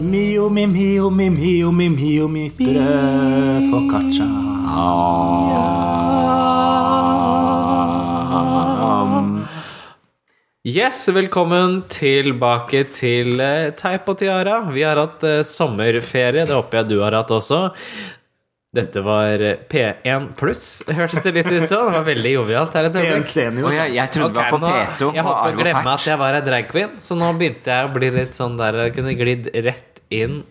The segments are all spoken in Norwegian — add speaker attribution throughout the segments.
Speaker 1: Mio, mim, hio, mim, hio, mim, hio, mi Ah. sprø focaccia.
Speaker 2: Yes, velkommen tilbake til eh, Teip og Tiara. Vi har hatt eh, sommerferie, det håper jeg du har hatt også. Dette var eh, P1 pluss, hørtes det litt ut som. Det var veldig jovialt her et
Speaker 1: En
Speaker 2: øyeblikk.
Speaker 1: senior.
Speaker 3: Å ja, jeg trodde
Speaker 2: Ok,
Speaker 3: det var på
Speaker 2: nå-
Speaker 3: P2
Speaker 2: Jeg
Speaker 3: og
Speaker 2: holdt på å
Speaker 3: Arvo
Speaker 2: glemme
Speaker 3: Pärt.
Speaker 2: at jeg var ei drag queen, så nå begynte jeg å bli litt sånn der Jeg kunne glidd rett inn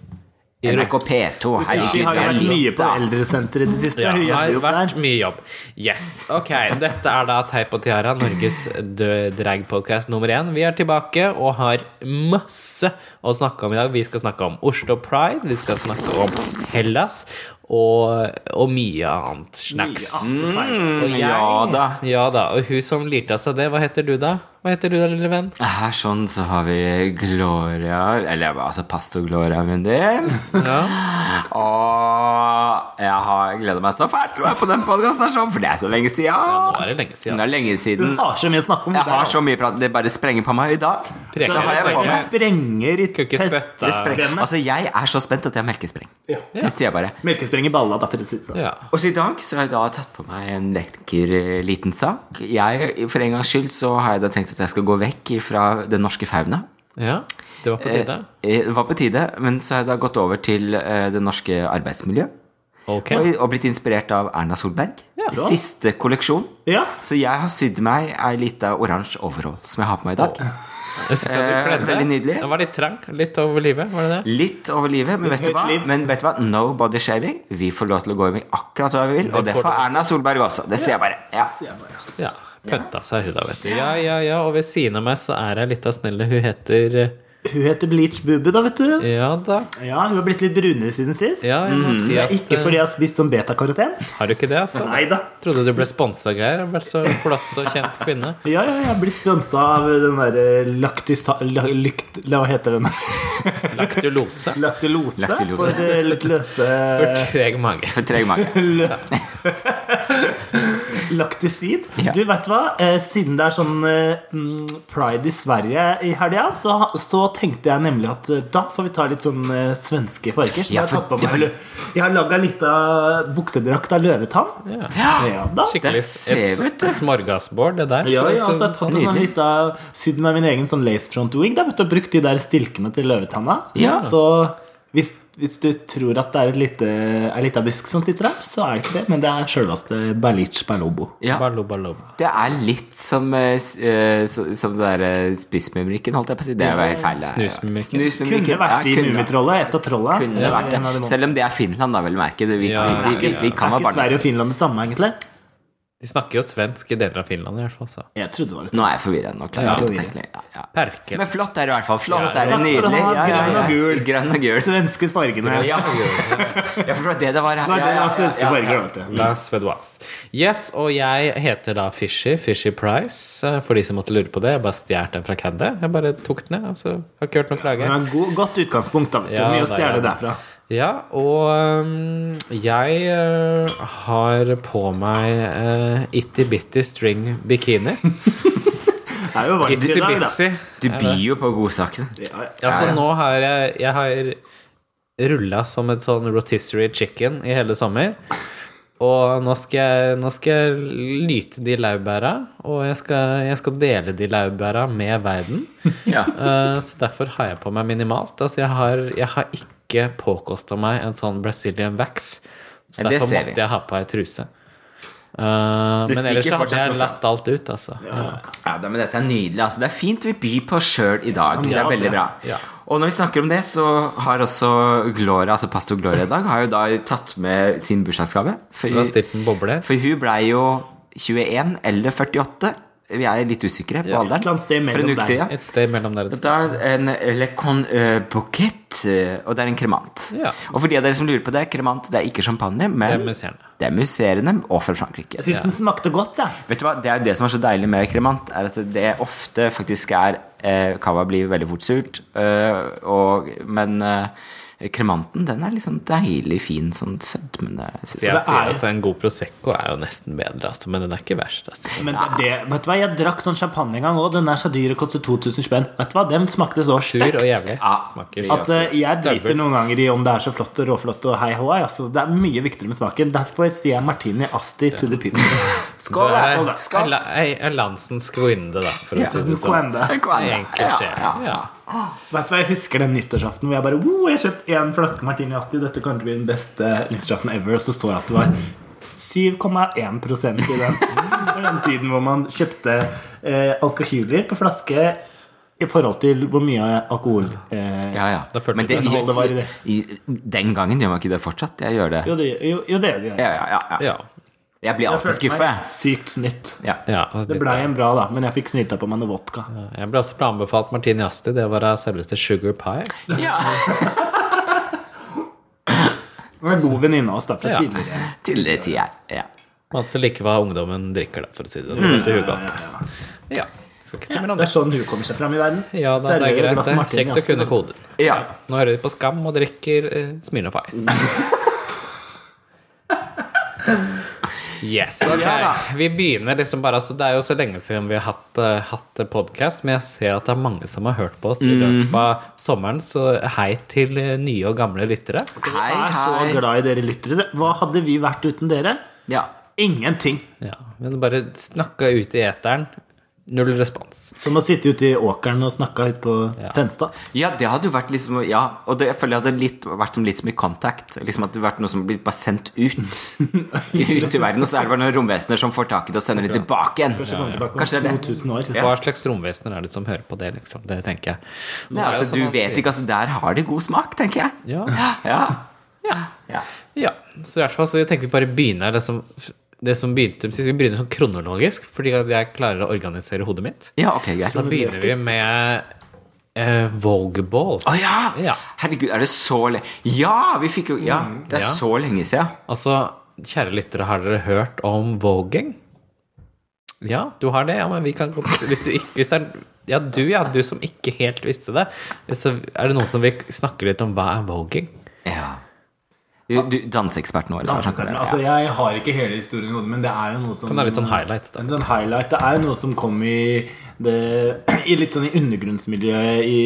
Speaker 2: i
Speaker 3: NRK P2,
Speaker 1: Vi
Speaker 3: herregud,
Speaker 1: har
Speaker 3: det
Speaker 1: jo
Speaker 3: er
Speaker 1: vært mye
Speaker 3: lite.
Speaker 1: på eldresenteret i det siste.
Speaker 2: Ja,
Speaker 1: Hun
Speaker 2: det
Speaker 1: jobber
Speaker 2: har
Speaker 1: jo
Speaker 2: vært
Speaker 1: der.
Speaker 2: mye jobb. Yes. Ok, dette er da Teip og Tiara, Norges dø- dragpodcast nummer én. Vi er tilbake og har masse å snakke om i dag. Vi skal snakke om Oslo Pride, vi skal snakke om Hellas og, og mye annet snacks.
Speaker 1: Mye annet feil.
Speaker 2: Og jeg-
Speaker 3: ja da.
Speaker 2: Ja da. Og hun som lirte av seg det, hva heter du da? Hva heter du da, lille venn?
Speaker 3: Her sånn så har vi Gloria, eller altså pastor Gloria Mundi.
Speaker 2: Ja.
Speaker 3: Og jeg har gleda meg så fælt til å være på den podkasten, for det er så
Speaker 2: Nå
Speaker 3: lenge siden.
Speaker 2: er det lenge siden.
Speaker 3: Det er lenge
Speaker 1: Hun
Speaker 3: siden.
Speaker 1: har så mye å snakke om.
Speaker 3: Jeg har så mye prat, det bare sprenger på meg i dag.
Speaker 2: Preker.
Speaker 3: Så har jeg på
Speaker 1: Hun
Speaker 3: meg
Speaker 1: sprenger i
Speaker 2: Kunne ikke
Speaker 1: test-
Speaker 2: spytte.
Speaker 3: det sprenger. Altså, jeg er så spent at jeg har melkespreng.
Speaker 1: Ja.
Speaker 3: Det sier jeg bare.
Speaker 1: Melkespreng i balla, da, for å si det sånn.
Speaker 2: Ja.
Speaker 3: Og så i dag så har jeg da tatt på meg en lekker eh, liten sak. Jeg, For en gangs skyld så har jeg da tenkt at jeg skal gå vekk fra den norske fauna.
Speaker 2: ja. Det var på
Speaker 3: Eh,
Speaker 2: tide.
Speaker 3: eh, Det var på tide, men så har jeg da gått over til eh, det norske arbeidsmiljøet.
Speaker 2: Ok.
Speaker 3: Og, og blitt inspirert av Erna Solberg.
Speaker 2: Ja.
Speaker 3: Siste kolleksjon.
Speaker 1: Ja.
Speaker 3: Så jeg har sydd meg ei lita oransje overall som jeg har på meg i dag.
Speaker 2: Så du kledde.
Speaker 3: eh, veldig nydelig.
Speaker 2: Den var litt trang. Litt over livet, var det det?
Speaker 3: Litt over livet, men vet du
Speaker 1: høyt
Speaker 3: hva?
Speaker 1: liv.
Speaker 3: Men vet du hva? No body shaving. Vi får lov til å gå i akkurat hva vi vil, og det får Erna Solberg også. Det sier jeg bare. Ja.
Speaker 2: Ja. Pønta seg hun da, vet du. Ja, ja, ja. Og ved siden av meg så er ei lita snelle. Hun heter eh,
Speaker 1: Hun heter Bleach Bubbe, da, vet du.
Speaker 2: Ja da.
Speaker 1: Ja, Hun har blitt litt brunere siden sist.
Speaker 2: Ja, jeg må si at
Speaker 1: Ikke
Speaker 2: eh,
Speaker 1: fordi jeg har spist sånn betakaroten.
Speaker 2: Har du ikke det, altså?
Speaker 1: Nei da.
Speaker 2: Trodde du ble sponsa og greier. og Ble så flott og kjent kvinne.
Speaker 1: Ja, ja, jeg blir sponsa av den derre laktista... La, lykt, la, hva heter den?
Speaker 2: Laktulose.
Speaker 1: Laktulose.
Speaker 3: Laktulose.
Speaker 1: For eh, litt løse
Speaker 2: For treg mage.
Speaker 3: For treg mage.
Speaker 1: laktisid.
Speaker 3: Ja.
Speaker 1: Du, vet du hva? Eh, siden det er sånn eh, mm, pride i Sverige i helga, så, så tenkte jeg nemlig at eh, da får vi ta litt sånn eh, svenske farger. Så
Speaker 3: Ja,
Speaker 1: jeg har,
Speaker 3: for
Speaker 1: tatt på meg lø- jeg har laga lita buksedrakt av løvetann.
Speaker 2: Ja.
Speaker 1: Ja da.
Speaker 2: Skikkelig
Speaker 3: ser vi ut,
Speaker 2: et
Speaker 3: du.
Speaker 2: smorgasbord, det der.
Speaker 1: Ja, ja, så jeg har
Speaker 2: Så-
Speaker 1: tatt en sånn
Speaker 3: Nydelig.
Speaker 1: lita, sydd meg min egen sånn lace front wig. Da, vet du, og brukt de der stilkene til løvetanna.
Speaker 3: Ja.
Speaker 1: Så hvis, hvis du tror at det er et lite, ei lita busk som sitter der, så er det ikke det. Men det er sjølveste Berlic Berlobo.
Speaker 3: Ja.
Speaker 2: Ballo, ballo.
Speaker 3: Det er litt som, eh, s- eh, så- som det derre spissmumrikken, holdt jeg på å si. Det var helt feil.
Speaker 2: Snusmumrikken.
Speaker 1: Kunne vært i
Speaker 3: Ja, kunne-
Speaker 1: Mummitrollet. Et av trolla.
Speaker 3: Kunne vært
Speaker 1: En av de
Speaker 3: det. Selv om det er Finland, da, vel å merke. Det, vi,
Speaker 2: Ja,
Speaker 3: vi, vi, vi, vi kan
Speaker 1: er
Speaker 3: være
Speaker 1: ikke
Speaker 3: barn.
Speaker 1: Sverige og Finland det samme, egentlig?
Speaker 2: De snakker jo svensk i deler av Finland, i hvert fall. Så.
Speaker 1: Jeg trodde det var det samme.
Speaker 3: Nå er jeg forvirra. Nå klarer jeg ikke å tenke lenger. Ja, ja.
Speaker 2: Perkel.
Speaker 3: Men flott er det i hvert fall. Flott
Speaker 2: Ja,
Speaker 3: er det
Speaker 1: takk for å
Speaker 3: nydelig.
Speaker 1: ha
Speaker 3: Ja, ja,
Speaker 1: grønn og
Speaker 3: ja.
Speaker 1: gul.
Speaker 3: Grønn og gul.
Speaker 1: Svenske fargene.
Speaker 3: Ja, jeg forstår at det det var. Ja,
Speaker 1: Det er det,
Speaker 3: ja,
Speaker 1: ja,
Speaker 3: ja,
Speaker 1: svenske
Speaker 3: ja, ja.
Speaker 1: farger, vet du.
Speaker 2: La Svedoise. Yes, og jeg heter da Fishy, Fishy Price. eh, For de som måtte lure på det, jeg bare stjal den fra Caddy. Jeg bare tok den, jeg. Altså, har ikke hørt
Speaker 1: Det
Speaker 2: noen klager.
Speaker 1: var en god, godt utgangspunkt. da, vet du.
Speaker 2: Ja,
Speaker 1: Mye å
Speaker 2: da,
Speaker 1: stjele
Speaker 2: ja.
Speaker 1: derfra.
Speaker 2: Ja, og øhm, jeg øh, har på meg øh, Itty Bitty String Bikini.
Speaker 1: Det er jo varmt i
Speaker 2: Itsy
Speaker 1: dag, da.
Speaker 2: Bitsy.
Speaker 3: Du byr jo på godsakene.
Speaker 1: Ja, ja.
Speaker 2: Ja, så
Speaker 3: Ja, ja.
Speaker 2: nå har jeg Jeg har rulla som et sånn rotisserie chicken i hele sommer. Og nå skal jeg, nå skal jeg lyte de laurbæra, og jeg skal, jeg skal dele de laurbæra med verden.
Speaker 3: Ja.
Speaker 2: Eh, så derfor har jeg på meg minimalt. Altså, jeg har, jeg har ikke påkosta meg en sånn Brazilian wax. Så
Speaker 3: Ja, det
Speaker 2: derfor
Speaker 3: ser vi.
Speaker 2: måtte jeg ha på ei truse. Eh,
Speaker 3: Det
Speaker 2: men ellers
Speaker 3: stikker
Speaker 2: så hadde
Speaker 3: fortsatt
Speaker 2: jeg
Speaker 3: noe fra.
Speaker 2: latt alt ut, altså. Ja.
Speaker 3: Ja, da, men Dette er nydelig. altså Det er fint vi byr på sjøl i dag. Det
Speaker 1: Ja,
Speaker 3: er veldig bra.
Speaker 2: ja.
Speaker 3: Og når vi snakker om det, så har også Gloria, altså pastor Gloria i dag, har jo da tatt med sin bursdagsgave.
Speaker 2: Du har
Speaker 3: For,
Speaker 2: stilt en boble.
Speaker 3: for hun blei jo 21 eller 48. Vi er litt usikre på
Speaker 1: Et eller
Speaker 3: alderen.
Speaker 1: annet sted
Speaker 3: For en
Speaker 1: mellom
Speaker 3: uke
Speaker 1: der.
Speaker 3: siden.
Speaker 2: Et sted mellom der.
Speaker 3: Dette er en Le Con eh, Bouquet, eh, og det er en kremant.
Speaker 2: Ja.
Speaker 3: Og for de av dere som lurer på det, kremant det er ikke champagne,
Speaker 2: Det
Speaker 3: men
Speaker 2: er museerne.
Speaker 3: det er musserende og fra Frankrike.
Speaker 1: Jeg syns den smakte godt, jeg.
Speaker 3: Vet du hva, Det er jo det som er så deilig med kremant, er at det ofte faktisk er eh, Cava blir veldig fort surt, eh, og, men eh, kremanten, den er liksom deilig fin, sånn sødmende. synes jeg.
Speaker 2: Jeg
Speaker 1: det
Speaker 2: sier
Speaker 1: er-
Speaker 2: altså En god Prosecco er jo nesten bedre, altså, men den er ikke verst. Altså.
Speaker 1: Men det, vet du hva, jeg drakk sånn champagne en gang òg. Den er så dyr og koster 2000 spenn. Vet du hva, Den smakte så
Speaker 2: Sur og
Speaker 1: sterkt
Speaker 2: jævlig.
Speaker 3: Ja,
Speaker 2: Smaker
Speaker 1: at eh, jeg
Speaker 2: Støvel.
Speaker 1: driter noen ganger i om det er så flott og råflott og hei hå. Altså, det er mye viktigere med smaken. Derfor sier jeg martini asti to the people.
Speaker 3: Skål,
Speaker 2: Det er-
Speaker 3: da! Skål!
Speaker 2: La- ei- ei Lansen skvinde, da, for å si det sånn.
Speaker 1: Quende.
Speaker 3: Skål.
Speaker 2: I enkel sjel. Ja.
Speaker 1: Vet du hva, Jeg husker den nyttårsaften hvor jeg bare wow, jeg har kjøpt én flaske Martini Asti. Dette kommer til å bli den beste nyttårsaften ever. Og så så jeg at det var 7,1 i den. På den tiden hvor man kjøpte eh, alkohyler på flaske i forhold til hvor mye alkohol eh,
Speaker 3: Ja, ja.
Speaker 2: Da følte
Speaker 3: Men
Speaker 2: du
Speaker 3: det,
Speaker 2: deg
Speaker 1: som Oldemar i
Speaker 3: i,
Speaker 1: det.
Speaker 3: i, den gangen gjør man ikke det fortsatt. Jeg gjør det.
Speaker 1: jo, det, jo, jo, det gjør vi.
Speaker 3: Ja, ja, ja, ja.
Speaker 2: Ja.
Speaker 3: Jeg blir alltid skuffa, jeg.
Speaker 1: sykt snytt.
Speaker 3: Ja.
Speaker 2: ja
Speaker 1: Det
Speaker 2: litt,
Speaker 1: blei en bra, da, men jeg fikk snyta på meg noe vodka.
Speaker 2: jeg ble også anbefalt Martini Asti. Det var av selveste Sugar Pie.
Speaker 3: ja.
Speaker 1: Det var en god venninne av oss da fra
Speaker 2: Ja.
Speaker 1: tidligere.
Speaker 3: Tidligere tid, jeg. Ja.
Speaker 2: Måtte like hva ungdommen drikker, da, for å si det sånn. Det er jo godt. Ja. Skal ikke si mer om
Speaker 1: Det
Speaker 2: det.
Speaker 1: er sånn hun kommer seg fram i verden.
Speaker 2: Ja, da, det er
Speaker 1: Serverer et
Speaker 2: greit.
Speaker 1: glass
Speaker 2: det.
Speaker 1: Martini
Speaker 2: Kjekt å
Speaker 1: Asti.
Speaker 2: kunne koden.
Speaker 3: Ja.
Speaker 2: Nå hører de på Skam og drikker eh, Smirnoff Ice. Yes, ok.
Speaker 3: Ja da.
Speaker 2: Vi begynner liksom bare altså, Det er jo så lenge siden vi har hatt, eh, hatt podkast, men jeg ser at det er mange som har hørt på oss
Speaker 3: Mhm.
Speaker 2: i løpet av sommeren, så hei til eh, nye og gamle lyttere.
Speaker 3: Hei,
Speaker 1: Jeg er så
Speaker 3: hei.
Speaker 1: glad i dere lyttere. Hva hadde vi vært uten dere?
Speaker 3: Ja.
Speaker 1: Ingenting.
Speaker 2: Ja, men bare snakka ut i eteren. Null respons.
Speaker 1: Som å sitte ute i åkeren og snakke ut på
Speaker 2: Ja.
Speaker 1: Fenstad.
Speaker 3: ja, det hadde jo vært liksom Ja, og det, jeg føler jeg hadde litt, vært som litt som i Contact. Liksom at det hadde vært noe som blitt bare sendt ut. ut i verden, og så er det bare noen romvesener som får tak i det og sender det tilbake igjen.
Speaker 1: Kanskje kommer tilbake om
Speaker 3: Kanskje det er det.
Speaker 1: 2000 år.
Speaker 2: Hva slags romvesener er det som hører på det, liksom? Det tenker jeg.
Speaker 3: Nei, altså, du vet ikke, altså, der har de god smak, tenker jeg.
Speaker 2: Ja.
Speaker 3: Ja.
Speaker 2: ja.
Speaker 3: ja.
Speaker 2: Ja, så i hvert fall så tenker vi bare begynne det som, det som begynte Vi skal begynne sånn kronologisk, fordi at jeg klarer å organisere hodet mitt.
Speaker 3: ja ok, greit.
Speaker 2: Da begynner vi med eh, Vogueball.
Speaker 3: Å ja.
Speaker 2: Ja. Mm,
Speaker 3: Herregud, er det så lenge Ja, vi fikk jo Ja, det er
Speaker 2: Ja.
Speaker 3: så lenge siden.
Speaker 2: Altså, kjære lyttere, har dere hørt om voging? Ja, du har det, ja, men vi kan godt Hvis du ikke hvis det er, Ja, du, ja, du som ikke helt visste det. Så er det noen som vil snakke litt om hva er voging?
Speaker 3: Ja. Du, du danseeksperten vår. som snakker om det,
Speaker 1: Altså, jeg har ikke hele historien i hodet, men det er jo noe som
Speaker 2: Kan det være litt sånn highlights, da?
Speaker 1: Men den highlight, Det er jo noe som kom i, det, i litt sånn i undergrunnsmiljøet i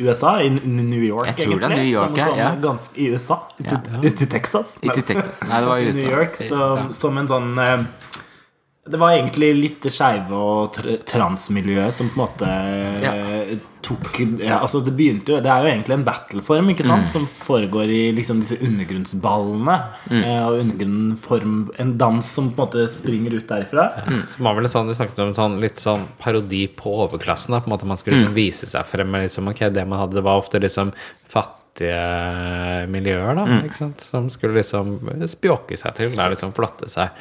Speaker 1: USA. I New York,
Speaker 3: Jeg tror det er New York,
Speaker 1: som kom
Speaker 3: ja.
Speaker 1: ganske, I USA. Ute ut i Texas.
Speaker 3: Ut i Texas. Nei, det var i
Speaker 1: Sånn som
Speaker 3: USA.
Speaker 1: New York som, som en sånn eh, Det var egentlig litt det skeive og tr transmiljøet som på en måte eh, tok ja, Altså, det begynte jo Det er jo egentlig en battleform, ikke
Speaker 3: Mm.
Speaker 1: sant, som foregår i liksom disse undergrunnsballene.
Speaker 3: Mm.
Speaker 1: eh, Og undergrunnform En dans som på en måte springer ut derifra.
Speaker 2: Som var vel sånn, De snakket om en sånn, litt sånn parodi på overklassen. Da, på en måte Man skulle liksom vise seg frem. med Liksom, ok, det man hadde, det var ofte liksom fattige miljøer da, ikke sant? som skulle liksom spjåke seg til. Da, liksom Flotte seg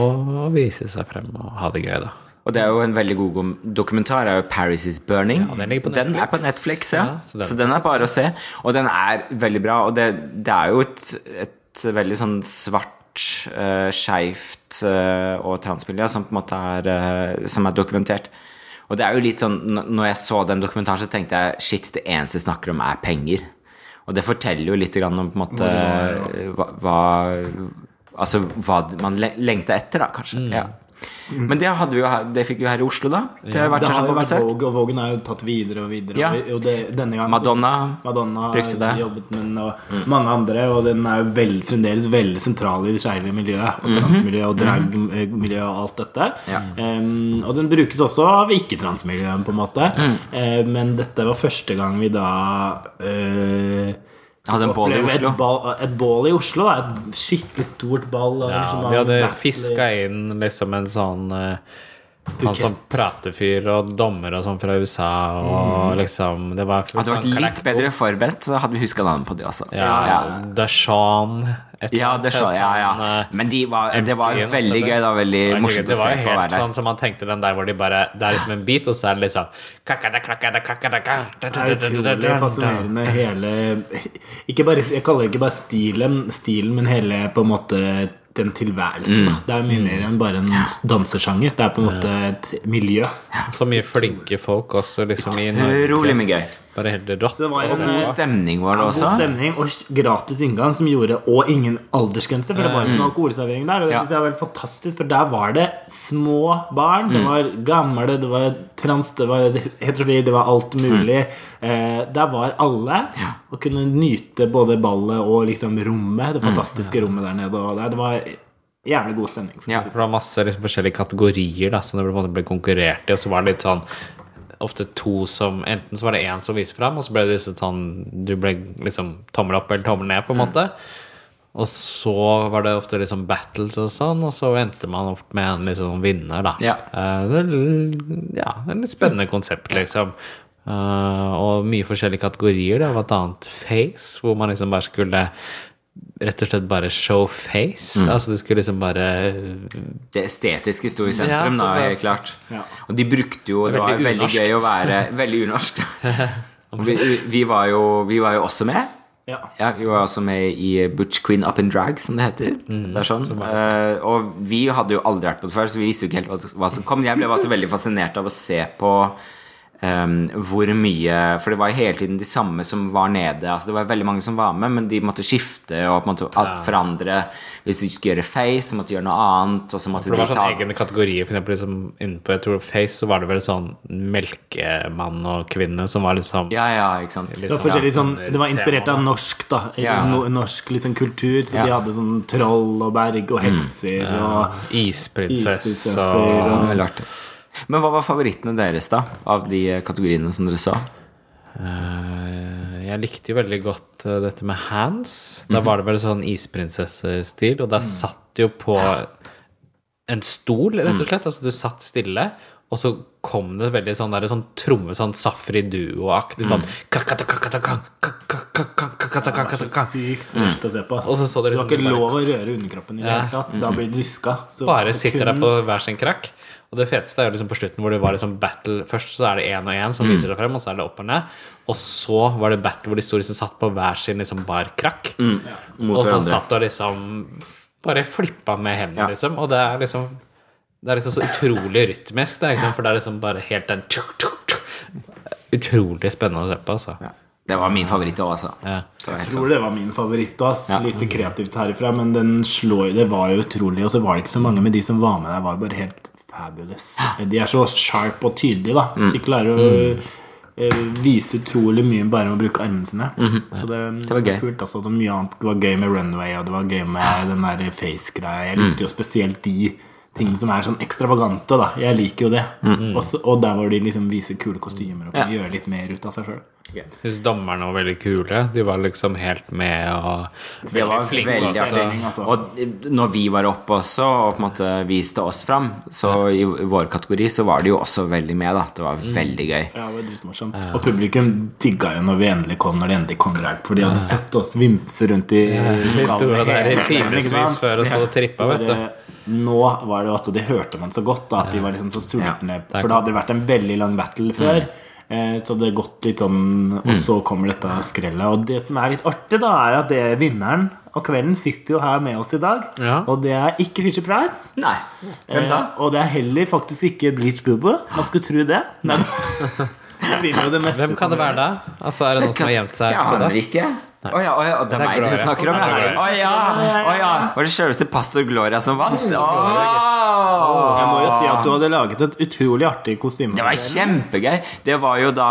Speaker 2: og vise seg frem og ha det gøy. da
Speaker 3: ja. Og det er jo en veldig god gom- dokumentar. er jo 'Paris Is Burning'.
Speaker 2: den ligger på
Speaker 3: er
Speaker 2: Netflix.
Speaker 3: på Netflix, ja.
Speaker 2: Ja, så
Speaker 3: så,
Speaker 2: den-
Speaker 3: den, er bare å se. Og den er veldig bra. Og det, det er jo et, et veldig sånn svart Uh, Skeivt eh, og transmiljø som på en måte er eh, Som er dokumentert. Og det er jo litt sånn n- Når jeg så den dokumentaren, så tenkte jeg shit, det eneste de snakker om, er penger. Og det forteller jo litt grann om på en måte hva, hva Altså hva d- man le- lengta etter, da, kanskje.
Speaker 1: Mm.
Speaker 3: Ja. Men det, hadde vi jo her, det fikk vi jo her i Oslo, da. Det har jo vært
Speaker 1: Det
Speaker 3: her
Speaker 1: har jo
Speaker 3: sånn på
Speaker 1: vært
Speaker 3: besøk.
Speaker 1: Vogue, og Vogue er jo tatt videre og videre.
Speaker 3: Ja.
Speaker 1: Og, og det, denne gangen så-
Speaker 3: Madonna
Speaker 1: Madonna
Speaker 3: Brukte det. Mm.
Speaker 1: har jobbet med den, og mange andre. Og den er jo vel, fremdeles veldig sentral i det skeive miljøet.
Speaker 3: Mhm.
Speaker 1: Og transmiljøet og dragmiljøet og alt dette. Em, og den brukes også av ikke-transmiljøet, på en måte.
Speaker 3: Mm.
Speaker 1: Eh, men dette var første gang vi da eh,
Speaker 3: Hadde en bål i
Speaker 1: opplevde
Speaker 3: Oslo.
Speaker 1: Et, ball, et bål i Oslo. Da. Et skikkelig stort ball. og liksom
Speaker 2: Ja,
Speaker 1: arrangement,
Speaker 2: De hadde
Speaker 1: battle-
Speaker 2: fiska inn liksom en sånn eh, han
Speaker 1: Bukett.
Speaker 2: sånn pratefyr og dommer og sånn fra USA og liksom Det var
Speaker 3: Hadde
Speaker 2: sånn
Speaker 3: vært litt
Speaker 2: collectible.
Speaker 3: bedre forberedt, så hadde vi huska navnet på de også.
Speaker 2: Ja, Dashan et
Speaker 3: Ja,
Speaker 2: eller
Speaker 3: det så
Speaker 2: annet,
Speaker 3: jeg, ja.
Speaker 2: han, eh,
Speaker 3: Men de var, det var
Speaker 2: MC-en,
Speaker 3: veldig
Speaker 2: vet du.
Speaker 3: gøy. Det var veldig
Speaker 2: Det var
Speaker 3: morsomt
Speaker 2: sikkert-
Speaker 3: å se
Speaker 2: Det
Speaker 3: på å
Speaker 2: var
Speaker 3: være
Speaker 2: helt
Speaker 3: der.
Speaker 2: sånn som man tenkte den der hvor de bare Det er liksom en bit, og så er det liksom Det
Speaker 1: Det er utrolig fascinerende hele ikke bare, Jeg kaller det ikke bare stilen, stilen men hele på en måte den tilværelsen. da. Det er mye mer enn bare en dansesjanger. Det er på en måte et miljø.
Speaker 2: Så mye flinke folk også, liksom. i Norge.
Speaker 3: Utrolig mye gøy.
Speaker 2: Bare helt rått.
Speaker 1: Så det var
Speaker 2: å
Speaker 1: en,
Speaker 2: se.
Speaker 1: eh,
Speaker 3: God stemning var det
Speaker 1: God
Speaker 3: også.
Speaker 1: stemning og gratis inngang som gjorde Og ingen aldersgrense, for det var ikke noen alkoholservering der. Og det
Speaker 3: Mm. Ja.
Speaker 1: synes jeg var veldig fantastisk, for der var det små barn.
Speaker 3: Mm.
Speaker 1: Det var gamle, det var trans, det var heterofil, det var alt mulig.
Speaker 3: Mm.
Speaker 1: Eh, der var alle og kunne nyte både ballet og liksom rommet.
Speaker 3: Mm.
Speaker 1: Det fantastiske rommet der nede. Og det, det var jævlig god stemning. For
Speaker 3: Ja.
Speaker 1: å si.
Speaker 2: For det var masse liksom, forskjellige kategorier da, som det ble, på en måte ble konkurrert i, og så var det litt sånn Ofte to som Enten så var det én som viste fram, og så ble det liksom sånn Du ble liksom tommel opp eller tommel ned, på en måte. Og så var det ofte liksom battles og sånn, og så endte man ofte med en liksom vinner, da.
Speaker 3: Ja.
Speaker 2: Eh, det er, l- ja, det er et litt spennende konsept, liksom. Eh, og mye forskjellige kategorier. Det var et annet face, hvor man liksom bare skulle Rett og slett bare show face. Altså du skulle liksom bare
Speaker 3: Det estetiske sto i
Speaker 2: Ja, det
Speaker 3: sentrum, da,
Speaker 2: var-
Speaker 3: helt klart.
Speaker 1: Ja.
Speaker 3: Og de brukte jo Det,
Speaker 2: Det er
Speaker 3: var
Speaker 2: veldig
Speaker 3: veldig
Speaker 2: unorskt.
Speaker 3: gøy å være Veldig unorsk. Og vi, vi, var jo, vi var jo også med.
Speaker 1: Ja.
Speaker 3: Ja, vi var også med i Butch Queen Up in Drag, som det heter. det er sånn. Eh, og vi hadde jo aldri vært på det før, så vi visste jo ikke helt hva, hva som kom. Jeg ble også veldig fascinert av å se på ehm, hvor mye For det var hele tiden de samme som var nede. Altså, det var veldig mange som var med, men de måtte skifte og på en måte alt forandre. Hvis de skulle gjøre face, så måtte de gjøre noe annet. Og så måtte
Speaker 2: For det
Speaker 3: de
Speaker 2: var
Speaker 3: ta
Speaker 2: sånn egne kategorier, for eksempel liksom, innenpå jeg tror Face, så var det vel sånn melkemann og kvinne som var liksom
Speaker 3: Ja, ja, ikke sant.
Speaker 1: Det var, forskjellig sånn, det var inspirert av norsk da
Speaker 3: Ja.
Speaker 1: no, Norsk liksom kultur Så
Speaker 3: Ja. Mm.
Speaker 1: de hadde sånn troll og berg og hekser Og
Speaker 2: Isprinsesse
Speaker 1: Isprinsesser
Speaker 2: og
Speaker 1: og-
Speaker 3: Ja, veldig artig. Men hva var favorittene deres, da? Av de kategoriene som dere så?
Speaker 2: Eh, Jeg likte jo veldig godt eh, dette med hands. Da var det vel sånn isprinsessestil, og der satt jo på en stol, rett og slett. Altså du satt stille, og så kom det veldig sånn der, sånn tromme, sånn Safri Duo-aktig sånn kakatakatakang, kakakakakakakakakakakakakakakakakakakakakakakakakakakakakakakakakakakakakakakakakakakakak.
Speaker 1: Sykt verst å se på. ass.
Speaker 2: Og så så dere
Speaker 1: du har
Speaker 2: sånn
Speaker 1: ikke
Speaker 2: bare-
Speaker 1: lov å røre underkroppen i det hele tatt. Da blir du diska. Så
Speaker 2: bare sitter der
Speaker 1: kun-
Speaker 2: på hver sin krakk. Og det feteste er jo liksom på slutten hvor det var liksom battle først, så er det én og én som viser seg frem, og så er det opp og ned. Og så var det battle hvor de sto liksom satt på hver sin liksom barkrakk.
Speaker 3: Mot
Speaker 2: Og så
Speaker 3: hverandre.
Speaker 2: satt og liksom bare flippa med hendene,
Speaker 3: Ja.
Speaker 2: liksom. Og det er liksom Det er liksom så utrolig rytmisk, det er liksom, for det er liksom bare helt den tjuk, tjuk, tjuk. Utrolig spennende å se på, altså.
Speaker 3: Ja. Det var min favoritt òg, altså.
Speaker 2: Ja.
Speaker 3: Det var helt
Speaker 1: Jeg tror det var min favoritt. Ass.
Speaker 3: Ja.
Speaker 1: Lite kreativt herifra, men den slår, det var jo utrolig. Og så var det ikke så mange, men de som var med der, var bare helt fabulous. De er så sharp og tydelige, da.
Speaker 3: Mm.
Speaker 1: De klarer å eh, vise utrolig mye bare med å bruke armene sine. Så det,
Speaker 3: Mhm. Det var gøy.
Speaker 1: kult. Altså, det, var mye annet. det var gøy med runway, og det var gøy med den der face-greia. Jeg
Speaker 3: Mm.
Speaker 1: likte jo spesielt de tingene som er sånn ekstravagante, da. Jeg liker jo det. Og så- og der hvor de liksom viser kule kostymer og kan
Speaker 3: Mm. Ja.
Speaker 1: gjøre litt mer ut av seg sjøl.
Speaker 2: Jeg syns dommerne var veldig kule. De var liksom helt med og
Speaker 3: Det var
Speaker 2: flinke
Speaker 3: veldig
Speaker 2: også.
Speaker 1: stemning,
Speaker 3: artig.
Speaker 1: altså.
Speaker 3: Og eh, når vi var oppe også og på en måte viste oss fram, så i vår kategori så var det jo også veldig med, da.
Speaker 2: Mm.
Speaker 3: Det var veldig gøy.
Speaker 1: Ja, det var dritmorsomt. Og publikum digga jo når vi endelig kom, når de endelig kom der. For de hadde sett oss vimse rundt i
Speaker 2: Vi sto jo der i
Speaker 1: hele tiden, ikke
Speaker 2: timevis
Speaker 1: sant?
Speaker 2: før og stod og trippa,
Speaker 1: Så
Speaker 2: vet du.
Speaker 1: bare- Nå var det jo at de hørte man så godt, da, at de var liksom så sultne. For det hadde vært en veldig lang
Speaker 2: Mm.
Speaker 1: battle før. eh, Så hadde det gått litt sånn Og så kommer dette skrellet. Og det som er litt artig, da, er at det vinneren av kvelden sitter jo her med oss i dag.
Speaker 2: Ja.
Speaker 1: Og det er ikke Fisher Price.
Speaker 3: Nei, hvem da?
Speaker 1: Eh, og det er heller faktisk ikke Bleach Bubble. Man skulle tro det. Men Jeg vinner jo det meste.
Speaker 2: Hvem kan det være da? Altså, er det noen som har gjemt seg
Speaker 3: Jeg
Speaker 2: på
Speaker 3: aner
Speaker 2: dass?
Speaker 3: ikke. Å ja, å ja, det
Speaker 2: er
Speaker 3: er meg dere
Speaker 2: Gloria.
Speaker 3: snakker om?
Speaker 2: Det er
Speaker 3: ja. Å ja! Å ja! Var det sjølveste pastor Gloria som vant?
Speaker 1: Jeg må jo si
Speaker 3: Åh!
Speaker 1: at du hadde laget et utrolig artig kostyme.
Speaker 3: Det var kjempegøy! Det var jo da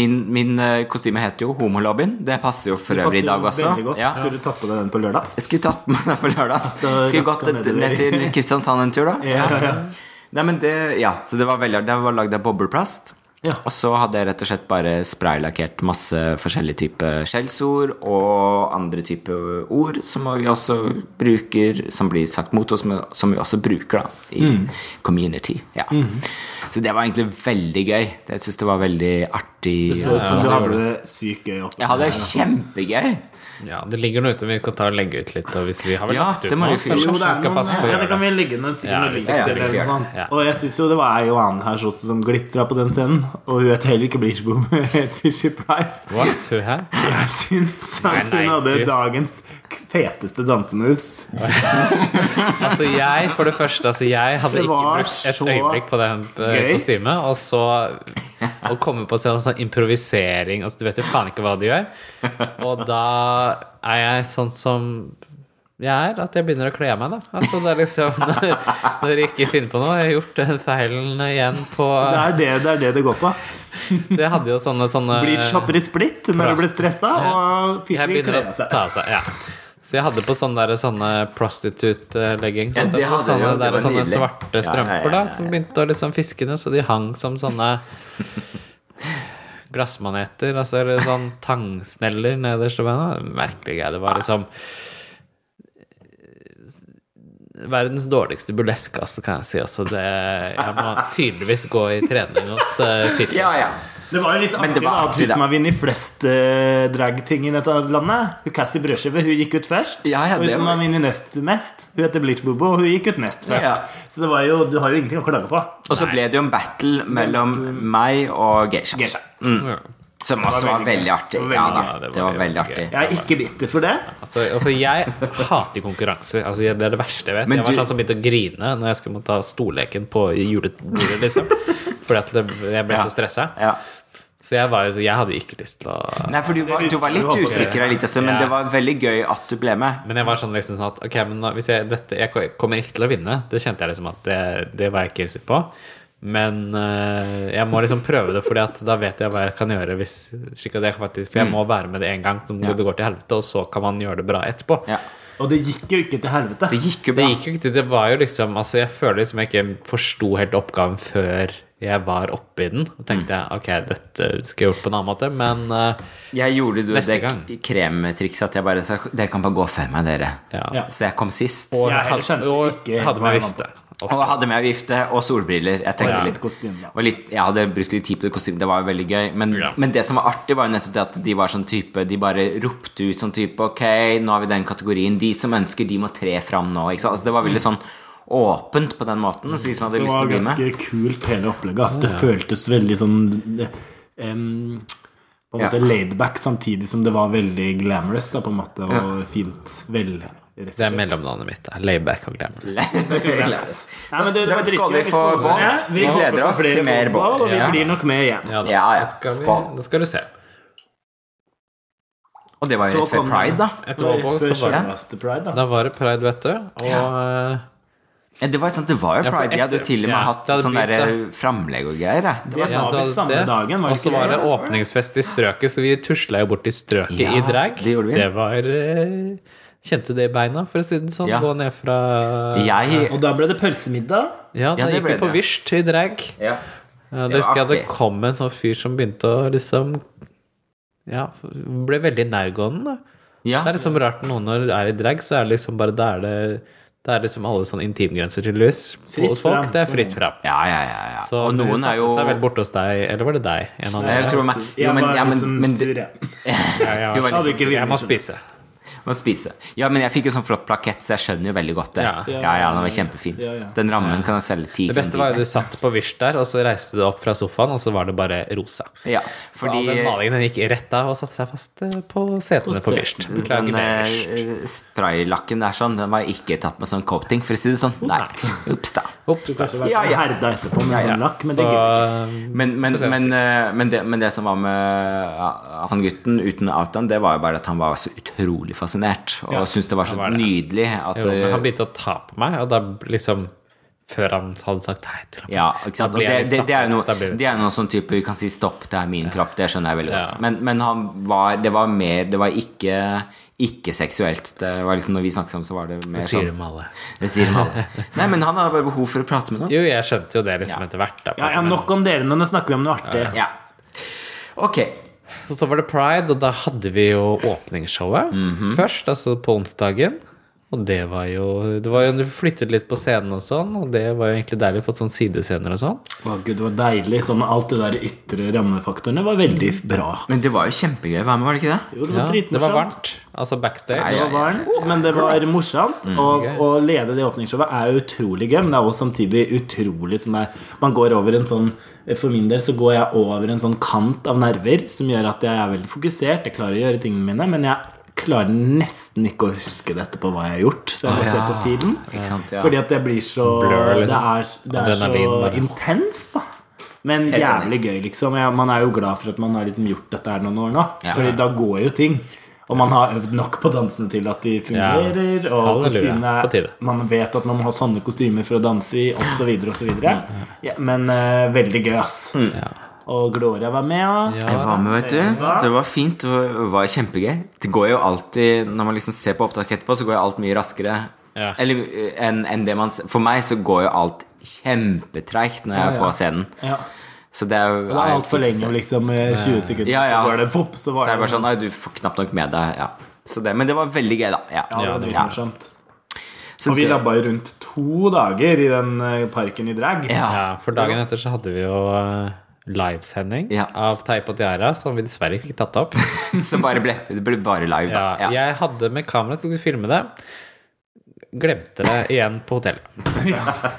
Speaker 3: Min, min eh, kostyme het jo Homolobbyen. Det passer jo for
Speaker 1: Det passer
Speaker 3: øvrig i dag
Speaker 1: jo
Speaker 3: også.
Speaker 1: veldig godt.
Speaker 3: Ja.
Speaker 1: Skulle du tatt på deg den på lørdag?
Speaker 3: Jeg skulle tatt med deg på lørdag.
Speaker 1: er
Speaker 3: Skulle
Speaker 1: ganske
Speaker 3: gått et- ned
Speaker 1: nedover.
Speaker 3: til Kristiansand en tur, da.
Speaker 1: Ja, ja, ja.
Speaker 3: Nei, men det, ja, så det var veldig Det var lagd av bobleplast.
Speaker 1: Ja.
Speaker 3: Og så hadde jeg rett og slett bare spraylakkert masse forskjellige typer skjellsord og andre typer ord som vi også bruker, som blir sagt mot oss, men som vi også bruker da, i
Speaker 1: Mm.
Speaker 3: community. Ja. Så det var egentlig veldig gøy. Jeg syns det var veldig artig.
Speaker 1: Så ut som du
Speaker 2: ja, det
Speaker 1: hadde
Speaker 2: gjorde
Speaker 1: det sykt gøy oppe.
Speaker 3: Jeg hadde det kjempegøy.
Speaker 2: Ja, det ligger noe ute, men vi kan ta og legge ut litt. Og hvis vi har vel
Speaker 3: Ja,
Speaker 2: lagt ut
Speaker 3: det må
Speaker 2: noe,
Speaker 3: vi fylle.
Speaker 2: kanskje
Speaker 1: Jo,
Speaker 2: vi
Speaker 1: det, er
Speaker 2: skal
Speaker 1: noen,
Speaker 2: passe
Speaker 1: ja,
Speaker 2: på å
Speaker 1: det
Speaker 2: gjøre
Speaker 1: kan
Speaker 2: det.
Speaker 1: vi legge ned sikkert
Speaker 2: Ja,
Speaker 1: noen
Speaker 2: vi
Speaker 1: linker
Speaker 3: skal
Speaker 1: til eller
Speaker 3: gjøre
Speaker 1: noe
Speaker 2: det.
Speaker 1: sånt. Og jeg synes jo det var jo annen her også som glitra på den scenen. Og hun het heller ikke Bleachboom, hun het Fisher Price.
Speaker 2: What? Who her?
Speaker 1: Jeg syns at hun
Speaker 2: Nei, nei,
Speaker 1: hadde
Speaker 2: du.
Speaker 1: dagens feteste dansemoves.
Speaker 2: Altså, jeg, for det første, altså, jeg hadde
Speaker 1: Det
Speaker 2: ikke
Speaker 1: var
Speaker 2: brukt et
Speaker 1: så
Speaker 2: øyeblikk på det eh,
Speaker 1: gøy.
Speaker 2: kostymet, og så Og komme på scenen sånn improvisering Altså, du vet jo faen ikke hva du gjør. Og da er jeg sånn som jeg er, at jeg begynner å kle meg, da. Altså, det er liksom Når, når jeg ikke finner på noe. Jeg har gjort den feilen igjen på
Speaker 1: Det er det det, er det, det går på.
Speaker 2: Så jeg hadde jo sånne, sånne
Speaker 1: Blir kjappere splitt når du blir stressa, og
Speaker 2: Jeg
Speaker 1: Fischer
Speaker 2: begynner
Speaker 1: gleder
Speaker 2: å
Speaker 1: seg.
Speaker 2: ta av seg, ja. Så jeg hadde på sånne, der, sånne prostitute eh, leggings.
Speaker 3: Ja, det hadde
Speaker 2: sånne,
Speaker 3: jeg jo, det
Speaker 2: der,
Speaker 3: var
Speaker 2: sånne
Speaker 3: nydelig.
Speaker 2: svarte
Speaker 3: Ja, ja, ja,
Speaker 2: strømper
Speaker 3: ja,
Speaker 2: da,
Speaker 3: ja.
Speaker 2: som begynte å liksom fiske ned, så de hang som sånne glassmaneter, altså eller sånn tangsneller nederst i beina. Merkelig greie. Det var liksom Verdens dårligste burleskasse, kan jeg si. Altså det, jeg må tydeligvis gå i trening hos uh, Fifi.
Speaker 3: Ja, ja.
Speaker 1: Det var jo litt
Speaker 3: Men
Speaker 1: artig
Speaker 3: det
Speaker 1: da,
Speaker 3: var
Speaker 1: at
Speaker 3: artig,
Speaker 1: hun som
Speaker 3: da.
Speaker 1: har vunnet flest eh, dragting i dette landet, hun Cassie Brødskive, hun gikk ut først.
Speaker 3: Ja, ja,
Speaker 1: og hun
Speaker 3: det
Speaker 1: som
Speaker 3: var-
Speaker 1: har vunnet nest mest, hun heter Bleach Bobo, og hun gikk ut nest først.
Speaker 3: Ja.
Speaker 1: Så det var jo, du har jo ingenting å klage på.
Speaker 3: Og så ble det jo en battle mellom meg og Geisha.
Speaker 1: Geisha.
Speaker 3: Som også var
Speaker 1: veldig
Speaker 3: veldig artig.
Speaker 1: Det var veldig
Speaker 2: gøy. Ja, det
Speaker 3: Ja da, det
Speaker 2: var
Speaker 3: var veldig
Speaker 2: veldig
Speaker 3: artig.
Speaker 1: Jeg er ikke bitter for det.
Speaker 2: Altså, altså jeg hater konkurranser. Altså, jeg- det er det verste jeg vet.
Speaker 3: Men
Speaker 2: jeg var
Speaker 3: du-
Speaker 2: sånn som begynte å grine når jeg skulle måtte ta stolleken på julebordet, liksom. Fordi at det, jeg ble så stressa.
Speaker 3: Ja.
Speaker 2: Så jeg, var, jo- så jeg hadde jo ikke lyst til å
Speaker 3: Nei, for du var, du var litt usikker en liten stund, men
Speaker 2: Ja.
Speaker 3: det var veldig gøy at du ble med.
Speaker 2: Men jeg var sånn liksom sånn at Ok, men nå, hvis jeg, dette, jeg kommer ikke til å vinne. Det kjente jeg liksom at det, det var jeg ikke innstilt på. Men eh, jeg må liksom prøve det, Fordi at da vet jeg hva jeg kan gjøre. Hvis, slik at jeg faktisk,
Speaker 3: Mm.
Speaker 2: for jeg må være med det en gang, så det går til helvete, og så kan man gjøre det bra etterpå.
Speaker 3: Ja.
Speaker 1: Og det gikk jo ikke til helvete.
Speaker 3: Det gikk jo
Speaker 2: Det
Speaker 3: bra.
Speaker 2: gikk jo ikke til Det var jo liksom Altså, jeg føler liksom jeg ikke forsto helt oppgaven før jeg var oppe i den. Og tenkte jeg ok, dette skulle jeg gjort på en annen måte, men eh,
Speaker 3: Jeg gjorde jo
Speaker 2: Neste
Speaker 3: det
Speaker 2: gang.
Speaker 3: kremtrikset at jeg bare sa dere kan bare gå før meg, dere.
Speaker 2: ja.
Speaker 3: Så jeg kom sist.
Speaker 2: Og
Speaker 3: Og
Speaker 1: Jeg heller
Speaker 2: hadde,
Speaker 1: skjønte
Speaker 2: og
Speaker 1: ikke
Speaker 2: hadde
Speaker 1: hva
Speaker 2: meg vifte.
Speaker 3: hadde med vifte og solbriller. Jeg tenkte
Speaker 2: ja.
Speaker 3: litt
Speaker 1: Kostyme, da.
Speaker 3: og litt, Jeg hadde brukt litt tid på det kostymet, det var veldig gøy. Men,
Speaker 2: Ja.
Speaker 3: men det som var artig, var jo nettopp det at de var sånn type De bare ropte ut sånn type Ok, nå har vi den kategorien. De som ønsker, de må tre fram nå. Ikke sant? Altså, det var
Speaker 2: Mm.
Speaker 3: veldig sånn åpent på den måten. Så de som hadde
Speaker 1: Det
Speaker 3: lyst til
Speaker 1: var
Speaker 3: å bli med.
Speaker 1: ganske kult hele opplegget. ass. Det føltes veldig sånn em, På en
Speaker 3: Ja.
Speaker 1: måte laidback, samtidig som det var veldig glamorous. Da, på en måte, og fint. Vel
Speaker 2: Det er mellomnavnet mitt. da. Layback og glamour.
Speaker 1: Nei, men det- det
Speaker 3: Da
Speaker 1: var
Speaker 3: skal
Speaker 1: dritgøy.
Speaker 3: vi få
Speaker 1: skal
Speaker 3: bål.
Speaker 1: med.
Speaker 3: Vi
Speaker 1: håper
Speaker 3: gleder
Speaker 1: på
Speaker 3: oss
Speaker 1: flere
Speaker 3: til mer bål.
Speaker 1: Og vi
Speaker 2: Ja.
Speaker 1: blir nok med igjen.
Speaker 2: Ja, da.
Speaker 3: Ja, ja.
Speaker 2: Da Skal vi,
Speaker 3: Skål.
Speaker 2: da skal du se.
Speaker 3: Og det var jo
Speaker 1: Så
Speaker 3: rett før
Speaker 1: kom-
Speaker 3: pride, da.
Speaker 1: Det var rett
Speaker 2: Etter
Speaker 1: før
Speaker 2: Vårboll så var det
Speaker 1: selveste Pride, da.
Speaker 2: Da var det pride, vet du. Og eh,
Speaker 3: Ja, det var jo sånn, det var jo
Speaker 2: Ja, for
Speaker 3: pride. De hadde jo
Speaker 2: etter-
Speaker 3: til og med
Speaker 2: ja,
Speaker 3: hatt
Speaker 2: det hadde
Speaker 3: sånn
Speaker 2: begynt,
Speaker 3: der framlegg og greier. jeg. Det
Speaker 1: Det
Speaker 3: var
Speaker 2: ja,
Speaker 1: var
Speaker 2: da-
Speaker 1: vel samme
Speaker 2: det.
Speaker 1: dagen, var
Speaker 2: Og
Speaker 1: det
Speaker 2: så
Speaker 1: ikke
Speaker 2: var
Speaker 1: det?
Speaker 2: det åpningsfest i strøket, så vi tusla jo bort i strøket
Speaker 3: Ja,
Speaker 2: i drag.
Speaker 3: det gjorde vi.
Speaker 2: var eh, Kjente det i beina, for å si det sånn.
Speaker 3: Ja.
Speaker 2: Gå ned fra
Speaker 1: Og
Speaker 3: jeg
Speaker 1: da ble det pølsemiddag.
Speaker 2: Ja, da
Speaker 3: det
Speaker 2: gikk
Speaker 3: ble
Speaker 2: vi på
Speaker 3: det.
Speaker 2: Wish i drag.
Speaker 3: ja.
Speaker 2: Ja,
Speaker 3: Det
Speaker 2: det
Speaker 3: var
Speaker 2: husker jeg det
Speaker 3: artig.
Speaker 2: kom en sånn fyr som begynte å liksom Ja, ble veldig nærgående. da.
Speaker 3: ja.
Speaker 2: Det er liksom rart noen når du er i drag, så er det liksom bare Da er det, det er liksom alle sånne intimgrenser, tydeligvis.
Speaker 1: Fritt
Speaker 2: Hos folk,
Speaker 1: fram.
Speaker 2: det er fritt fram.
Speaker 3: Ja, ja, ja, ja.
Speaker 2: Så
Speaker 3: og noen er jo
Speaker 2: Det satte seg vel borte hos deg, eller var det deg? En av
Speaker 3: Nei, jeg
Speaker 2: dere?
Speaker 3: tror meg, jo,
Speaker 1: Jeg
Speaker 3: men,
Speaker 1: var
Speaker 3: ja, men,
Speaker 1: litt sånn
Speaker 3: men
Speaker 1: sur,
Speaker 3: du
Speaker 1: jeg.
Speaker 2: Ja, ja,
Speaker 3: Du var sånn-
Speaker 2: altså,
Speaker 1: liksom-
Speaker 2: ikke jeg må spise.
Speaker 3: må spise. Ja, men jeg fikk jo sånn flott plakett, så jeg skjønner jo veldig godt det.
Speaker 2: Ja.
Speaker 3: Ja, ja, den var kjempefin.
Speaker 1: Ja, ja.
Speaker 3: Den rammen kan jeg selge ti
Speaker 2: Det beste var jo du satt på Wish der, og så reiste du opp fra sofaen, og så var det bare rosa.
Speaker 3: Ja,
Speaker 2: Fordi...
Speaker 3: fordi
Speaker 2: den malingen den gikk rett av og satte seg fast eh, på setene på Wish. Beklager
Speaker 3: den
Speaker 2: det.
Speaker 3: eh, spraylakken der sånn, den var ikke tatt med sånn coating, for å si det sånn. Nei. Ups, da.
Speaker 2: Ops, da.
Speaker 1: Kanskje vært
Speaker 3: Ja, ja.
Speaker 1: herda etterpå med sånn lakk, men det
Speaker 2: Så,
Speaker 1: gidder jeg ikke.
Speaker 3: Men, men,
Speaker 2: Få se,
Speaker 3: men, eh, men, det, men det som var med ja, han gutten uten outdown, det var jo bare at han var så utrolig fascinert. Og syntes det var så
Speaker 2: var det.
Speaker 3: nydelig at
Speaker 2: jo, men
Speaker 3: eh,
Speaker 2: han begynte å ta på meg, og da liksom Før han hadde sagt hei til ham.
Speaker 3: ja, ikke sant?
Speaker 2: Da
Speaker 3: Og
Speaker 2: blir
Speaker 3: det,
Speaker 2: jeg litt
Speaker 3: det, det
Speaker 2: satt
Speaker 3: er jo
Speaker 2: ut, da
Speaker 3: noe,
Speaker 2: blir det-
Speaker 3: det er jo noe sånn type vi kan si 'stopp, det er min kropp', det skjønner jeg veldig
Speaker 2: Ja.
Speaker 3: godt. Men, men han var, det var mer Det var ikke, ikke seksuelt. Det var liksom, når vi snakket sammen, så var det mer
Speaker 2: Sier
Speaker 3: sånn
Speaker 2: de alle.
Speaker 3: Det sier de alle. Nei, men han hadde bare behov for å prate med noen.
Speaker 2: Jo, jeg skjønte jo det liksom etter hvert. Da,
Speaker 1: Ja, ja, nok om dere, nå snakker vi om noe artig.
Speaker 3: Ja. Ok.
Speaker 2: Så, så var det pride, og da hadde vi jo åpningsshowet
Speaker 3: Mhm.
Speaker 2: først, altså på onsdagen. Og det var jo Det var jo du flyttet litt på scenen og sånn, og det var jo egentlig deilig. Fått sånn sidescener og sånn.
Speaker 1: Å gud, det var deilig. Sånn, alt det der ytre rammefaktorene var veldig bra.
Speaker 3: Men det var jo kjempegøy å være med, var det ikke det?
Speaker 1: Jo, det
Speaker 2: Ja,
Speaker 1: var
Speaker 2: det var
Speaker 1: dritmorsomt.
Speaker 2: varmt. Altså backstage.
Speaker 3: Nei,
Speaker 1: Det var varmt, men det var morsomt. Og
Speaker 2: Mm, gøy.
Speaker 1: å lede det åpningsshowet er jo utrolig gøy, men det er også samtidig utrolig sånn der Man går over en sånn For min del så går jeg over en sånn kant av nerver som gjør at jeg er veldig fokusert. Jeg klarer å gjøre tingene mine, men jeg klarer nesten ikke å huske det etterpå hva jeg har gjort. Så jeg må se på filen.
Speaker 3: Ikke sant? Ja.
Speaker 1: Fordi at det blir så Det er,
Speaker 2: Blur, liksom.
Speaker 1: det er
Speaker 2: Adrenalin,
Speaker 1: så
Speaker 2: bare.
Speaker 1: intenst, da. Men jævlig gøy, liksom. Ja, man er jo glad for at man har liksom gjort dette her noen år nå. Fordi da går jo ting. Og man har øvd nok på dansene til at de fungerer.
Speaker 2: Ja.
Speaker 1: Og
Speaker 2: Halleluja. På
Speaker 1: kostymene
Speaker 2: tide.
Speaker 1: Man vet at man må ha sånne kostymer for å danse i, osv., osv. Ja, men eh, veldig gøy, ass.
Speaker 2: Mm, Ja.
Speaker 1: Og Gloria var med, ja.
Speaker 3: Mm. Jeg var med, vet du. Det var fint. Det var- var kjempegøy. Det går jo alltid Når man liksom ser på opptaket etterpå, så går jo alt mye raskere.
Speaker 2: Ja.
Speaker 3: Eller eh, enn enn det man s- For meg så går jo alt kjempetreigt når jeg er på scenen.
Speaker 1: ja.
Speaker 3: Så det er jo
Speaker 1: Det er altfor lenge, liksom. eh, 20 sekunder,
Speaker 3: Ja, ja.
Speaker 1: så var det pop. Så var
Speaker 3: er det
Speaker 1: det
Speaker 3: bare sånn Nei, du får knapt nok med deg. Ja. Så det, men det var veldig gøy, da. Ja.
Speaker 1: Ja, det var
Speaker 3: sånn- Ja.
Speaker 1: dritmorsomt.
Speaker 3: Så
Speaker 1: Og vi
Speaker 3: det-
Speaker 1: labba jo rundt to dager i den eh, parken i drag.
Speaker 3: ja.
Speaker 2: Ja, for dagen etter så hadde vi jo eh, livesending
Speaker 3: Ja.
Speaker 2: av Teip og Tiara, som vi dessverre ikke fikk tatt opp.
Speaker 3: Som bare ble, det ble bare live,
Speaker 2: Ja,
Speaker 3: da. Ja.
Speaker 2: Jeg hadde med kamera til å filme det. Glemte det igjen på hotellet.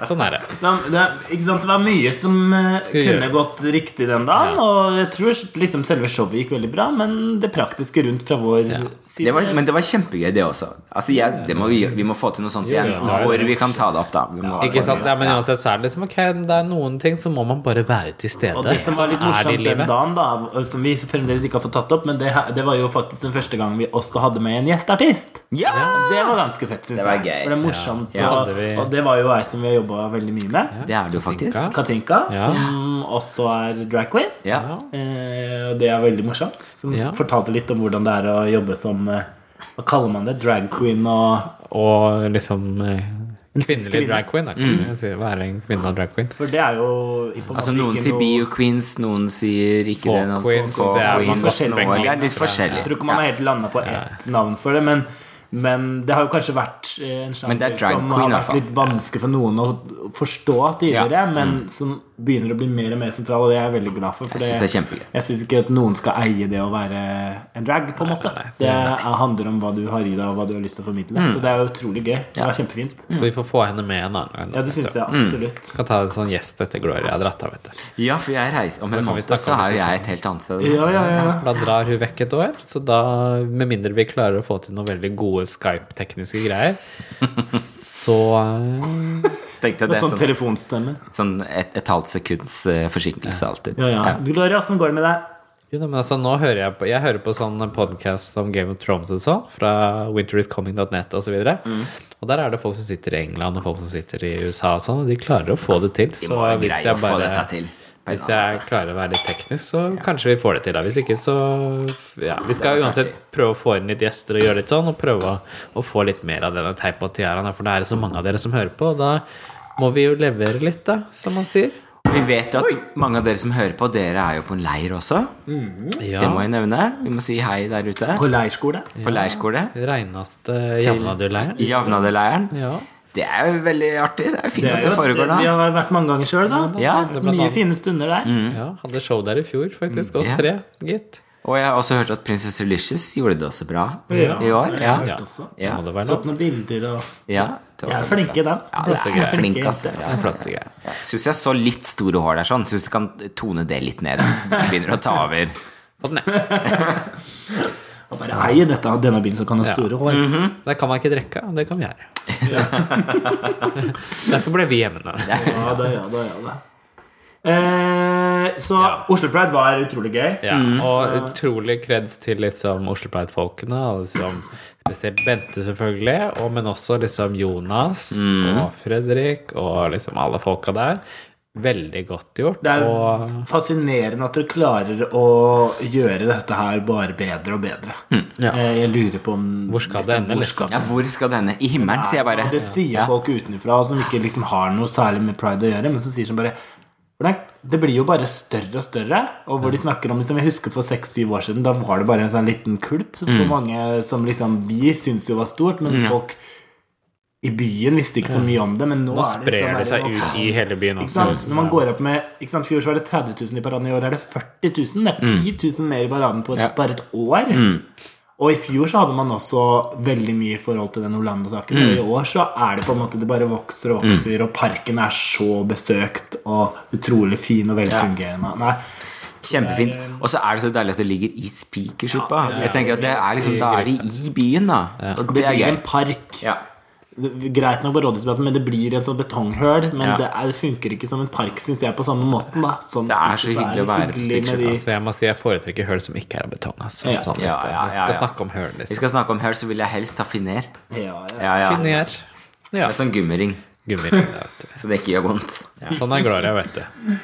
Speaker 2: Sånn er det.
Speaker 1: Det, det, ikke sant? det var mye som eh,
Speaker 2: Skal vi
Speaker 1: kunne
Speaker 2: gjøre.
Speaker 1: gått riktig den dagen.
Speaker 2: Ja.
Speaker 1: Og jeg tror liksom selve showet gikk veldig bra, men det praktiske rundt fra vår side
Speaker 3: Det var, men det var kjempegøy, det også. Altså, jeg, det må vi, gjøre. vi må få til noe sånt
Speaker 2: Jo,
Speaker 3: igjen.
Speaker 2: ja.
Speaker 3: Hvor vi kan ta det opp, da. Vi må,
Speaker 2: Ikke sant? Ja, men uansett så er det liksom ok, det er noen ting så må man bare være til stede.
Speaker 1: Og det som var litt
Speaker 2: Sånn er det i
Speaker 1: morsomt den
Speaker 2: livet.
Speaker 1: dagen, da, som vi fremdeles ikke har fått tatt opp, men det, her- det var jo faktisk den første gangen vi også hadde med en gjesteartist.
Speaker 3: Ja!
Speaker 1: Det var ganske fett, synes
Speaker 3: Det var
Speaker 1: jeg.
Speaker 3: gøy.
Speaker 1: For det er morsomt,
Speaker 3: Ja.
Speaker 2: Ja, det
Speaker 1: og,
Speaker 2: vi-
Speaker 1: og det var jo ei som vi har jobba veldig mye med.
Speaker 3: Det er det jo faktisk.
Speaker 2: Tinka.
Speaker 1: Katinka,
Speaker 2: Ja.
Speaker 1: som også er drag queen.
Speaker 3: Ja.
Speaker 2: Ja.
Speaker 1: Eh, og det er veldig morsomt. Som
Speaker 2: Ja.
Speaker 1: fortalte litt om hvordan det er å jobbe som eh, Hva kaller man det? Drag queen og
Speaker 2: Og liksom eh,
Speaker 1: kvinne. Mm.
Speaker 2: kvinnelig drag queen. Da, kan man si. Være en kvinne og drag queen.
Speaker 1: For det er jo i- på en
Speaker 3: Altså,
Speaker 1: måte
Speaker 3: noen
Speaker 1: ikke
Speaker 3: sier
Speaker 1: noe-
Speaker 3: bio queens, noen sier ikke
Speaker 2: Folk
Speaker 3: det. Noen
Speaker 2: queens,
Speaker 3: folk
Speaker 2: det er man
Speaker 3: queens,
Speaker 2: forskjellig.
Speaker 3: noen- Det er litt
Speaker 1: Jeg
Speaker 3: forskjellig.
Speaker 1: tror ikke man har helt landa på ett navn for det, men men det har jo kanskje vært eh, en
Speaker 3: Men det er
Speaker 1: sjanger
Speaker 3: drag
Speaker 1: som
Speaker 3: queen,
Speaker 1: har
Speaker 3: i hvert
Speaker 1: vært
Speaker 3: fall.
Speaker 1: litt vanskelig for noen å forstå tidligere,
Speaker 3: Ja. Mm.
Speaker 1: men som begynner å bli mer og mer sentral, og det er jeg veldig glad for. for
Speaker 3: Jeg synes det er kjempegøy.
Speaker 1: Jeg syns ikke at noen skal eie det å være en drag, på en måte. Det er- handler om hva du har i deg, og hva du har lyst til å formidle.
Speaker 3: Mm.
Speaker 1: Så det er utrolig gøy. Det var kjempefint.
Speaker 2: Så vi får få henne med en annen gang.
Speaker 1: Mm. Ja, det syns jeg
Speaker 2: Mm.
Speaker 1: absolutt.
Speaker 2: Kan ta en sånn gjest etter Gloria har dratt av, vet du.
Speaker 3: Ja, for jeg reiser Om en
Speaker 2: kan vi
Speaker 3: måned så
Speaker 2: snakke om
Speaker 3: er jo
Speaker 2: det
Speaker 3: jeg et helt annet sted.
Speaker 1: Ja, ja, ja.
Speaker 2: Da drar hun vekk et år, så da, med mindre vi klarer å få til noen veldig gode Skype-tekniske greier, så eh,
Speaker 3: Tenkte jeg
Speaker 1: Med
Speaker 3: det
Speaker 1: sånn
Speaker 3: sånn,
Speaker 1: telefonstemme.
Speaker 3: sånn et, et halvt sekunds eh, forsinkelse alltid.
Speaker 1: Ja, ja. Gloria, åssen går det med deg?
Speaker 2: Jo da, men altså, nå hører jeg på Jeg hører på sånn podcast om Game of Thrones og sånn, fra winteriscoming.net og så videre.
Speaker 3: Mm.
Speaker 2: Og der er det folk som sitter i England, og folk som sitter i USA og sånn, og de klarer å få det til.
Speaker 3: Vi
Speaker 2: Så
Speaker 3: må
Speaker 2: hvis
Speaker 3: greie
Speaker 2: jeg
Speaker 3: å få
Speaker 2: bare-
Speaker 3: dette til. på en
Speaker 2: Hvis
Speaker 3: eller annen
Speaker 2: jeg klarer å være litt teknisk, så kanskje vi får det til. Da. Hvis ikke, så ja, Vi skal
Speaker 3: vært
Speaker 2: uansett
Speaker 3: artig.
Speaker 2: prøve å få inn litt gjester og gjøre litt sånn, og prøve å, å få litt mer av denne teip og tiaraen. da, For det er så mange av dere som hører på, og da må vi jo levere litt, da, som man sier.
Speaker 3: Vi vet jo at mange av dere som hører på, dere er jo på en leir også.
Speaker 2: Ja.
Speaker 3: Det må jeg nevne. Vi må si hei der ute.
Speaker 1: På leirskole?
Speaker 3: På leirskole.
Speaker 2: Reineste jevnaduleiren.
Speaker 3: Javnadeleiren.
Speaker 2: Ja.
Speaker 3: Det er jo veldig artig. Det er jo fint
Speaker 1: Det er
Speaker 3: at det
Speaker 1: jo et
Speaker 3: foregår
Speaker 1: sted
Speaker 3: da.
Speaker 1: vi har vært mange ganger sjøl, da.
Speaker 3: Ja,
Speaker 2: det er blant
Speaker 1: Mye
Speaker 2: annet-
Speaker 1: fine stunder der.
Speaker 2: ja. Hadde show der i fjor, faktisk. Oss
Speaker 3: Mm, Ja.
Speaker 2: tre, gitt.
Speaker 3: Og jeg har også hørt at prinsesse Licious gjorde det også bra
Speaker 1: Ja.
Speaker 3: i år. Ja.
Speaker 2: Ja.
Speaker 1: også.
Speaker 2: Det
Speaker 3: Ja.
Speaker 2: må det være
Speaker 1: Satt noen
Speaker 2: lov.
Speaker 1: bilder og
Speaker 3: ja. Det var
Speaker 1: Jeg er
Speaker 3: veldig
Speaker 1: flinke,
Speaker 3: flott.
Speaker 1: da.
Speaker 3: Ja,
Speaker 1: Disse
Speaker 3: det er
Speaker 1: greiene.
Speaker 3: flink,
Speaker 1: Flinke
Speaker 3: ass.
Speaker 1: jenter.
Speaker 3: Ja.
Speaker 2: Det er flotte greier.
Speaker 3: Syns jeg så litt store hår der sånn. Syns du kan tone det litt ned. så det Begynner å ta over.
Speaker 2: Og den er-
Speaker 1: og bare eier dette, denne bilen som kan ha
Speaker 2: Ja. Mhm.
Speaker 1: store hår.
Speaker 2: Der kan man ikke drikke, og det kan vi gjøre. Derfor ble vi hjemme.
Speaker 1: Ja da, ja da, ja da. Eh, så
Speaker 2: Ja.
Speaker 1: Oslo Pride var utrolig gøy.
Speaker 2: Ja, og utrolig kreds til liksom Oslo Pride-folkene, og liksom spesielt Bente, selvfølgelig, og, men også liksom Jonas
Speaker 3: Mm.
Speaker 2: og Fredrik og liksom alle folka der. Veldig godt gjort.
Speaker 1: Det er
Speaker 2: og
Speaker 1: jo fascinerende at dere klarer å gjøre dette her bare bedre og bedre.
Speaker 2: Mm. Ja.
Speaker 1: Eh, Jeg lurer på om
Speaker 2: Hvor skal det ende,
Speaker 1: Hvor
Speaker 2: liksom?
Speaker 1: skal
Speaker 3: Ja, hvor skal denne? I himmelen, sier jeg bare.
Speaker 1: Og det sier
Speaker 3: Ja.
Speaker 1: folk utenfra som ikke liksom har noe særlig med pride å gjøre, men som sier sånn bare «Hvordan- Det blir jo bare større og større. Og hvor de snakker om liksom, Jeg husker for seks-syv år siden, da var det bare en sånn liten kulp som for mange som liksom vi syns jo var stort, men folk i byen visste ikke så mye om det. Men nå,
Speaker 2: nå
Speaker 1: er det
Speaker 2: sprer
Speaker 1: liksom
Speaker 2: det
Speaker 1: bare-
Speaker 2: seg ut i hele byen
Speaker 1: ikke
Speaker 2: også.
Speaker 1: sant? Når man går opp med ikke sant? Fjor så var det 30 000 i paraden, i år er det 40 000. Det er 10 000 mer i paraden på et,
Speaker 3: Mm. Ja. Mm.
Speaker 1: bare et år. Og i fjor så hadde man også veldig mye i forhold til den Orlando-saken. Og
Speaker 3: Mm.
Speaker 1: i år så er det på en måte det bare vokser og vokser, og parken er så besøkt og utrolig fin og velfungerende. Nei,
Speaker 3: Kjempefint. Og så er det så deilig at det ligger i Spikersuppa. Jeg tenker at det er liksom, Da er de i byen, da. Og
Speaker 1: det
Speaker 3: det er
Speaker 1: blir
Speaker 3: gøy.
Speaker 1: en park.
Speaker 3: Ja.
Speaker 1: Greit nok på Rådhusplassen, men det blir en sånn betonghøl. Men
Speaker 3: Ja.
Speaker 1: det, er, det funker ikke som en park, syns jeg, på samme måten. da Sånn
Speaker 3: Det er så
Speaker 1: det
Speaker 3: hyggelig å være på
Speaker 1: hyggelig med
Speaker 3: Spikersuppa,
Speaker 1: de-
Speaker 2: Så Altså, jeg må si jeg foretrekker høl som ikke er av betong. Altså.
Speaker 1: Ja.
Speaker 2: Sånn, hvis
Speaker 3: Ja,
Speaker 2: det-
Speaker 3: ja,
Speaker 2: hvis
Speaker 3: ja,
Speaker 2: Vi skal
Speaker 3: ja.
Speaker 2: snakke om høl,
Speaker 3: Vi
Speaker 2: liksom.
Speaker 3: skal snakke om her, så vil jeg helst ha finer.
Speaker 1: Ja, ja.
Speaker 3: Ja, ja. Det
Speaker 2: Finner. Ja.
Speaker 3: er sånn gummiring,
Speaker 2: Gummiring. da, vet du.
Speaker 3: så det ikke gjør vondt.
Speaker 2: Ja. Sånn er Gloria, vet du.
Speaker 3: Mm.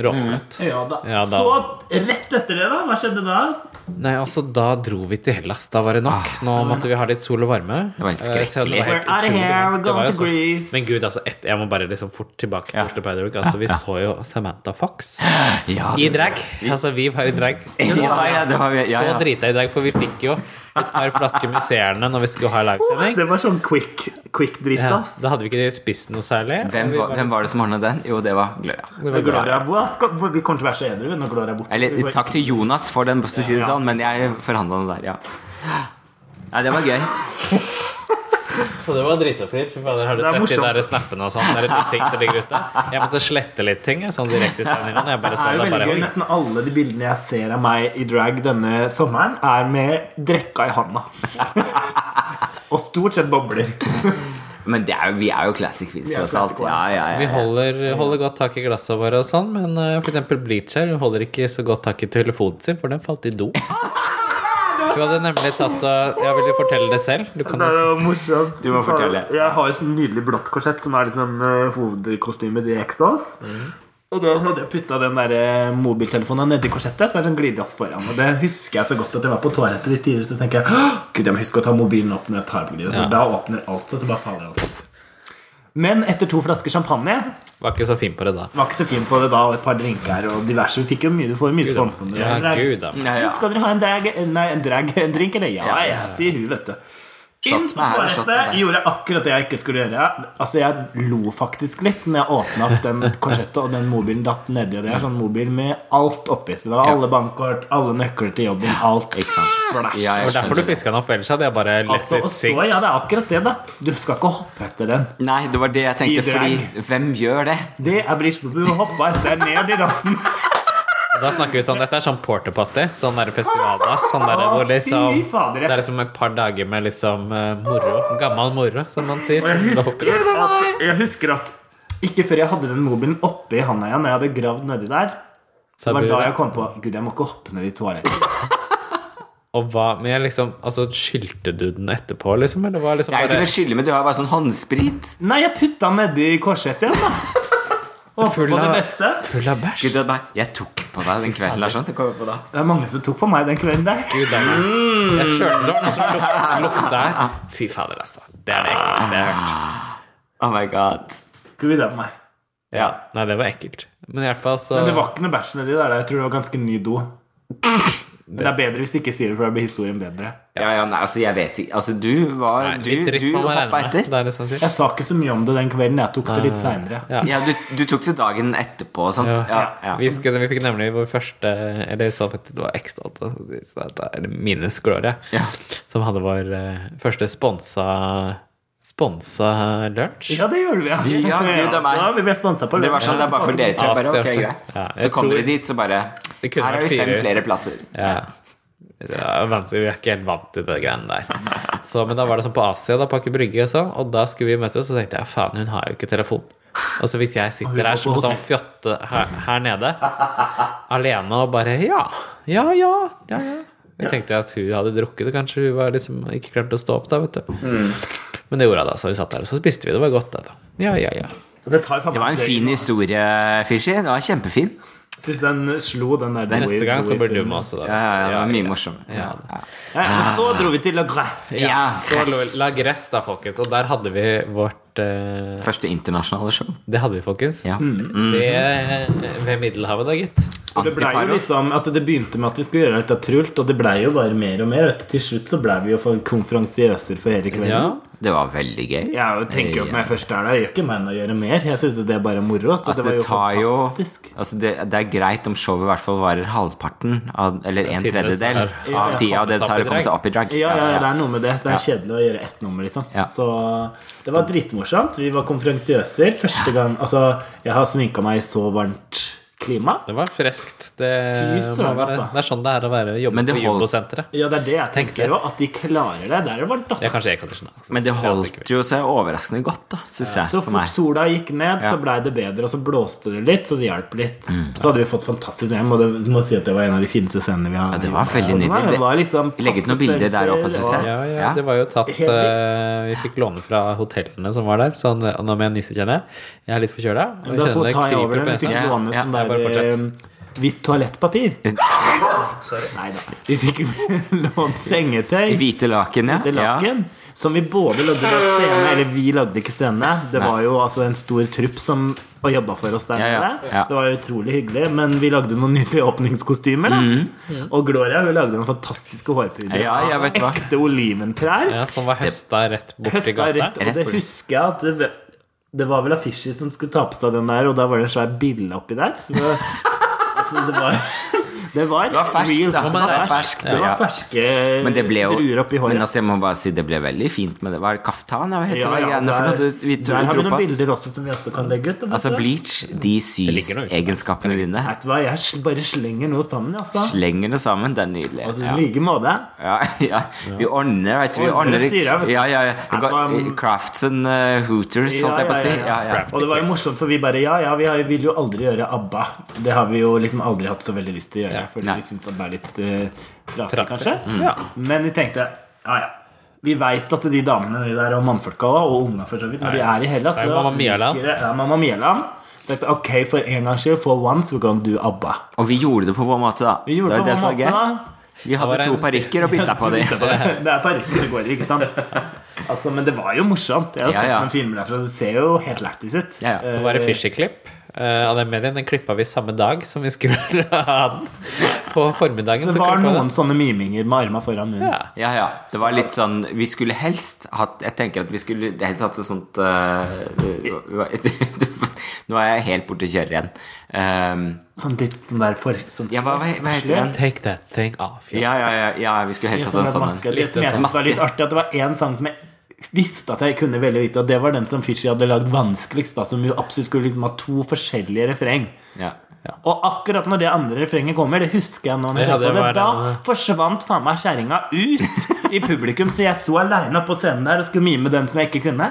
Speaker 2: Råflott.
Speaker 1: Ja da.
Speaker 2: Ja da.
Speaker 1: Så rett etter det, da? Hva skjedde da?
Speaker 2: Nei, altså, da dro vi til Hellas. Da var det nok. Nå måtte vi ha litt sol og varme.
Speaker 3: Ah. Det var helt
Speaker 2: Eh, så det var
Speaker 3: skrekkelig.
Speaker 2: helt
Speaker 1: We're outta
Speaker 2: utrolig.
Speaker 1: here, we're
Speaker 2: Det var
Speaker 1: going
Speaker 2: jo
Speaker 1: to
Speaker 2: sånn-
Speaker 1: grief.
Speaker 2: Men gud, altså, ett- jeg må bare liksom fort tilbake til
Speaker 3: Ja.
Speaker 2: Oslo Pride Week. Altså, vi så jo Samantha Fox
Speaker 3: Ja,
Speaker 2: i
Speaker 3: det-
Speaker 2: drag. Altså, vi var i drag.
Speaker 3: Ja, ja, det var vi. Ja,
Speaker 2: Så
Speaker 3: ja.
Speaker 2: drita jeg i dag, for vi fikk jo et par flasker musserende når vi skulle ha lagsending.
Speaker 1: Det var sånn quick, quick dritt,
Speaker 2: Ja,
Speaker 1: ass.
Speaker 2: da hadde vi ikke spist noe særlig.
Speaker 3: Hvem,
Speaker 2: og vi
Speaker 3: var- hvem var det som ordna den? Jo, det var Gloria.
Speaker 2: var-
Speaker 1: Gloria, hva skal- vi kommer til å være så edru når Gloria er borte.
Speaker 3: Eller
Speaker 1: Vi får-
Speaker 3: takk til Jonas for den, for å si det
Speaker 1: Ja.
Speaker 3: sånn, men jeg forhandla det der, ja. Nei, det var gøy.
Speaker 2: Så det var dritoppgitt. Fy fader, har du
Speaker 1: Det er
Speaker 2: sett de
Speaker 1: morsomt.
Speaker 2: der snappene og sånn? Det er et nytt ting som ligger ute. Jeg måtte slette litt ting jeg, sånn direkte i sendingen. og Jeg bare
Speaker 1: Det
Speaker 2: så
Speaker 1: er jo
Speaker 2: det
Speaker 1: veldig
Speaker 2: bare
Speaker 1: gøy.
Speaker 2: oi.
Speaker 1: Nesten alle de bildene jeg ser av meg i drag denne sommeren, er med drekka i handa. Og stort sett bobler.
Speaker 3: Men det er, jo- vi er jo classic queens,
Speaker 1: Vi er
Speaker 3: tross alt.
Speaker 1: classic
Speaker 3: Ja, ja,
Speaker 2: Vi
Speaker 3: ja.
Speaker 2: holder, holder godt tak i glassene våre og sånn, men eh, for eksempel Bleach her hun holder ikke så godt tak i telefonen sin, for den falt i do. Du hadde nemlig tatt og Jeg vil jo fortelle det selv. Du kan
Speaker 1: Det er
Speaker 2: jo
Speaker 1: jo morsomt.
Speaker 3: Du må fortelle.
Speaker 1: Jeg har jo sånn nydelig blått korsett som er liksom eh, hovedkostymet i Extals. Og da hadde jeg putta den der eh, mobiltelefonen nedi korsettet, så er det en glidelås foran. Og det husker jeg så godt at jeg var på toalettet litt tidligere, så tenker jeg «Åh, Gud, jeg må huske å ta mobilen opp når jeg tar på glidelåsen. for Da åpner alt seg, så bare faller alt. Men etter to flasker champagne
Speaker 2: var ikke så fin på det da.
Speaker 1: var ikke så fin på det da, og et par drinker og diverse. Vi fikk jo mye, du får jo mye spons om det.
Speaker 2: Ja,
Speaker 1: Drag.
Speaker 2: gud da.
Speaker 3: Ja, ja.
Speaker 1: Skal dere ha en drag, nei, en drag en drink, eller? Ja, ja, sier hun, vet du. Inn
Speaker 3: Shot
Speaker 1: på
Speaker 3: med her og shot med
Speaker 1: toalettet
Speaker 3: der.
Speaker 1: gjorde akkurat det jeg ikke skulle gjøre. Altså, jeg lo faktisk litt når jeg åpna opp den korsettet, og den mobilen datt nedi. Og det er sånn mobil med alt oppi. Så det var alle bankkort, alle nøkler til jobben, alt.
Speaker 3: Ikke sant.
Speaker 1: Splash.
Speaker 3: Ja,
Speaker 2: Det
Speaker 3: jeg
Speaker 2: var derfor du
Speaker 3: skjønner. det.
Speaker 2: fiska den opp, ellers hadde jeg bare lett
Speaker 1: Altså, og
Speaker 2: ut
Speaker 1: så,
Speaker 2: sikt.
Speaker 1: ja, det er akkurat det, da. Du skal ikke hoppe etter den.
Speaker 3: Nei, det var det jeg tenkte,
Speaker 1: I drag.
Speaker 3: fordi hvem gjør det?
Speaker 1: Det er bridgepopu. Hoppa etter ned i dassen.
Speaker 2: Da snakker vi sånn, Dette er sånn porter potty, sånn der festivaldass. Sånn der, hvor liksom,
Speaker 1: Fy fader,
Speaker 2: det
Speaker 1: ja.
Speaker 2: er liksom et par dager med liksom eh, moro. Gammel moro, som man sier. Da hopper du.
Speaker 1: at, jeg husker at ikke før jeg hadde den mobilen oppi handa igjen, når jeg hadde gravd nedi der,
Speaker 2: Så
Speaker 1: det var
Speaker 2: blir
Speaker 1: da
Speaker 2: det-
Speaker 1: jeg kom på Gud, jeg må ikke hoppe ned i toalettet.
Speaker 2: Og hva, men jeg liksom, altså, Skylte du den etterpå, liksom? Eller var liksom
Speaker 3: Det er jo ikke
Speaker 2: bare,
Speaker 3: noe skyldig, men du har jo bare sånn håndsprit.
Speaker 1: Nei, jeg putta den nedi korsettet igjen, da. Og håpet
Speaker 2: Full
Speaker 1: på det
Speaker 2: av-
Speaker 1: beste.
Speaker 2: full av
Speaker 3: Gud,
Speaker 2: bæsj?
Speaker 3: du hadde bare Jeg tok på deg den kvelden, Lars. Det kom jeg på da.
Speaker 1: Det er mange som tok på meg den kvelden der.
Speaker 2: Gud, da,
Speaker 1: mm.
Speaker 2: nei. jeg kjørte det var noe som luk- lukta her. Fy fader, altså. Det er det ekleste jeg har hørt.
Speaker 3: Oh my god.
Speaker 1: Gud, av meg.
Speaker 3: Ja.
Speaker 2: Nei, det var ekkelt. Men i hvert fall så
Speaker 1: Men det var ikke noe bæsj nedi der. Jeg tror det var ganske ny do. Men det er bedre hvis du ikke sier det, for da blir historien bedre.
Speaker 3: Ja, ja, nei, altså, jeg vet ikke Altså, du var
Speaker 2: Nei,
Speaker 3: Du,
Speaker 2: litt dritt
Speaker 3: du
Speaker 2: man må regne
Speaker 3: hoppa
Speaker 2: med.
Speaker 3: etter.
Speaker 2: Det er det som sier.
Speaker 1: Jeg sa ikke så mye om det den kvelden. Jeg tok det litt seinere.
Speaker 2: Ja.
Speaker 3: Ja, du, du tok det dagen etterpå og sånt. Ja, ja.
Speaker 2: Vi, skulle, vi fikk nemlig vår første Eller så faktisk det var ekstra åtte, så dette er minus Gloria,
Speaker 3: Ja.
Speaker 2: som hadde vår eh, første sponsa Sponsa lunsj.
Speaker 1: Ja, det gjorde vi.
Speaker 3: Ja, Gud, av meg.
Speaker 1: Ja, vi ble sponsa på
Speaker 3: Det var sånn, det er bare for dere to. Jeg Bare,
Speaker 2: Ja,
Speaker 3: ok,
Speaker 2: jeg-
Speaker 3: greit.
Speaker 2: ja, jeg
Speaker 3: Så kom
Speaker 2: tror-
Speaker 3: dere dit, så bare
Speaker 2: Det kunne
Speaker 3: Her har
Speaker 2: vært
Speaker 3: vi fem
Speaker 2: fire.
Speaker 3: flere plasser.
Speaker 2: Ja. Det er vanskelig, Vi er ikke helt vant til det greiene der. Så, men da var det sånn på Asia, da, på Aker Brygge og sånn, og da skulle vi møte oss, og så tenkte jeg faen, hun har jo ikke telefon. Og så hvis jeg sitter her som en sånn fjotte her, her nede, alene og bare ja, ja, ja, ja, ja. Jeg tenkte at hun hadde drukket, og kanskje hun var liksom ikke klarte å stå opp da, vet du.
Speaker 3: Mm.
Speaker 2: Men det gjorde hun da, så vi satt der, og så spiste vi, det var godt, det da. Ja, ja, ja.
Speaker 1: Det tar faen
Speaker 3: Det var
Speaker 1: meg
Speaker 3: en fin historie, Fishy. Det var kjempefin.
Speaker 1: Syns den slo den der
Speaker 2: Neste gang så blir du med
Speaker 1: oss.
Speaker 2: også, da.
Speaker 3: Ja, ja, ja, det var mye morsomt. Ja.
Speaker 2: Ah.
Speaker 1: Så dro vi til La Grette.
Speaker 3: Ja,
Speaker 2: Så lå
Speaker 3: press.
Speaker 2: La Gress da, folkens, og der hadde vi vårt eh,
Speaker 3: Første internasjonale show. Mm.
Speaker 2: Det hadde vi, folkens.
Speaker 3: Ja.
Speaker 2: Ved, ved Middelhavet, da, gitt.
Speaker 1: Det, ble jo
Speaker 3: Antiparos.
Speaker 1: liksom, altså det begynte med at vi skulle gjøre dette trult, og det blei jo bare mer og mer. Vet. du. Til slutt så blei vi jo for konferansiøser for hele
Speaker 2: Ja.
Speaker 1: kvelden.
Speaker 3: Det var veldig gøy.
Speaker 1: Jeg tenker jo at når jeg først er der, jeg gjør ikke meg noe å gjøre mer. Jeg syns jo det er bare moro. Så
Speaker 3: Altså,
Speaker 1: det var
Speaker 3: det
Speaker 1: jo
Speaker 3: tar jo
Speaker 1: fantastisk.
Speaker 3: altså, det, det er greit om showet i hvert fall varer halvparten, av, eller en
Speaker 2: tiden det
Speaker 3: tredjedel,
Speaker 2: tar.
Speaker 3: av
Speaker 1: Ja,
Speaker 3: tida det
Speaker 2: komme seg opp
Speaker 3: tar
Speaker 2: i
Speaker 3: å komme seg opp i drag.
Speaker 1: Ja, ja, det er noe med det. Det er kjedelig å gjøre ett nummer, liksom.
Speaker 3: Ja.
Speaker 1: Så det var dritmorsomt. Vi var konferansiøser første gang Altså, jeg har sminka meg i så varmt klima.
Speaker 2: Det var freskt. Det,
Speaker 1: Fy søren,
Speaker 2: må være,
Speaker 1: altså.
Speaker 2: det er sånn det er å være jobbe
Speaker 3: Men det
Speaker 2: på
Speaker 3: holdt-
Speaker 2: Jumbo-senteret.
Speaker 1: Ja, det er det jeg
Speaker 2: Tenkte.
Speaker 1: tenker òg. At de klarer det. Der er det varmt,
Speaker 2: Det sånn,
Speaker 1: altså.
Speaker 2: er kanskje aircondition. da.
Speaker 3: Men det
Speaker 2: ikke
Speaker 3: holdt
Speaker 2: vi.
Speaker 3: jo seg overraskende godt, da, syns jeg.
Speaker 1: Så
Speaker 3: For
Speaker 1: fort
Speaker 3: meg.
Speaker 1: sola gikk ned, så blei det bedre, og så blåste det litt, så det hjalp litt.
Speaker 3: Mm.
Speaker 1: Så hadde vi fått fantastisk hjem, og det du må si at det var en av de fineste scenene vi har.
Speaker 3: det var veldig nydelig.
Speaker 1: Det var liksom
Speaker 3: Legg ut noen bilder der oppe,
Speaker 1: passe
Speaker 3: synes
Speaker 1: størrelser,
Speaker 3: jeg.
Speaker 2: Ja, ja,
Speaker 3: Ja.
Speaker 2: det var jo tatt
Speaker 1: Helt
Speaker 2: eh, Vi fikk låne fra hotellene som var der. Så nå nå må jeg nyse, kjenner jeg. Jeg er litt forkjøla.
Speaker 1: og- Da får ta jeg over det. Vi fikk
Speaker 3: Ja,
Speaker 1: låne
Speaker 3: ja, Eh,
Speaker 1: sånn
Speaker 2: ja, bare
Speaker 1: der eh, hvitt toalettpapir. Nei da. Vi fikk lånt sengetøy.
Speaker 3: Hvite laken, ja.
Speaker 1: hvite laken. Som vi både lagde på scene, eller vi lagde ikke scene. Det var jo altså en stor trupp som jobba for oss der
Speaker 3: Ja, ja,
Speaker 1: nede.
Speaker 3: ja.
Speaker 1: Så det var utrolig hyggelig. Men vi lagde noen nydelige åpningskostymer. Da. Og Gloria hun lagde noen fantastiske hårpuder.
Speaker 3: Ja, Mm. ja, jeg vet hva.
Speaker 1: Ekte oliventrær.
Speaker 2: Ja, Som var høsta rett borti
Speaker 1: Høsta
Speaker 2: gata.
Speaker 1: rett, og det husker jeg at det, det var vel Affishi som skulle ta på seg den der, og da var det en svær bille oppi der. Så det, altså, det var det var,
Speaker 3: var ferskt,
Speaker 1: real-
Speaker 3: da.
Speaker 1: Det var,
Speaker 2: Det var
Speaker 1: ferskt.
Speaker 3: ferskt,
Speaker 1: Det
Speaker 3: ja.
Speaker 1: var ferske
Speaker 3: Men det ble jo
Speaker 1: druer oppi håret.
Speaker 3: Men altså, jeg må bare si det ble veldig fint med det. Hva er det, kaftan? Hva heter
Speaker 1: Ja,
Speaker 3: det
Speaker 1: ja,
Speaker 3: greiene for noe? Du- Vi
Speaker 1: der
Speaker 3: dro
Speaker 1: har vi
Speaker 3: dro
Speaker 1: noen
Speaker 3: på oss.
Speaker 1: bilder også som vi også kan legge ut. vet
Speaker 3: Altså,
Speaker 1: du.
Speaker 3: bleach, de
Speaker 2: ligger noe ute der.
Speaker 3: sysegenskapene dine.
Speaker 1: Vet du hva, jeg sl- bare slenger noe sammen, altså.
Speaker 3: Slenger det sammen. Det er nydelig.
Speaker 1: altså I
Speaker 3: Ja.
Speaker 1: like måte.
Speaker 3: Ja, ja. Vi ordner, vet du. Vi
Speaker 1: Ordner og
Speaker 3: ordner
Speaker 1: styrer, vet du.
Speaker 3: Ja, ja, ja.
Speaker 1: Ja,
Speaker 3: Vi går-
Speaker 1: men-
Speaker 3: Crafts and eh, Hooters,
Speaker 1: Ja,
Speaker 3: holdt jeg på å
Speaker 1: ja,
Speaker 3: si.
Speaker 1: ja,
Speaker 3: Ja,
Speaker 1: ja.
Speaker 3: ja.
Speaker 1: Og det var jo morsomt, for vi bare Ja, ja, vi har- vil jo aldri gjøre ABBA. Det har vi jo liksom aldri hatt så veldig lyst til å gjøre, fordi
Speaker 3: Nei.
Speaker 1: vi syns det er litt eh, trasig,
Speaker 2: Trasig. Mm.
Speaker 1: kanskje.
Speaker 2: Ja.
Speaker 1: Men vi tenkte ja, ja. Vi veit at de damene de der, og mannfolka også, og unga for så vidt, når de er i Hellas
Speaker 2: Det er
Speaker 1: så
Speaker 2: Mamma Mia-land.
Speaker 1: liker det- Ja, Mamma Mia-land. Tenkte, Ok, for en gangs skyld, for once, we're gonna do ABBA.
Speaker 3: Og vi gjorde det på vår måte, da.
Speaker 1: Vi gjorde
Speaker 3: det
Speaker 1: det
Speaker 3: var det
Speaker 1: på
Speaker 3: som var
Speaker 1: en måte,
Speaker 3: gøy.
Speaker 1: da.
Speaker 3: Vi
Speaker 2: var
Speaker 3: hadde
Speaker 2: en-
Speaker 3: to parykker og bytta på dem.
Speaker 1: Det er parykker det går i, ikke sant? Altså, men det var jo morsomt. Jeg har
Speaker 3: Ja,
Speaker 1: sett
Speaker 3: ja.
Speaker 1: noen filmer derfra. Det ser jo helt lættis ut.
Speaker 3: Ja, ja.
Speaker 2: Det var
Speaker 1: Eh,
Speaker 2: en Fischer-klipp eh, av den medien. Den klippa vi samme dag som vi skulle ha den. På formiddagen.
Speaker 1: det
Speaker 2: så
Speaker 1: var
Speaker 2: klippet vi den.
Speaker 1: noen sånne miminger med arma foran munnen.
Speaker 2: Ja.
Speaker 3: Ja, ja. Det var litt sånn Vi skulle helst hatt Jeg tenker at vi skulle helst hatt et sånt eh, Nå er jeg helt borte å kjøre igjen. Ehm,
Speaker 1: Sånn litt den der for... Sånn,
Speaker 3: ja, hva, hva hva heter den?
Speaker 2: Take that thing off.
Speaker 3: Ja, ja, ja, ja, vi skulle helst
Speaker 1: Sånn
Speaker 3: hatt en
Speaker 1: der
Speaker 3: sånn
Speaker 1: maske.
Speaker 3: en.
Speaker 1: Det som jeg syntes var litt artig, at det var én sang som jeg visste at jeg kunne veldig lite, og det var den som Fishy hadde lagd vanskeligst, da, som jo absolutt skulle liksom ha to forskjellige refreng.
Speaker 3: Ja.
Speaker 1: Og akkurat når det andre refrenget kommer, det husker jeg nå. når jeg
Speaker 2: Ja,
Speaker 1: tenker
Speaker 2: det
Speaker 1: på
Speaker 2: var
Speaker 1: det, da
Speaker 2: den, ja.
Speaker 1: forsvant faen meg kjerringa ut i publikum, så jeg sto aleine på scenen der og skulle mime den som jeg ikke kunne.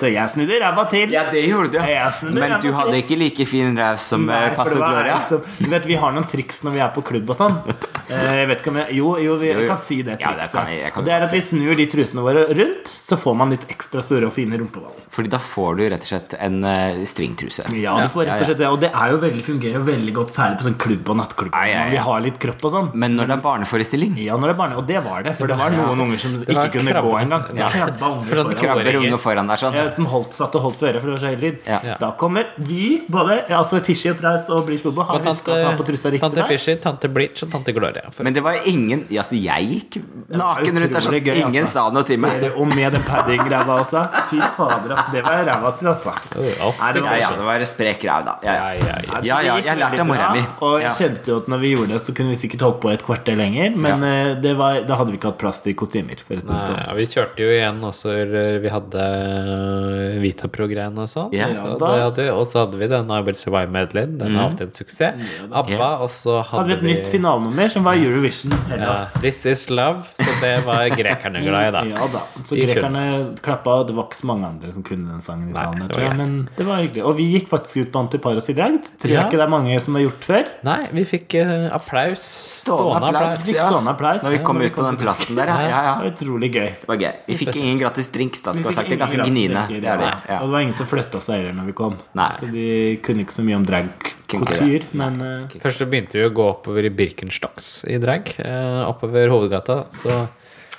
Speaker 1: Så jeg snudde ræva til.
Speaker 3: ja, det gjorde du.
Speaker 1: Ja, sånn, det
Speaker 3: Men
Speaker 1: er
Speaker 3: du
Speaker 1: nok
Speaker 3: hadde
Speaker 1: det.
Speaker 3: ikke like fin ræv som
Speaker 1: Nei,
Speaker 3: eh,
Speaker 1: for
Speaker 3: pastor
Speaker 1: det var
Speaker 3: Gloria.
Speaker 1: liksom- du vet, Vi har noen triks når vi er på klubb og sånn. Eh, Jeg vet ikke om jeg, jo, jo, vi
Speaker 3: Jo, jo.
Speaker 1: kan si det
Speaker 3: Ja, det kan vi- jeg
Speaker 1: trikset.
Speaker 3: kan
Speaker 1: Og Det er at vi snur de trusene våre rundt, så får man litt ekstra store og fine rumpeballer.
Speaker 3: Fordi da får du rett og slett en eh, stringtruse.
Speaker 1: Ja, du får rett og slett det. Og det er jo veldig, fungerer jo veldig godt, særlig på sånn klubb og nattklubb.
Speaker 3: Ja, ja, ja.
Speaker 1: Vi har litt kropp og sånn.
Speaker 3: Men når det er barneforestilling
Speaker 1: Ja, når det er barne, og det var det. For det var noen unger som ikke
Speaker 2: var
Speaker 1: kunne gå
Speaker 2: krabbe.
Speaker 1: engang.
Speaker 2: Ja.
Speaker 1: Krabba unger
Speaker 2: For at
Speaker 1: foran.
Speaker 3: Krabber unge foran der sånn.
Speaker 1: Ja, Som holdt, satt og holdt for øret, for det var så høy lyd.
Speaker 3: Ja.
Speaker 2: Ja.
Speaker 1: Da kommer vi, både altså Fishy og Praus og Bleach Bobo, har
Speaker 2: Og
Speaker 1: huska å ta på trusa
Speaker 2: tante,
Speaker 1: riktig.
Speaker 2: tante
Speaker 1: der.
Speaker 2: Fischer, tante Bleach og tante Gloria. For
Speaker 3: Men det var ingen ja, altså, Jeg gikk naken rundt der sånn.
Speaker 1: utrolig gøy, altså.
Speaker 3: Ingen sa noe til meg.
Speaker 1: Dere, Og med den padding-ræva også. Fy fader, ass. Det var ræva si, altså.
Speaker 2: Oh, ja.
Speaker 1: Nei, det
Speaker 3: Ja,
Speaker 1: var
Speaker 3: ja, det var sprek ræv, da.
Speaker 2: Ja,
Speaker 3: Ja, ja.
Speaker 2: ja, ja.
Speaker 3: Ja, ja, jeg lærte av mora mi.
Speaker 1: Og jeg
Speaker 3: Ja.
Speaker 1: kjente jo at når vi gjorde det, så kunne vi sikkert holdt på et kvarter lenger. Men eh, det var, da hadde vi ikke hatt plass til kostymer. forresten.
Speaker 2: Nei, ja, vi kjørte jo igjen også eller Vi hadde øh, Vitapro-greien og sånn.
Speaker 3: Ja.
Speaker 2: Så
Speaker 1: Ja,
Speaker 2: det
Speaker 1: da.
Speaker 2: hadde vi- Og så hadde vi den I Will Survive-medleyen. Den
Speaker 3: Mm.
Speaker 2: har alltid en suksess. ABBA, og så hadde,
Speaker 1: Hadde vi et nytt finalenummer som var Eurovision.
Speaker 2: ja,
Speaker 1: Hellas.
Speaker 2: This Is Love. Så det var grekerne glad i, da.
Speaker 1: Ja da. Så
Speaker 2: De
Speaker 1: grekerne klappa, og det var ikke så mange andre som kunne den sangen i salen.
Speaker 2: det
Speaker 1: tror jeg,
Speaker 2: var greit.
Speaker 1: men det var hyggelig. Og vi gikk faktisk ut på Antiparos i drag. Tror jeg
Speaker 2: Ja.
Speaker 1: ikke det er mange som har gjort før.
Speaker 2: Nei, vi fikk øh, applaus.
Speaker 3: Stående applaus.
Speaker 1: Fikk
Speaker 3: Ja.
Speaker 1: stående applaus.
Speaker 3: Når vi kom
Speaker 1: Ja,
Speaker 3: ut på den plassen der, ja. ja,
Speaker 1: Det
Speaker 3: ja.
Speaker 1: var utrolig gøy.
Speaker 3: Det var gøy. Vi fikk ingen gratis drinks, da. Skal ha sagt det er ganske gniene.
Speaker 1: Gratis
Speaker 3: Det
Speaker 1: drinker,
Speaker 3: er det.
Speaker 1: ja.
Speaker 3: Ja.
Speaker 1: Og det var ingen som flytta seg heller når vi kom.
Speaker 3: Nei.
Speaker 1: Så de kunne ikke så mye om
Speaker 3: Kunne ikke
Speaker 1: drag-kultur. Men eh,
Speaker 2: Først så begynte vi å gå oppover i Birkenstocks i drag. øh, oppover hovedgata. Så,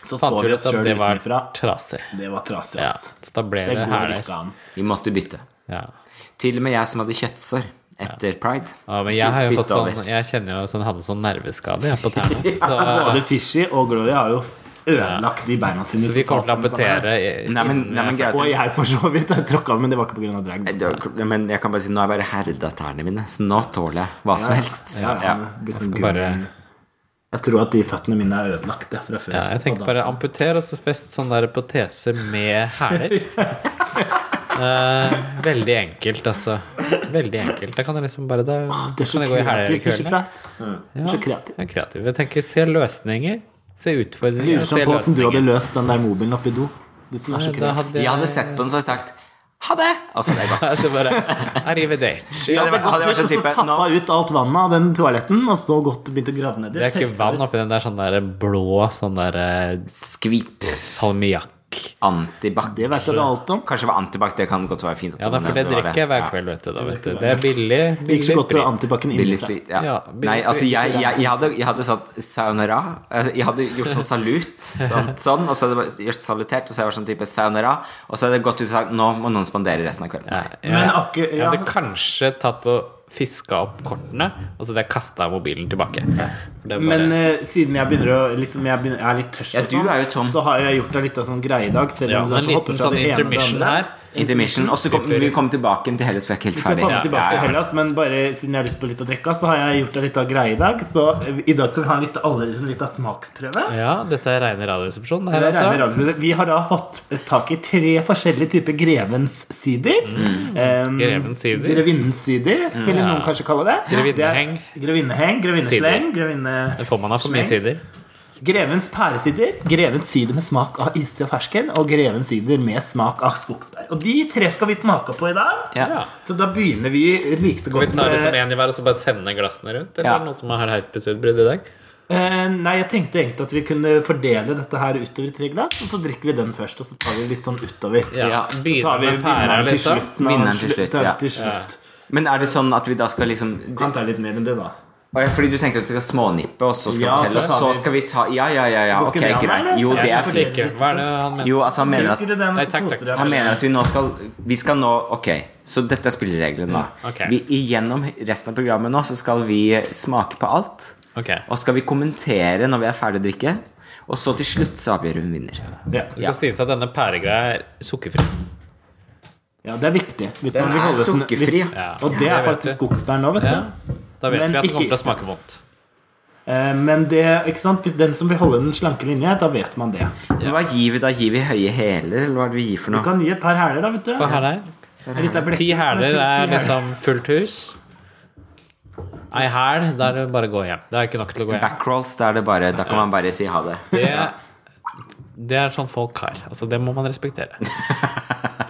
Speaker 1: så så
Speaker 2: fant vi
Speaker 1: vi
Speaker 2: ut
Speaker 1: oss
Speaker 2: at
Speaker 1: sjøl
Speaker 2: det var
Speaker 1: utenfra.
Speaker 2: trasig.
Speaker 1: Det var trasig,
Speaker 2: Ja,
Speaker 1: ass.
Speaker 2: så da ble
Speaker 1: Det
Speaker 2: det,
Speaker 1: går
Speaker 2: hæler.
Speaker 1: ikke an.
Speaker 3: Vi måtte bytte.
Speaker 2: Ja.
Speaker 3: Til og med jeg som hadde kjøttsår etter pride.
Speaker 2: Ja, men jeg har jo
Speaker 3: Bytte
Speaker 2: fått sånn
Speaker 3: over.
Speaker 2: Jeg kjenner jo sånn, hadde sånn nerveskade jeg, på tærne.
Speaker 1: Så
Speaker 2: Så,
Speaker 1: både Fishy og Glory har jo ødelagt de beina sine.
Speaker 2: så vi kommer til å
Speaker 1: totalt med sånne sånn her.
Speaker 2: amputere i-
Speaker 3: Nei, men, nei, men greit.
Speaker 1: Og jeg for så vidt jeg tråkka, men det var ikke pga. drag.
Speaker 3: Det var- Men jeg kan bare si nå har jeg bare herda tærne mine, så nå tåler jeg hva som helst.
Speaker 1: Ja, ja,
Speaker 3: Ja.
Speaker 1: blitt sånn
Speaker 2: skal bare-
Speaker 1: gummi. Jeg tror at de føttene mine er ødelagt ja, fra før.
Speaker 2: sånn Ja, jeg tenker bare amputer og så fest sånn der protese med hæler. Eh, veldig enkelt, altså. Veldig enkelt. Da kan jeg liksom bare Da
Speaker 1: Du Ah, er så
Speaker 2: kan jeg gå i
Speaker 1: kreativ.
Speaker 2: helgekvelden.
Speaker 1: Ikke press. Du er så kreativ.
Speaker 2: Jeg er kreativ. Jeg tenker se løsninger. Se
Speaker 1: Jeg
Speaker 2: utfordringer.
Speaker 1: lurer sånn
Speaker 2: Se
Speaker 1: på hvordan du hadde
Speaker 2: løsninger.
Speaker 1: løst den der mobilen oppi do. Du som er så
Speaker 2: Da
Speaker 1: kreativ.
Speaker 2: hadde
Speaker 3: Jeg
Speaker 2: jeg
Speaker 3: hadde sett på den, så hadde jeg sagt ha det! Og så hadde jeg gått.
Speaker 2: altså bare Arrivederci.
Speaker 3: Så hadde jeg vært- hadde jeg vært sånn
Speaker 1: Så
Speaker 3: type nå,
Speaker 1: tappa ut alt vannet av den toaletten, og så gått og begynt å grave ned
Speaker 2: Det er ikke vann oppi den der sånn der blå sånn der eh,
Speaker 3: Skvip.
Speaker 2: salmiakk.
Speaker 3: Antibac.
Speaker 1: Det vet dere alt om.
Speaker 3: Kanskje det var antibac, det kan godt være fint. at
Speaker 2: Ja, da,
Speaker 3: du
Speaker 2: for det
Speaker 3: nevner var
Speaker 2: drikker jeg hver
Speaker 3: Ja.
Speaker 2: kveld, vet du. Da, vet du. Det er billig.
Speaker 1: Ikke
Speaker 2: Billig
Speaker 1: så godt å
Speaker 2: sprit.
Speaker 1: antibac-en inni
Speaker 3: Billig
Speaker 1: seg.
Speaker 3: sprit, ja.
Speaker 2: Ja, billig
Speaker 3: Nei, altså,
Speaker 2: sprit,
Speaker 3: jeg, jeg, jeg, hadde, jeg hadde satt sayonara. Altså, Jeg hadde gjort sånn salut, sånn, sånn og så hadde jeg bare gjort salutert, og så hadde jeg vært sånn type sayonara, og så hadde jeg gått ut og sagt nå må noen spandere resten av kvelden.
Speaker 2: Ja, jeg,
Speaker 1: Men akkur-
Speaker 2: jeg
Speaker 1: ja.
Speaker 2: hadde kanskje tatt og fiska opp kortene, og så hadde jeg kasta mobilen tilbake. For det er bare,
Speaker 1: Men eh, siden jeg begynner å liksom, jeg, begynner, jeg er litt tørst,
Speaker 3: Ja,
Speaker 1: og
Speaker 3: du
Speaker 1: sånn,
Speaker 3: er jo tom.
Speaker 1: så har jeg gjort en liten sånn greie i dag. Selv
Speaker 2: ja,
Speaker 1: om
Speaker 2: en
Speaker 1: du får hoppe
Speaker 2: liten
Speaker 1: fra
Speaker 2: sånn
Speaker 1: det ene til det
Speaker 2: intermission
Speaker 1: andre.
Speaker 2: her.
Speaker 3: Intermission. Og så kom, vi kom tilbake igjen til Hellas, for jeg er ikke helt
Speaker 1: Vi skal
Speaker 3: ferdig.
Speaker 1: komme tilbake til
Speaker 3: Ja, ja, ja.
Speaker 1: Hellas, men bare siden jeg har lyst på litt å drikke, så har jeg gjort en liten greie i dag. Så eh, i dag skal vi ha en litt, allerede en liten smaksprøve.
Speaker 2: Ja, dette er rene radioresepsjon. det
Speaker 1: Det er rene
Speaker 2: Her, altså.
Speaker 1: radioprøve. Vi har da fått tak i tre forskjellige typer Grevens sider.
Speaker 2: Mm.
Speaker 1: Um,
Speaker 2: Grevens sider.
Speaker 1: Grevinnens sider, vil noen kanskje kalle det.
Speaker 2: Grevinneheng.
Speaker 1: Det er Grevinneheng, grevinnesleng, grevinne...
Speaker 2: Det får man av for mye sider.
Speaker 1: Grevens pæresider, grevens sider med smak av iste og fersken og grevens sider med smak av skogsbær. Og de tre skal vi smake på i dag.
Speaker 3: Ja.
Speaker 2: Ja.
Speaker 1: Så da begynner vi like så
Speaker 2: Skal vi
Speaker 1: godt
Speaker 2: ta liksom
Speaker 1: med
Speaker 2: en i hver og så bare sende glassene rundt? Eller
Speaker 3: Ja.
Speaker 2: er det noen som har herpesutbrudd i dag?
Speaker 1: Eh, Nei, jeg tenkte egentlig at vi kunne fordele dette her utover i tre glass, og så drikker vi den først, og så tar vi litt sånn utover.
Speaker 2: Ja.
Speaker 3: Ja,
Speaker 1: Så tar
Speaker 2: Begynner
Speaker 1: vi
Speaker 2: med pæra,
Speaker 1: vinneren til
Speaker 2: liksom.
Speaker 1: slutten. av-
Speaker 3: Vinneren til slutt,
Speaker 1: tar vi
Speaker 3: ja.
Speaker 1: til slutt.
Speaker 3: Men er det sånn at vi da skal liksom
Speaker 1: Kan ta litt mer enn det, da.
Speaker 3: Å ja, Fordi du tenker at vi skal smånippe, og så skal
Speaker 1: Ja,
Speaker 3: vi fortelle,
Speaker 1: så tar
Speaker 3: og så
Speaker 1: vi-
Speaker 3: skal vi ta Ja, ja, ja, ja.
Speaker 1: Går
Speaker 3: ok,
Speaker 1: ikke det an,
Speaker 3: greit.
Speaker 1: eller?
Speaker 3: Jo,
Speaker 1: Jeg
Speaker 3: det
Speaker 1: er
Speaker 3: er
Speaker 1: så
Speaker 3: fint.
Speaker 1: fornøyd.
Speaker 2: Ikke. Hva er det han mener?
Speaker 3: Jo, altså, han mener
Speaker 1: Bruker
Speaker 3: at
Speaker 1: du den,
Speaker 2: Nei,
Speaker 1: så
Speaker 2: takk,
Speaker 1: koser
Speaker 2: takk.
Speaker 1: du deg
Speaker 3: Han
Speaker 1: med
Speaker 3: mener at vi nå skal Vi skal nå Ok, så dette er spillereglene, da.
Speaker 2: Mm, Ok.
Speaker 3: Vi, gjennom resten av programmet nå så skal vi smake på alt.
Speaker 2: Ok.
Speaker 3: Og så skal vi kommentere når vi er ferdig å drikke. Og så til slutt så avgjør hun vinner.
Speaker 1: det. Ja.
Speaker 2: Det skal sies at denne pæregreia er sukkerfri.
Speaker 1: ja, det er viktig. Hvis
Speaker 3: Den
Speaker 1: man vil
Speaker 3: er
Speaker 1: holde sn-
Speaker 3: sukkerfri,
Speaker 1: hvis-
Speaker 2: ja.
Speaker 1: Og det
Speaker 2: Ja,
Speaker 1: er
Speaker 2: jeg vet
Speaker 1: faktisk skogsbær nå, vet du.
Speaker 2: Ja. Da vet
Speaker 1: Men
Speaker 2: vi at det
Speaker 1: ikke
Speaker 2: kommer til å
Speaker 1: iste.
Speaker 2: smake vondt.
Speaker 1: Eh, Men det, ikke sant? Hvis den som vil holde den slanke linje, da vet man det.
Speaker 3: Men Hva gir vi da? Gir vi høye hæler, eller hva er det vi gir for
Speaker 1: Du
Speaker 3: noe?
Speaker 1: kan gi et par hæler, da, vet du.
Speaker 2: Hva her er
Speaker 1: En liten blekke
Speaker 2: Ti
Speaker 1: som er
Speaker 2: hæler
Speaker 1: til- ti
Speaker 2: er
Speaker 1: hæler.
Speaker 2: liksom fullt hus. Ei hæl, da er det bare å gå hjem. Det er ikke nok til å gå hjem.
Speaker 3: Backrolls, da er det bare Da kan man bare si ha det.
Speaker 2: Det, det er sånn folk har. Altså, det må man respektere.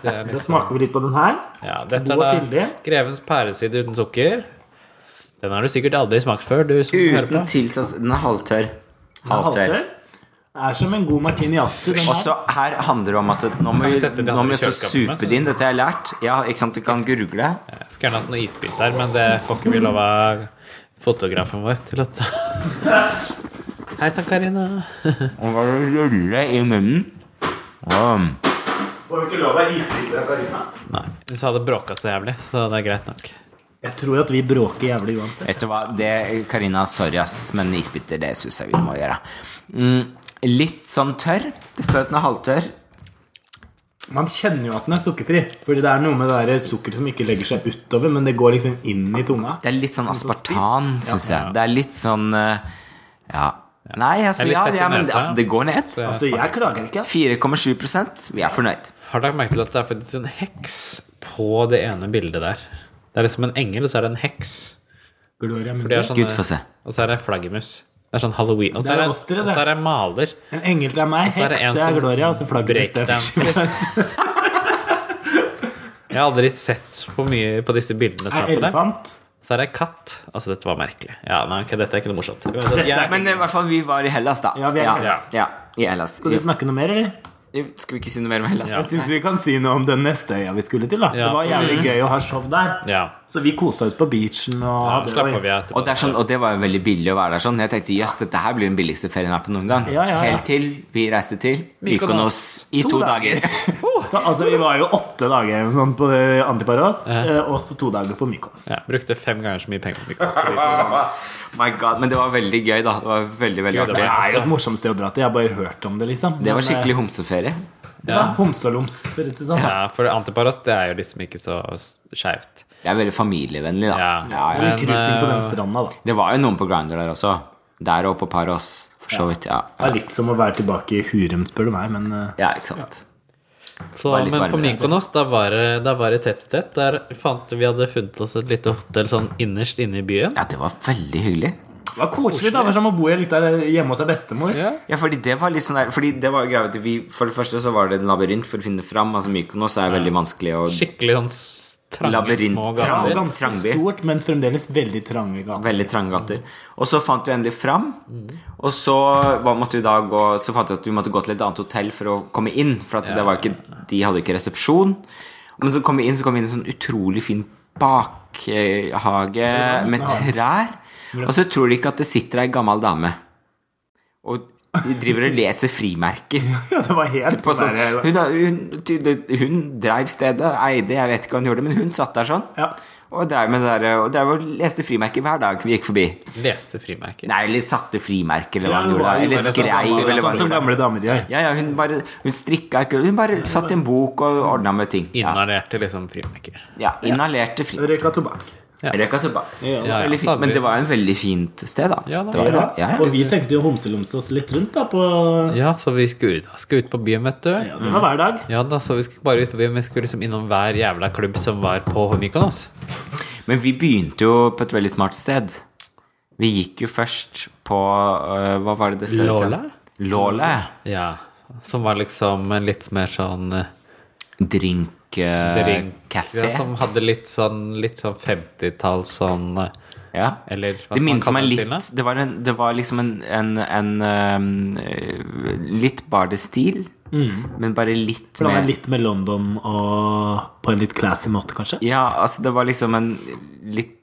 Speaker 2: Det er
Speaker 1: Da
Speaker 2: liksom,
Speaker 1: smaker vi litt på den her.
Speaker 2: ja, dette
Speaker 1: god og
Speaker 2: er da
Speaker 1: fyldig.
Speaker 2: Grevens pæreside uten sukker. Den har du sikkert aldri smakt før, du som hører på.
Speaker 3: Uten tilsatt Den er halvtørr. Halvtørr.
Speaker 1: Halvtørr. Er som en god martini asti. den
Speaker 3: Og
Speaker 1: her.
Speaker 3: så her handler det om at nå
Speaker 2: Kan
Speaker 3: må
Speaker 2: vi
Speaker 3: vi,
Speaker 2: sette de
Speaker 3: nå må
Speaker 2: andre
Speaker 3: vi så
Speaker 2: kjøleskapene,
Speaker 3: supe
Speaker 2: så-
Speaker 3: det inn. Dette har jeg lært. Ja, ikke sant, du kan gurgle.
Speaker 2: Jeg skulle gjerne hatt noe isbit der, men det får ikke vi lov av fotografen vår til å ta. Hei sann, Karina.
Speaker 3: Og bare rulle i munnen. Wow.
Speaker 1: Får du ikke lov av isbiter av Karina?
Speaker 2: Nei, Hun sa det bråka så jævlig, så det er greit nok.
Speaker 1: Jeg tror at vi bråker jævlig uansett.
Speaker 3: Vet du hva, det, Karina, sorry ass, men isbiter, det synes jeg vi må gjøre. Mm, litt sånn tørr. Det står at den er halvtørr.
Speaker 1: Man kjenner jo at den er sukkerfri. Fordi det er noe med det der sukker som ikke legger seg utover, men det går liksom inn i tunga.
Speaker 3: Det er litt sånn aspartan, synes jeg. Det er litt sånn eh, Ja. Nei, altså,
Speaker 2: Det er litt
Speaker 3: ja,
Speaker 2: tett i
Speaker 3: ja, men
Speaker 2: nesa.
Speaker 3: altså, det går ned.
Speaker 1: Altså, jeg klager ikke.
Speaker 3: 4,7 Vi er fornøyd.
Speaker 2: Har dere merket til at det er faktisk en heks på det ene bildet der? Det er liksom en engel, og så er det en heks.
Speaker 1: Gloria
Speaker 2: Det er
Speaker 1: Mundi.
Speaker 2: sånne-
Speaker 3: Gud, få se.
Speaker 2: Og så er det flaggermus. Det er sånn halloween. Og så
Speaker 1: Det er
Speaker 2: er det, og
Speaker 1: oss, dere, det.
Speaker 2: så er det en maler.
Speaker 1: En engel til meg,
Speaker 2: sånn- så er det
Speaker 1: heks,
Speaker 2: en
Speaker 1: det er
Speaker 2: som
Speaker 1: Gloria, og så flaggermusstøvler.
Speaker 2: Breakdanser. Jeg har aldri sett på mye på disse bildene som
Speaker 1: Er
Speaker 2: er på det.
Speaker 1: elefant.
Speaker 2: Så er det en katt. Altså, dette var merkelig. Ja, nei, ok, dette er ikke noe morsomt. Uansett,
Speaker 1: Dette er
Speaker 2: jeg-
Speaker 1: ikke-
Speaker 3: Men eh, i hvert fall, vi var i Hellas, da.
Speaker 1: Ja, vi er i Hellas.
Speaker 3: Ja, i Hellas.
Speaker 1: Skal du snakke noe mer, eller?
Speaker 3: Skal vi ikke si noe mer om Hellas?
Speaker 1: Jeg syns vi kan si noe om den neste øya vi skulle til. da Det
Speaker 2: Ja. Mm.
Speaker 1: var jævlig gøy å ha show der.
Speaker 2: Ja.
Speaker 1: Så vi kosa oss på beachen. Og
Speaker 2: Ja,
Speaker 1: hadde-
Speaker 2: slapp av, vi er
Speaker 3: Og det,
Speaker 2: etterpå.
Speaker 3: er sånn, og det var jo veldig billig å være der sånn. Jeg tenkte jøss, dette her blir den billigste ferien jeg har vært på noen gang.
Speaker 1: Ja, ja, ja.
Speaker 3: Helt til vi reiste til Mykonos
Speaker 2: Mykonos.
Speaker 3: i to,
Speaker 1: To dager.
Speaker 3: dager.
Speaker 1: Så altså, Vi var jo åtte dager eller noe sånt på eh, Antiparos, eh, og så to dager på Mykonos.
Speaker 2: Ja, brukte fem ganger så mye penger på Mykonos. på de to dagene.
Speaker 3: My god, Men det var veldig gøy, da. Det var veldig, veldig
Speaker 2: Gud,
Speaker 1: Det
Speaker 2: det
Speaker 3: artig.
Speaker 2: var-
Speaker 1: er jo et morsomt sted å dra til. Jeg har bare hørt om det, liksom.
Speaker 3: Det
Speaker 1: Men,
Speaker 3: var
Speaker 1: eh,
Speaker 3: skikkelig homseferie.
Speaker 1: det var Homse og loms. for å si det sånn.
Speaker 2: Ja, for Antiparas det er jo liksom ikke så skeivt.
Speaker 3: Det er veldig familievennlig, da.
Speaker 2: Ja.
Speaker 1: Og litt
Speaker 2: Men,
Speaker 1: cruising på
Speaker 2: eh,
Speaker 1: den stranda, da.
Speaker 3: Det var jo noen på Grindr der også. Der og på Paros, for så vidt. Ja,
Speaker 1: Det
Speaker 3: ja.
Speaker 1: er litt som å være tilbake i Hurum, spør du meg, men eh,
Speaker 3: ja ikke sant.
Speaker 2: Så,
Speaker 3: Bare litt
Speaker 2: men på
Speaker 3: varmere.
Speaker 2: Mykonos, da var det, da var det tett i tett. Der fant vi hadde funnet oss et lite hotell sånn innerst inne i byen.
Speaker 3: Ja, det var veldig hyggelig.
Speaker 1: Det var koselig. da, Det var som å bo litt der eh, hjemme hos deg bestemor.
Speaker 2: Ja.
Speaker 3: Ja, fordi det var litt sånn der Fordi det var greia at vi For det første så var det en labyrint for å finne fram. Altså Mykonos er veldig vanskelig å
Speaker 2: Skikkelig sånn s- trange,
Speaker 3: Labyrint.
Speaker 2: små
Speaker 1: Det var
Speaker 2: gater.
Speaker 1: ganske
Speaker 3: Trangby.
Speaker 1: stort, men fremdeles veldig trange gater.
Speaker 3: Veldig trange gater. Og så fant vi endelig fram. Og så var, måtte vi da gå Så fant vi at vi måtte gå til et annet hotell for å komme inn. For at det var ikke, de hadde ikke resepsjon. Men så kom vi inn Så kom vi inn i en sånn utrolig fin bakhage med trær. Og så tror de ikke at det sitter ei gammel dame og de driver og leser frimerker.
Speaker 1: Ja, det var helt
Speaker 3: På sånn,
Speaker 1: der,
Speaker 3: hun, hun, tydelig- hun dreiv stedet, eide, jeg vet ikke hva hun gjorde, men hun satt der sånn.
Speaker 1: Ja.
Speaker 3: Og dreiv med det der, og, drev og leste frimerker hver dag vi gikk forbi.
Speaker 2: Leste frimerker.
Speaker 3: Nei, eller satte frimerker, eller hva
Speaker 1: Ja,
Speaker 3: hun
Speaker 1: hun
Speaker 3: gjorde.
Speaker 1: var jo
Speaker 3: Eller
Speaker 1: bare sånn
Speaker 3: skreiv,
Speaker 1: gammel-
Speaker 3: eller hva
Speaker 1: Sånn
Speaker 3: hun
Speaker 1: som
Speaker 3: gjorde.
Speaker 1: gamle damer gjør.
Speaker 3: Ja, ja, hun bare Hun strikka ikke Hun bare satt i en bok og ordna med ting. Ja,
Speaker 2: Inhalerte liksom frimerker.
Speaker 3: ja Inhalerte fri...
Speaker 1: Røyka tobakk.
Speaker 2: Ja.
Speaker 3: Røyka tobakk.
Speaker 1: Ja, ja.
Speaker 3: Veldig fint. Men det var en veldig fint sted, da.
Speaker 2: Ja, da.
Speaker 3: det var, det. ja,
Speaker 1: Og
Speaker 3: ja.
Speaker 1: vi tenkte jo å homselomse oss litt rundt da på
Speaker 2: Ja, så vi skulle, ut- skulle ut på byen, vet du.
Speaker 1: ja, Det var hver dag.
Speaker 2: Ja da, så vi skulle bare ut på byen, men vi skulle liksom innom hver jævla klubb som var på Mykonos.
Speaker 3: Men vi begynte jo på et veldig smart sted. Vi gikk jo først på øh, Hva var det det stedet?
Speaker 2: Lola?
Speaker 3: Låle.
Speaker 2: Ja. Som var liksom en litt mer sånn eh,
Speaker 3: Drink, øh,
Speaker 2: drink
Speaker 3: Café.
Speaker 2: ja, Som hadde litt sånn, litt sånn 50-tall sånn eh,
Speaker 3: Ja.
Speaker 2: Eller hva skal
Speaker 3: Det
Speaker 2: man
Speaker 3: minte
Speaker 2: kalle
Speaker 3: meg
Speaker 2: det?
Speaker 3: litt
Speaker 2: Stine?
Speaker 3: det var, en, det var liksom en, en, en øhm, øh, litt bardestil, men bare litt
Speaker 1: For det var
Speaker 3: mer
Speaker 1: litt med London og på en litt classy måte, kanskje.
Speaker 3: Ja, altså, det var liksom en litt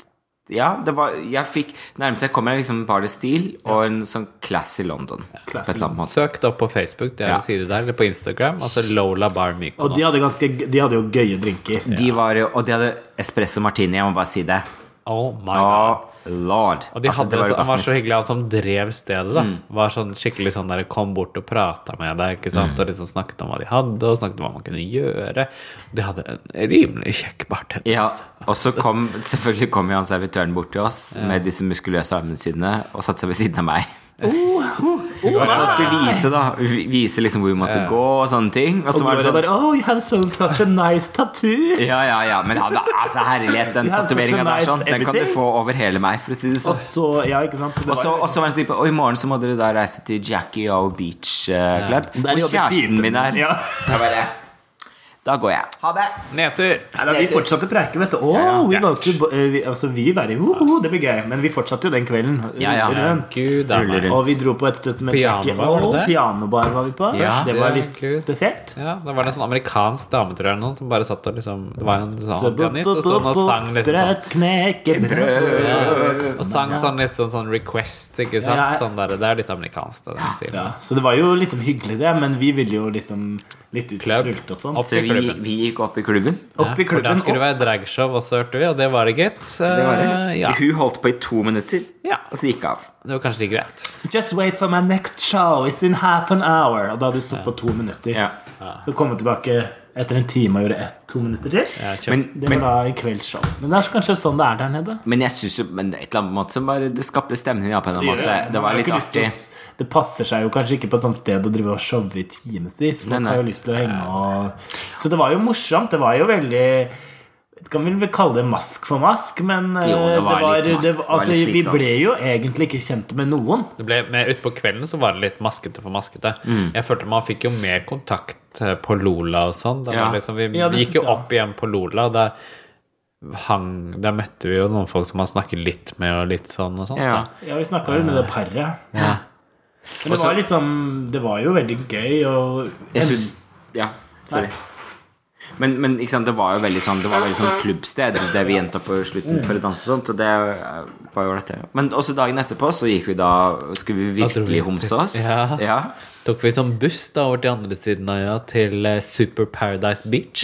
Speaker 3: Ja, det var Jeg fikk Nærmest jeg kommer liksom bardestil og en sånn classy London. På et
Speaker 1: Classy
Speaker 3: eller annet måte.
Speaker 2: Søk det opp på Facebook, det er
Speaker 3: Ja.
Speaker 2: en side der, eller på Instagram. Altså Lola Bar
Speaker 1: Og
Speaker 2: Mykonos.
Speaker 1: de hadde, ganske, de hadde jo gøye drinker.
Speaker 3: De var jo Og de hadde espresso martini, jeg må bare si det.
Speaker 2: Oh my god.
Speaker 3: Oh, lord.
Speaker 2: Og de
Speaker 3: Altså,
Speaker 2: hadde, så, han var så
Speaker 3: orgasmisk.
Speaker 2: hyggelig, han som drev stedet. da
Speaker 3: Mm.
Speaker 2: Var sånn skikkelig sånn der, Kom bort og prata med deg, ikke
Speaker 3: Mm.
Speaker 2: sant? og liksom snakket om hva de hadde, og snakket om hva man kunne gjøre. De hadde en rimelig kjekk bartender.
Speaker 3: Ja,
Speaker 2: altså.
Speaker 3: og så kom selvfølgelig kom jo han servitøren bort til oss med disse muskuløse armene sine og satte seg ved siden av meg. og så skulle vi vise da vi- Vise liksom hvor vi måtte gå og sånne ting. Og så
Speaker 1: Og
Speaker 3: var det
Speaker 1: Gloria
Speaker 3: sånn
Speaker 1: bare Oh, you have so, such a nice tattoo!
Speaker 3: ja, ja, ja, men han, altså herlighet, den
Speaker 1: You have such a
Speaker 3: tatoveringa der
Speaker 1: nice
Speaker 3: sånn, den kan du
Speaker 1: everything.
Speaker 3: få over hele meg, for å si det
Speaker 1: Og
Speaker 3: sånn.
Speaker 1: så Ja, ikke sant? Det
Speaker 3: Og så
Speaker 1: var-
Speaker 3: og så var det sånn type, og i morgen så må dere da reise til Jackie O Beach eh, Club.
Speaker 1: Der
Speaker 3: Hvor
Speaker 1: jobber
Speaker 3: kjæresten
Speaker 1: typen.
Speaker 3: min er.
Speaker 1: Ja.
Speaker 3: Jeg bare Da går jeg. Ha det.
Speaker 2: Nedtur!
Speaker 1: Nei, da, vi fortsatte preiken, vet du. Å, we go to bo- eh, vi- Altså, vi var i Woho, det blir gøy. Men vi fortsatte jo den kvelden.
Speaker 3: Ja, ja.
Speaker 1: Rundt.
Speaker 2: Gud a meg.
Speaker 1: Og vi dro på et sted som het
Speaker 2: Pianobar,
Speaker 1: Jackie
Speaker 2: var det
Speaker 1: O.
Speaker 2: det?
Speaker 1: Pianobar var vi på.
Speaker 2: Ja,
Speaker 1: det var
Speaker 2: det-
Speaker 1: litt
Speaker 2: Gud.
Speaker 1: spesielt.
Speaker 2: Ja, da var det en sånn amerikansk dame, tror jeg, eller noen, som bare satt og liksom Det var en
Speaker 1: Så
Speaker 2: sånn
Speaker 1: bo-
Speaker 2: pianist, og
Speaker 1: bo-
Speaker 2: sto og
Speaker 1: bo-
Speaker 2: sang litt sånn.
Speaker 1: Sprøtt knekkebrød.
Speaker 2: Og sang sånn litt sånn, sånn request, ikke sant?
Speaker 1: Ja, ja.
Speaker 2: Sånn der, det er litt amerikansk, det, den stilen.
Speaker 1: Ja, så det var jo liksom hyggelig, det. Men vi ville jo liksom litt ut og
Speaker 2: Klubb.
Speaker 1: krult og sånn.
Speaker 2: Opp
Speaker 3: Så
Speaker 2: i
Speaker 3: vi,
Speaker 2: klubben.
Speaker 3: vi gikk opp i klubben.
Speaker 1: Opp i
Speaker 2: For der
Speaker 1: klubben.
Speaker 2: skulle det
Speaker 1: opp.
Speaker 2: være dragshow, og så hørte vi, og det var det, gitt.
Speaker 3: Det var det.
Speaker 2: Eh, Ja.
Speaker 3: Hun holdt på i to minutter,
Speaker 2: Ja.
Speaker 3: og så gikk hun av.
Speaker 2: Det var kanskje ikke greit.
Speaker 1: Just wait for my next show. It's in half an hour. Og da hadde du stått på to minutter.
Speaker 3: Ja.
Speaker 1: Så kom hun tilbake etter en time og gjorde ett, to minutter til.
Speaker 2: Jeg kjøpte
Speaker 3: Men,
Speaker 1: Det
Speaker 3: men,
Speaker 1: var da en kveldsshow. Men det er kanskje sånn det er der nede.
Speaker 3: men jeg synes jo men det er et eller annet måte som bare Det skapte stemning ja, på en eller annen
Speaker 1: Man
Speaker 3: måte. Det
Speaker 1: har
Speaker 3: var
Speaker 1: jo
Speaker 3: litt
Speaker 1: ikke lyst
Speaker 3: artig.
Speaker 1: til å s- Det passer seg jo kanskje ikke på et sånt sted å drive og showe i timevis.
Speaker 3: Nei,
Speaker 1: Folk
Speaker 3: nei.
Speaker 1: har jo lyst til å henge og Så det var jo morsomt. Det var jo veldig kan vi vel kalle det mask for mask, men eh,
Speaker 3: Jo, det var litt mask.
Speaker 1: det var-
Speaker 3: Det var
Speaker 1: altså,
Speaker 3: litt
Speaker 1: vi
Speaker 3: slitsomt.
Speaker 1: ble jo egentlig ikke kjent med noen.
Speaker 2: Det ble, men utpå kvelden så var det litt maskete for maskete. Jeg følte man fikk jo mer kontakt eh, på Lola og sånn. Da
Speaker 3: Ja.
Speaker 2: var liksom, vi
Speaker 1: Ja, det
Speaker 2: vi
Speaker 1: synes
Speaker 2: gikk jo
Speaker 1: jeg.
Speaker 2: opp igjen på Lola, og da hang Der møtte vi jo noen folk som man snakker litt med, og litt sånn og sånt.
Speaker 3: Ja.
Speaker 2: Da.
Speaker 1: Ja, vi snakka jo med det paret. Men det var liksom Det var jo veldig gøy og
Speaker 3: Jeg synes, ja, sorry. Men, men ikke sant, det var jo veldig sånn Det var veldig sånn klubbsted, det vi endte opp på slutten for å danse og sånt. Og det eh, var jo dette. Men også dagen etterpå så gikk vi da Skulle
Speaker 2: Da dro vi
Speaker 3: vi virkelig
Speaker 2: til-
Speaker 3: homse oss?
Speaker 2: Ja.
Speaker 3: ja.
Speaker 2: Tok vi sånn buss da over til andre siden av øya, til eh, Super Paradise Beach.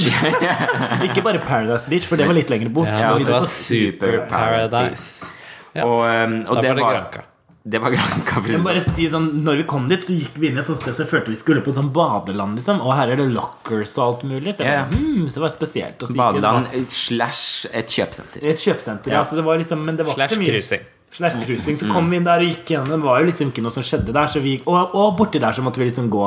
Speaker 1: Ikke bare Paradise Beach, for det var litt lenger bort.
Speaker 2: Ja,
Speaker 1: Og vi
Speaker 2: det var
Speaker 1: var-
Speaker 2: Super
Speaker 3: Super Paradise
Speaker 2: Paradise. Ja.
Speaker 3: Og, eh, og
Speaker 2: Da var
Speaker 3: det
Speaker 2: det
Speaker 3: var
Speaker 2: Granca.
Speaker 3: Det var Granca. for å si
Speaker 1: Jeg må
Speaker 3: det sånn.
Speaker 1: bare si sånn, når vi kom dit, så gikk vi inn i et sånt sted Så jeg følte vi skulle på et sånt badeland liksom Og her er det lockers og alt mulig Så, jeg
Speaker 3: Ja, ja.
Speaker 1: bare, hmm, så det var spesielt og så gikk vi inn i
Speaker 3: Badeland slash et kjøpesenter.
Speaker 1: Et kjøpesenter, ja. så det var liksom Men det var
Speaker 2: Slash
Speaker 1: ikke så mye
Speaker 2: cruising.
Speaker 1: Sleiskryssing. Så kom vi inn der og gikk igjen. Det var jo liksom ikke noe som skjedde der. Så vi gikk, og, og borti der så måtte vi liksom gå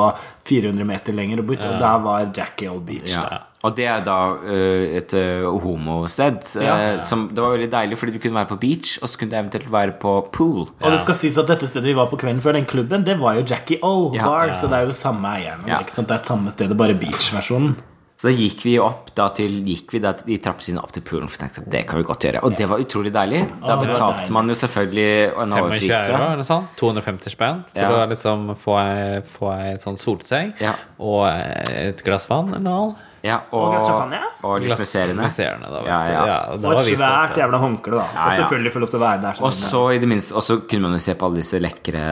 Speaker 1: 400 meter lenger, og, borti, og der var Jackie Old Beach.
Speaker 3: Ja.
Speaker 1: Da.
Speaker 3: Og det er da eh, et eh, homosted. eh,
Speaker 1: Ja, ja.
Speaker 3: Som, det var veldig deilig, fordi du kunne være på beach, og så kunne du eventuelt være på pool.
Speaker 1: Og det skal sies at dette stedet vi var på kvelden før, den klubben, det var jo Jackie O
Speaker 3: Ja.
Speaker 1: Bar, så det er jo samme eieren.
Speaker 3: Ja.
Speaker 1: Ikke sant? Det er samme stedet, bare beach-versjonen.
Speaker 3: Så da gikk vi opp da til, gikk vi da til- i trappetrinnene opp til poolen, for jeg tenkte at det kan vi godt gjøre. Og det var utrolig deilig. Da
Speaker 1: Å, det var
Speaker 3: betalte
Speaker 1: deilig.
Speaker 3: man jo selvfølgelig en
Speaker 2: €25
Speaker 3: overpris.
Speaker 2: euro, eller sånn. 250 spenn for
Speaker 3: Ja.
Speaker 2: å liksom få ei, få ei sånn solseng
Speaker 3: Ja.
Speaker 2: og et glass vann eller noe.
Speaker 3: Ja,
Speaker 1: Og glass
Speaker 3: og,
Speaker 1: champagne?
Speaker 3: og litt musserende.
Speaker 2: musserende, da, vet
Speaker 3: Ja,
Speaker 2: du.
Speaker 3: ja.
Speaker 2: Ja, da
Speaker 1: Og
Speaker 2: var
Speaker 1: et
Speaker 2: vi satt,
Speaker 1: svært
Speaker 2: ja.
Speaker 1: jævla håndkle, da.
Speaker 3: Ja,
Speaker 1: Og
Speaker 3: ja.
Speaker 1: selvfølgelig få lov til å være der.
Speaker 3: Og
Speaker 1: sånn.
Speaker 3: så i det minste Og så kunne man jo se på alle disse lekre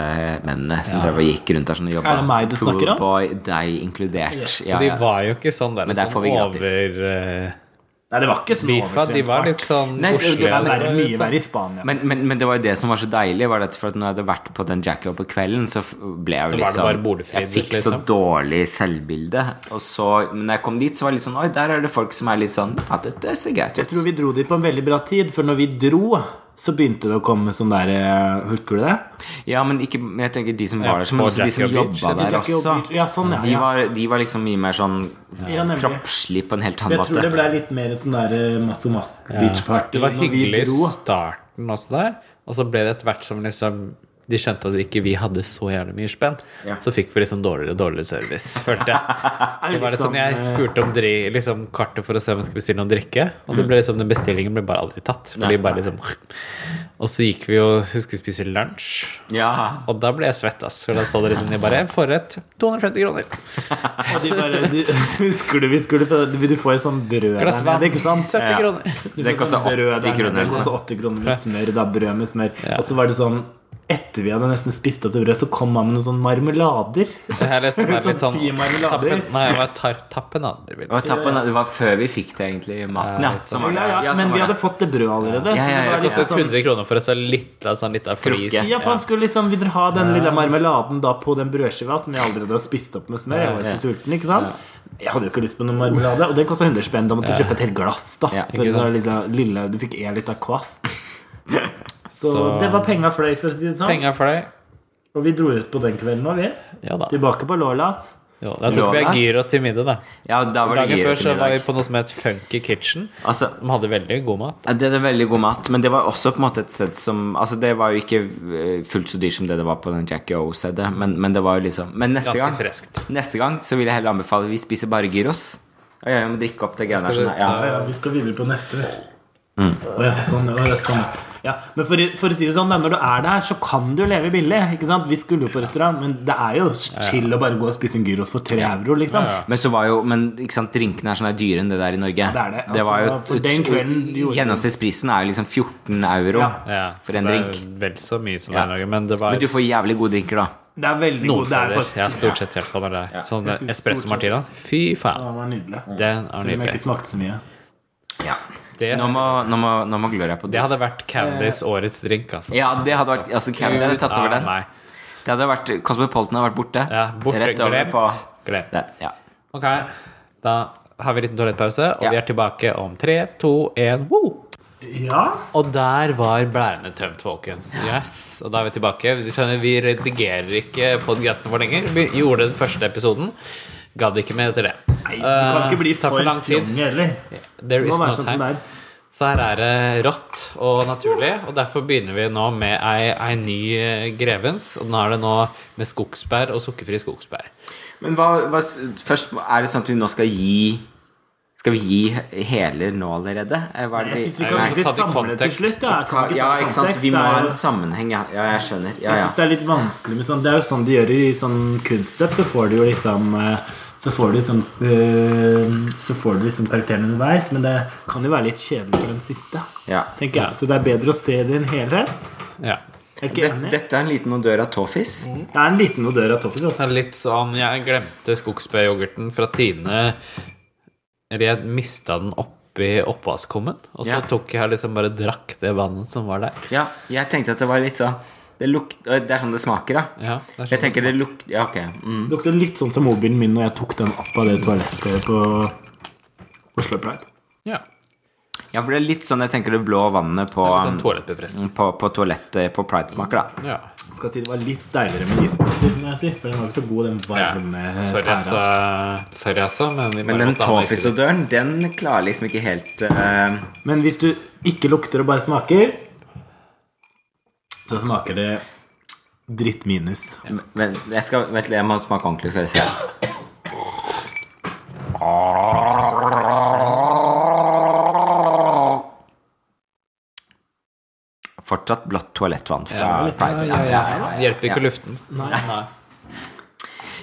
Speaker 3: mennene som drev og gikk rundt der sånn og jobba.
Speaker 1: Er det meg du snakker om?
Speaker 3: Poolboy, deg inkludert.
Speaker 1: Yes.
Speaker 3: Ja,
Speaker 2: De
Speaker 3: ja.
Speaker 2: var jo ikke sånn der,
Speaker 3: Men der får vi
Speaker 2: sånn
Speaker 3: gratis.
Speaker 2: overbifa.
Speaker 1: Nei, det var ikke sånn
Speaker 2: De
Speaker 1: overtrent
Speaker 2: var
Speaker 1: fart.
Speaker 2: litt sånn
Speaker 3: Nei, det- det
Speaker 1: Det
Speaker 2: godslige.
Speaker 1: er verre,
Speaker 2: var litt
Speaker 1: mye
Speaker 2: sånn-
Speaker 1: verre i Spania.
Speaker 3: Men, men, men det var jo det som var så deilig, var det for at når jeg hadde vært på den jackie på kvelden, så f- ble jeg
Speaker 2: Da
Speaker 3: jo
Speaker 2: var det bare
Speaker 3: liksom
Speaker 2: boligfri,
Speaker 3: Jeg fikk så
Speaker 2: liksom.
Speaker 3: dårlig selvbilde. Og så, men når jeg kom dit, så var det litt sånn Oi, der er det folk som er litt sånn Ja, dette ser greit
Speaker 1: Jeg
Speaker 3: ut.
Speaker 1: tror vi dro dit på en veldig bra tid, for når vi dro, så begynte det å komme sånn der eh, Husker du det?
Speaker 3: Ja, men ikke, men jeg tenker de som var der, som,
Speaker 2: på
Speaker 3: men også de som
Speaker 2: Jackie og Beach.
Speaker 3: jobba der
Speaker 1: Jackie og
Speaker 3: også.
Speaker 1: Beach. Ja, sånn, ja,
Speaker 3: De
Speaker 1: ja.
Speaker 3: var, de var liksom mye mer sånn
Speaker 1: Ja, nemlig.
Speaker 3: kroppslig på en helt
Speaker 1: Jeg
Speaker 3: annen
Speaker 1: tror det ble
Speaker 3: måte.
Speaker 1: litt mer sånn der eh, masse masse beach party
Speaker 2: Det var
Speaker 1: når vi
Speaker 2: hyggelig i
Speaker 1: dro.
Speaker 2: starten også der, og så ble det etter hvert som liksom de skjønte at ikke vi hadde så jævlig mye spenn.
Speaker 3: Ja.
Speaker 2: Så fikk vi liksom dårligere og dårligere service, følte jeg. Det var litt sånn, Jeg spurte om dri, liksom kartet for å se om jeg skulle bestille noe drikke, og det ble liksom, den bestillingen ble bare aldri tatt. Fordi bare liksom Og så gikk vi og husker å spise lunsj,
Speaker 3: Ja.
Speaker 2: og da ble jeg svett, ass. For da sa det liksom jeg bare Forrett 250 kroner.
Speaker 1: Og de bare du, Husker du vi skulle få Du får et sånt brød der
Speaker 2: Glass vann.
Speaker 1: nede, ikke sant?
Speaker 2: 70
Speaker 3: Ja.
Speaker 2: kroner.
Speaker 1: Du
Speaker 3: Det
Speaker 1: får
Speaker 3: koster
Speaker 1: sånn brød
Speaker 3: 80
Speaker 1: der nede,
Speaker 3: kroner.
Speaker 1: Det koster 80 kroner med smør, da, brød med smør.
Speaker 2: Ja.
Speaker 1: Og så var det sånn etter vi hadde nesten spist opp det brødet, så kom han med noen sånne marmelader.
Speaker 2: Det her liksom er
Speaker 1: Sånn
Speaker 2: litt sånn
Speaker 1: ti marmelader.
Speaker 2: tappen, Nei, det var tar, tappen andre vil.
Speaker 3: Det var, tappen, det var før vi fikk det, egentlig, maten. Ja, som var
Speaker 1: Ja,
Speaker 3: det.
Speaker 1: ja,
Speaker 3: Ja,
Speaker 1: men
Speaker 3: som
Speaker 1: vi
Speaker 3: var
Speaker 1: hadde
Speaker 3: det.
Speaker 1: fått det brødet allerede.
Speaker 3: Ja, ja, ja,
Speaker 1: så det var
Speaker 3: det
Speaker 1: liksom
Speaker 2: Kostet 100 kroner for en sånn liten sånn, liten flis.
Speaker 3: Krukke.
Speaker 1: Ja, for han skulle liksom Vil dere ha den lille marmeladen da på den brødskiva som jeg allerede har spist opp med smør? Jeg var jo så sulten, ikke sant? Jeg hadde jo ikke lyst på noen marmelade, og den kosta 100 spenn. Da måtte du kjøpe et helt glass, da.
Speaker 3: Ja,
Speaker 1: For
Speaker 2: ikke
Speaker 1: den lille, lille, du fikk én liten kvast. Så,
Speaker 2: Så-
Speaker 1: det var penga fløy, for å si det sånn.
Speaker 2: Penger for deg.
Speaker 1: Og vi dro ut på den kvelden òg, vi.
Speaker 2: Ja da.
Speaker 1: Tilbake på Lålas.
Speaker 2: Jo, da tok vi
Speaker 3: Lånas.
Speaker 2: gyro til middag, da.
Speaker 3: Ja, da var det
Speaker 2: Dagen
Speaker 3: gyro
Speaker 2: før
Speaker 3: til
Speaker 2: så var vi
Speaker 3: middag.
Speaker 2: på noe som het Funky Kitchen.
Speaker 3: Altså,
Speaker 2: De hadde veldig god mat.
Speaker 3: Ja, Det er veldig god mat, men det var også på en måte et sted som Altså, det var jo ikke eh, fullt så dyrt som det det var på den Jackie O-stedet, men, men det var jo liksom Men neste
Speaker 2: Ganske
Speaker 3: gang,
Speaker 2: freskt.
Speaker 3: neste gang så vil jeg heller anbefale Vi spiser bare gyros. Og jeg må drikke opp det greiene her.
Speaker 2: Skal
Speaker 3: Sånn,
Speaker 2: vi
Speaker 3: ja.
Speaker 1: Ja, ja, vi skal videre på neste. Å ja, sånn, å ja, sånn. Ja, men for, for å si det sånn, da, når du er der, så kan du leve billig. Ikke sant? Vi skulle jo på restaurant, men det er jo chill å bare gå og spise en gyros for tre euro, liksom.
Speaker 3: Men så var jo Men ikke sant, drinkene er sånn her dyre enn det der i Norge.
Speaker 1: Det er det. Altså,
Speaker 3: var jo
Speaker 1: for den kvelden gjorde vi-
Speaker 3: Gjennomsnittsprisen er jo liksom 14 euro
Speaker 1: Ja.
Speaker 2: Ja,
Speaker 3: for en
Speaker 2: det
Speaker 3: drink.
Speaker 2: er vel så mye som det
Speaker 3: Ja.
Speaker 2: er i Norge, men det var
Speaker 3: Men du får jævlig gode drinker, da.
Speaker 1: Det er veldig
Speaker 2: noen
Speaker 1: god. Det er
Speaker 2: steder.
Speaker 1: faktisk
Speaker 2: Ja, stort sett i hvert fall når det er sånn
Speaker 1: Jeg synes
Speaker 2: espresso
Speaker 1: stort
Speaker 2: martina. Fy faen.
Speaker 1: Ja, det var nydelig.
Speaker 2: Den er
Speaker 1: Selv om jeg
Speaker 2: nydelig.
Speaker 1: ikke smakte så mye.
Speaker 3: Ja.
Speaker 2: Det,
Speaker 3: Nå må, nå må, nå må Gloria på
Speaker 2: det
Speaker 3: do.
Speaker 2: hadde vært Candice årets drink, altså.
Speaker 3: Ja, det hadde vært Altså, Candy hadde tatt over
Speaker 2: Ja,
Speaker 3: den.
Speaker 2: nei.
Speaker 3: Det hadde vært Cosmopolitan hadde vært borte.
Speaker 2: Ja, borte,
Speaker 3: Rett over
Speaker 2: glemt.
Speaker 3: på
Speaker 2: glemt.
Speaker 3: der. Ja.
Speaker 2: Ok, da har vi en liten toalettpause, og
Speaker 3: Ja.
Speaker 2: vi er tilbake om tre, to, én, woo!
Speaker 1: Ja,
Speaker 2: Og der var blærene tømt, folkens. Yes, Og da er vi tilbake. Du skjønner, Vi redigerer ikke podkasten for lenger. Vi gjorde den første episoden. Gadd ikke mer etter det.
Speaker 1: Nei, det kan ikke bli
Speaker 2: Eh, tar
Speaker 1: for,
Speaker 2: for lang tid.
Speaker 1: fjonge heller.
Speaker 2: There
Speaker 1: Det
Speaker 2: is
Speaker 1: må
Speaker 2: no
Speaker 1: være sånn som det
Speaker 2: time.
Speaker 1: er.
Speaker 2: Så her er det rått og naturlig, og derfor begynner vi nå med ei, ei ny eh, Grevens. Og nå er det nå med skogsbær og sukkerfri skogsbær.
Speaker 3: Men hva, hva Først, er det sånn at vi nå skal gi Skal vi gi heler nå allerede? Eh, Hva er
Speaker 1: Jeg
Speaker 3: det
Speaker 1: syns vi
Speaker 2: Nei,
Speaker 1: kan
Speaker 2: ta
Speaker 1: egentlig
Speaker 2: det i
Speaker 1: samle til
Speaker 2: kontekst.
Speaker 1: slutt. Ja, Jeg kan
Speaker 3: Ta- Ja,
Speaker 1: ta
Speaker 3: ikke sant?
Speaker 1: kontekst,
Speaker 3: Vi må
Speaker 1: det er
Speaker 3: ha
Speaker 1: jo-
Speaker 3: en sammenheng, ja. Ja, jeg skjønner. Ja,
Speaker 1: Jeg
Speaker 3: ja.
Speaker 1: synes det er litt vanskelig med sånn Det er jo sånn de gjør i sånn kunstløp Så får du jo liksom eh, Så får du liksom eh, Så får du liksom karakterene underveis Men det kan jo være litt kjedelig for den siste
Speaker 3: Ja.
Speaker 1: Tenker jeg Så det er bedre å se det i en helhet
Speaker 2: Ja.
Speaker 1: Er du ikke
Speaker 3: Det,
Speaker 1: enig? Mhm.
Speaker 3: dette er en liten odør av tåfis.
Speaker 1: Det er en liten odør av toffis altså.
Speaker 2: Det er litt sånn Jeg glemte skogsbæryoghurten fra Tine. Eller jeg mista den oppi oppvaskkummen. Og så
Speaker 3: Ja.
Speaker 2: tok jeg liksom bare drakk det vannet som var der.
Speaker 3: Ja, jeg tenkte at det var litt sånn Det, luk, det er sånn det smaker, da.
Speaker 2: Ja, det er sånn
Speaker 3: Jeg tenker det lukter Ja, ok. Mm.
Speaker 1: Det lukter litt sånn som mobilen min Når jeg tok den opp av det toalettet på Oslo Pride
Speaker 2: Ja.
Speaker 3: Ja, for det er litt sånn jeg tenker det blå vannet på, mm,
Speaker 2: Litt sånn toalettbefrestende.
Speaker 3: på, på toalettet på Pride-smaker, da.
Speaker 2: Ja.
Speaker 1: Skal si det var litt deiligere med isbiter, må jeg si. For den var ikke så god, den
Speaker 2: ja.
Speaker 3: sånn,
Speaker 1: varme
Speaker 2: Sorry, altså. Sorry, altså. Men, vi
Speaker 3: eh, Men
Speaker 2: bare
Speaker 3: den
Speaker 2: måtte ha litt-
Speaker 3: tåfisodøren, den klarer liksom ikke helt eh,
Speaker 1: Men hvis du ikke lukter og bare smaker, så smaker det dritt minus.
Speaker 3: Vent, jeg, skal, vent, jeg må smake ordentlig, skal vi se. Fortsatt blått toalettvann fra Pride.
Speaker 2: Ja, ja, ja. Det hjelper ikke luften. Nei, nei.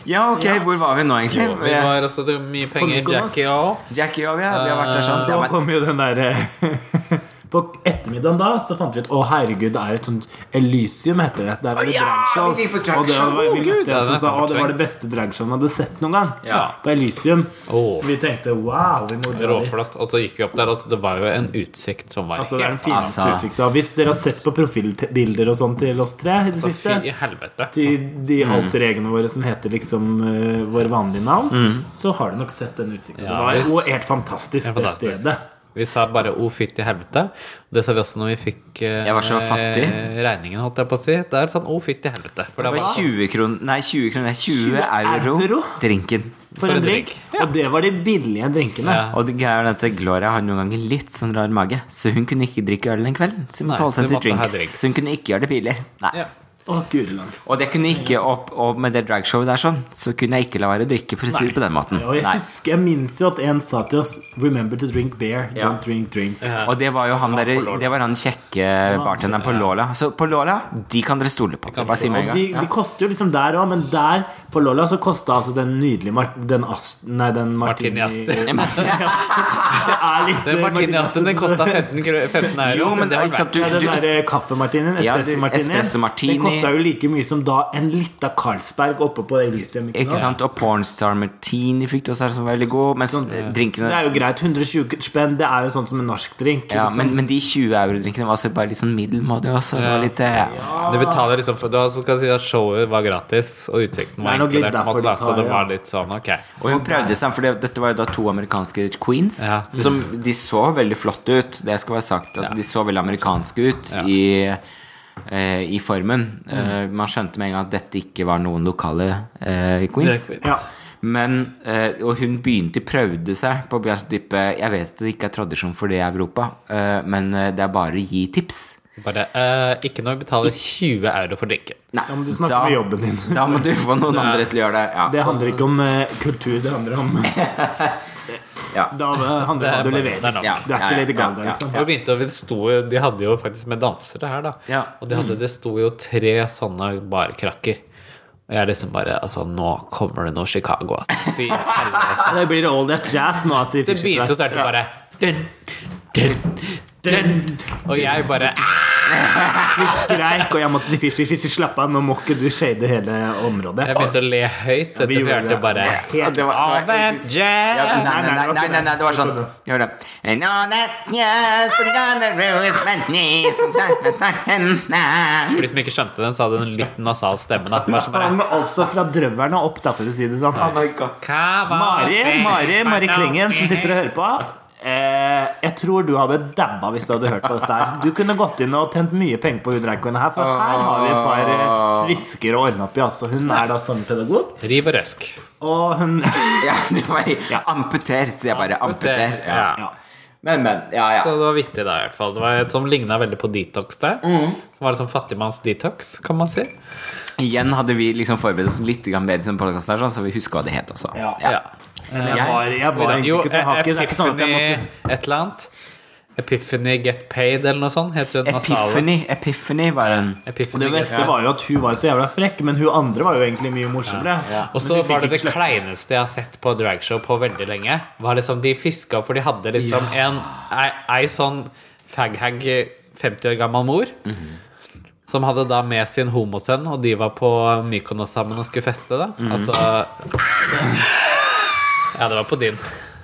Speaker 3: Ja, ok, hvor var vi nå, egentlig?
Speaker 2: Vi var også til mye penger,
Speaker 1: Mykonos.
Speaker 2: Jackie og
Speaker 3: Jackie og vi, har- vi har vært der
Speaker 2: Eh,
Speaker 3: sånn.
Speaker 1: Så
Speaker 3: Ja, men-
Speaker 1: kom jo den derre På ettermiddagen da så fant vi ut Å, herregud, det er et sånt Elysium, heter det. Der er det
Speaker 3: ja,
Speaker 1: dragshow.
Speaker 3: vi gikk på dragshow.
Speaker 1: Og det var,
Speaker 2: Å,
Speaker 1: vi
Speaker 2: Gud,
Speaker 1: møtte en
Speaker 2: det
Speaker 1: som sa
Speaker 2: er
Speaker 1: å, det var
Speaker 2: fortrengt.
Speaker 1: det beste dragshowet han hadde sett noen gang.
Speaker 3: Ja.
Speaker 1: På Elysium.
Speaker 2: Å.
Speaker 1: Så vi tenkte wow, vi må dra dit.
Speaker 2: Råflott. Og så gikk vi opp der, altså. Det var jo en utsikt som var
Speaker 1: Altså, det er den
Speaker 2: helt
Speaker 1: fineste
Speaker 3: Altså.
Speaker 1: utsikta. Hvis dere har sett på profilbilder og sånn til oss tre i det
Speaker 2: Fy
Speaker 1: siste,
Speaker 2: i helvete.
Speaker 1: til de alter egene våre som heter liksom eh, vår vanlige navn, så har du nok sett den utsikten.
Speaker 2: Ja,
Speaker 1: det var
Speaker 2: visst.
Speaker 1: jo helt fantastisk,
Speaker 2: Helt
Speaker 1: det
Speaker 2: fantastisk.
Speaker 1: stedet.
Speaker 2: Vi sa bare 'o fytti helvete'. Det sa vi også når vi fikk eh,
Speaker 3: Jeg var så fattig.
Speaker 2: regningen, holdt jeg på å si. Det er sånn 'o fytti helvete'. For det
Speaker 3: Det var
Speaker 2: var
Speaker 3: 20 kroner Nei, 20 kroner. 20
Speaker 1: euro?
Speaker 3: euro. Drinken.
Speaker 1: For en drink. Og det var de billige drinkene.
Speaker 2: Ja.
Speaker 3: Og det greia er at Gloria har noen ganger litt sånn rar mage, så hun kunne ikke drikke øl den kvelden. Så hun
Speaker 2: Nei,
Speaker 3: måtte holde
Speaker 2: så
Speaker 3: seg
Speaker 2: hun
Speaker 3: til
Speaker 2: måtte ha
Speaker 3: drinks.
Speaker 2: drinks.
Speaker 3: Så hun kunne ikke gjøre det pinlig. Nei.
Speaker 2: ja.
Speaker 1: Å, guri land.
Speaker 3: Og det kunne ikke opp, og med det dragshowet der sånn, så kunne jeg ikke la være å drikke, for å si det på den måten.
Speaker 1: Ja, og jeg
Speaker 3: Nei.
Speaker 1: husker, jeg minnes jo at en sa til oss 'Remember to drink beer,
Speaker 3: Ja.
Speaker 1: don't drink drink'.
Speaker 3: Og det var jo han der, det var han kjekke bartenderen på Lola. Så på Lola, de kan dere stole på.
Speaker 2: kan
Speaker 3: Bare si med en
Speaker 1: De,
Speaker 3: gang.
Speaker 1: de koster jo liksom der òg, men der på Lolla så kosta altså den nydelige mar den ast... Nei, den
Speaker 2: Martini
Speaker 1: martini...
Speaker 2: Astor.
Speaker 1: Ja, det er litt
Speaker 2: Den
Speaker 1: Martini
Speaker 2: martiniasten den
Speaker 1: Astor.
Speaker 2: kosta 15, kro- 15 euro.
Speaker 3: Jo, men det var
Speaker 2: var
Speaker 3: ikke sant,
Speaker 1: Ja,
Speaker 3: du,
Speaker 1: den
Speaker 3: du
Speaker 1: der eh, kaffemartinien,
Speaker 3: Ja, du-
Speaker 1: espressomartinien,
Speaker 3: espressomartini.
Speaker 1: den kosta jo like mye som da en lita Carlsberg oppe på Elystuen.
Speaker 3: Ikke sant? Og Pornstar Martini fikk du også her, som var veldig god. Mens
Speaker 1: Det
Speaker 3: drinkene
Speaker 1: Sånn er jo greit. 120 spenn, det er jo sånn som en norsk drink.
Speaker 3: ja,
Speaker 1: liksom.
Speaker 3: men, men de 20 euro-drinkene var også bare litt sånn middelmådige også. Det var litt eh,
Speaker 2: Du betaler liksom for det, var- så skal jeg si at showet var gratis, og utsikten var
Speaker 1: Det er nok litt
Speaker 2: inkludert.
Speaker 1: derfor de
Speaker 2: måtte da,
Speaker 1: tar,
Speaker 2: Så det var
Speaker 1: ja.
Speaker 2: litt sånn, ok.
Speaker 3: Og hun prøvde seg, for det, dette var jo da to amerikanske queens.
Speaker 2: Ja.
Speaker 3: Som De så veldig flotte ut, det skal være sagt. Altså, De så veldig amerikanske ut i, eh, i formen. Eh, man skjønte med en gang at dette ikke var noen lokale eh, queens.
Speaker 2: Direkte.
Speaker 1: Ja.
Speaker 3: Men, eh, og hun begynte prøvde seg på å bli altså type Jeg vet at det ikke er tradisjon for det i Europa, eh, men eh, det er bare å gi tips.
Speaker 2: Bare, eh, ikke når vi betaler 20 euro for drinken.
Speaker 3: Nei,
Speaker 1: Da må du snakke med jobben din.
Speaker 3: Da må du få noen andre til å gjøre det. Ja.
Speaker 1: Det handler ikke om eh, kultur, det handler om
Speaker 3: Ja.
Speaker 1: Da handler det om hva du
Speaker 2: bare-
Speaker 1: leverer.
Speaker 2: det er nok.
Speaker 3: Ja.
Speaker 1: Du er ikke Lady
Speaker 3: ja,
Speaker 1: Gaga,
Speaker 3: ja,
Speaker 1: liksom.
Speaker 2: Og vi begynte, og vi sto, jo- de hadde jo faktisk med dansere her, da.
Speaker 3: Ja.
Speaker 2: Og de
Speaker 1: Mm.
Speaker 2: hadde, det sto jo tre sånne barkrakker. Og jeg liksom bare Altså, nå kommer det noe Chicago, altså. Fy helvete.
Speaker 1: Det blir det all that jazz nå, sier
Speaker 2: Det begynte å
Speaker 1: Fisher-Price.
Speaker 2: starte bare dun, dun, dun. Og jeg bare
Speaker 1: Vi skreik, og jeg måtte si Fisher, Fisher, slapp av, nå må ikke du shade hele området.
Speaker 2: Jeg begynte å le høyt. Dette
Speaker 1: vi gjorde
Speaker 2: hørte
Speaker 1: det.
Speaker 2: bare
Speaker 3: Ja, det var-
Speaker 2: All that
Speaker 3: Ja,
Speaker 2: jazz.
Speaker 3: nei, nei, nei, nei, nei, nei, det var sånn Hør da And all that yes, I'm gonna ruin my knees, I'm gonna start and now.
Speaker 2: For de som ikke skjønte den, så hadde hun en litt nasal stemme. Da. Bare sånn bare,
Speaker 1: Sang altså fra drøverne opp, da, for å si det sånn.
Speaker 2: Hva var
Speaker 1: Mari,
Speaker 2: det?
Speaker 1: Mari, Mari Klingen, som sitter og hører på. Eh, jeg tror du hadde dabba hvis du hadde hørt på dette. her Du kunne gått inn og tjent mye penger på hun dragqueena her, for her har vi et par eh, svisker å ordne opp i. Altså. Hun er da sangpedagog,
Speaker 2: Riv og røsk.
Speaker 1: og hun
Speaker 3: Ja, det var amputert, sier jeg bare. Amputer. Ja.
Speaker 2: Ja.
Speaker 1: ja.
Speaker 3: Men, men. Ja,
Speaker 2: Så
Speaker 3: ja.
Speaker 2: det var vittig da, i hvert fall. Det var et som ligna veldig på detox der.
Speaker 1: Mm.
Speaker 2: Det var liksom fattigmanns-detox, kan man si.
Speaker 3: Igjen hadde vi liksom forberedt oss litt grann bedre som podkast, så vi husker hva det het også.
Speaker 1: Ja.
Speaker 3: Ja.
Speaker 1: Men jeg var, jeg var egentlig
Speaker 2: Eh, Jo, eh,
Speaker 1: ikke fra Haken. Det er ikke sånn at jeg
Speaker 2: Epiphany
Speaker 1: måtte
Speaker 2: et eller annet. Epiphany Get Paid eller noe sånt. Heter den nasale.
Speaker 3: Epiphany. Epiphany var en
Speaker 1: Og det
Speaker 2: Epiphany Get
Speaker 1: beste
Speaker 2: Paid.
Speaker 1: var jo at hun var så jævla frekk, men hun andre var jo egentlig mye morsommere.
Speaker 2: Og så var det det kleineste jeg har sett på dragshow på veldig lenge. Var liksom De fiska for de hadde liksom en ei, ei sånn faghag 50 år gammel mor. Som hadde da med sin homosønn, og de var på Mykonos sammen og skulle feste. da
Speaker 1: Mhm.
Speaker 2: Altså Ja, det var på din.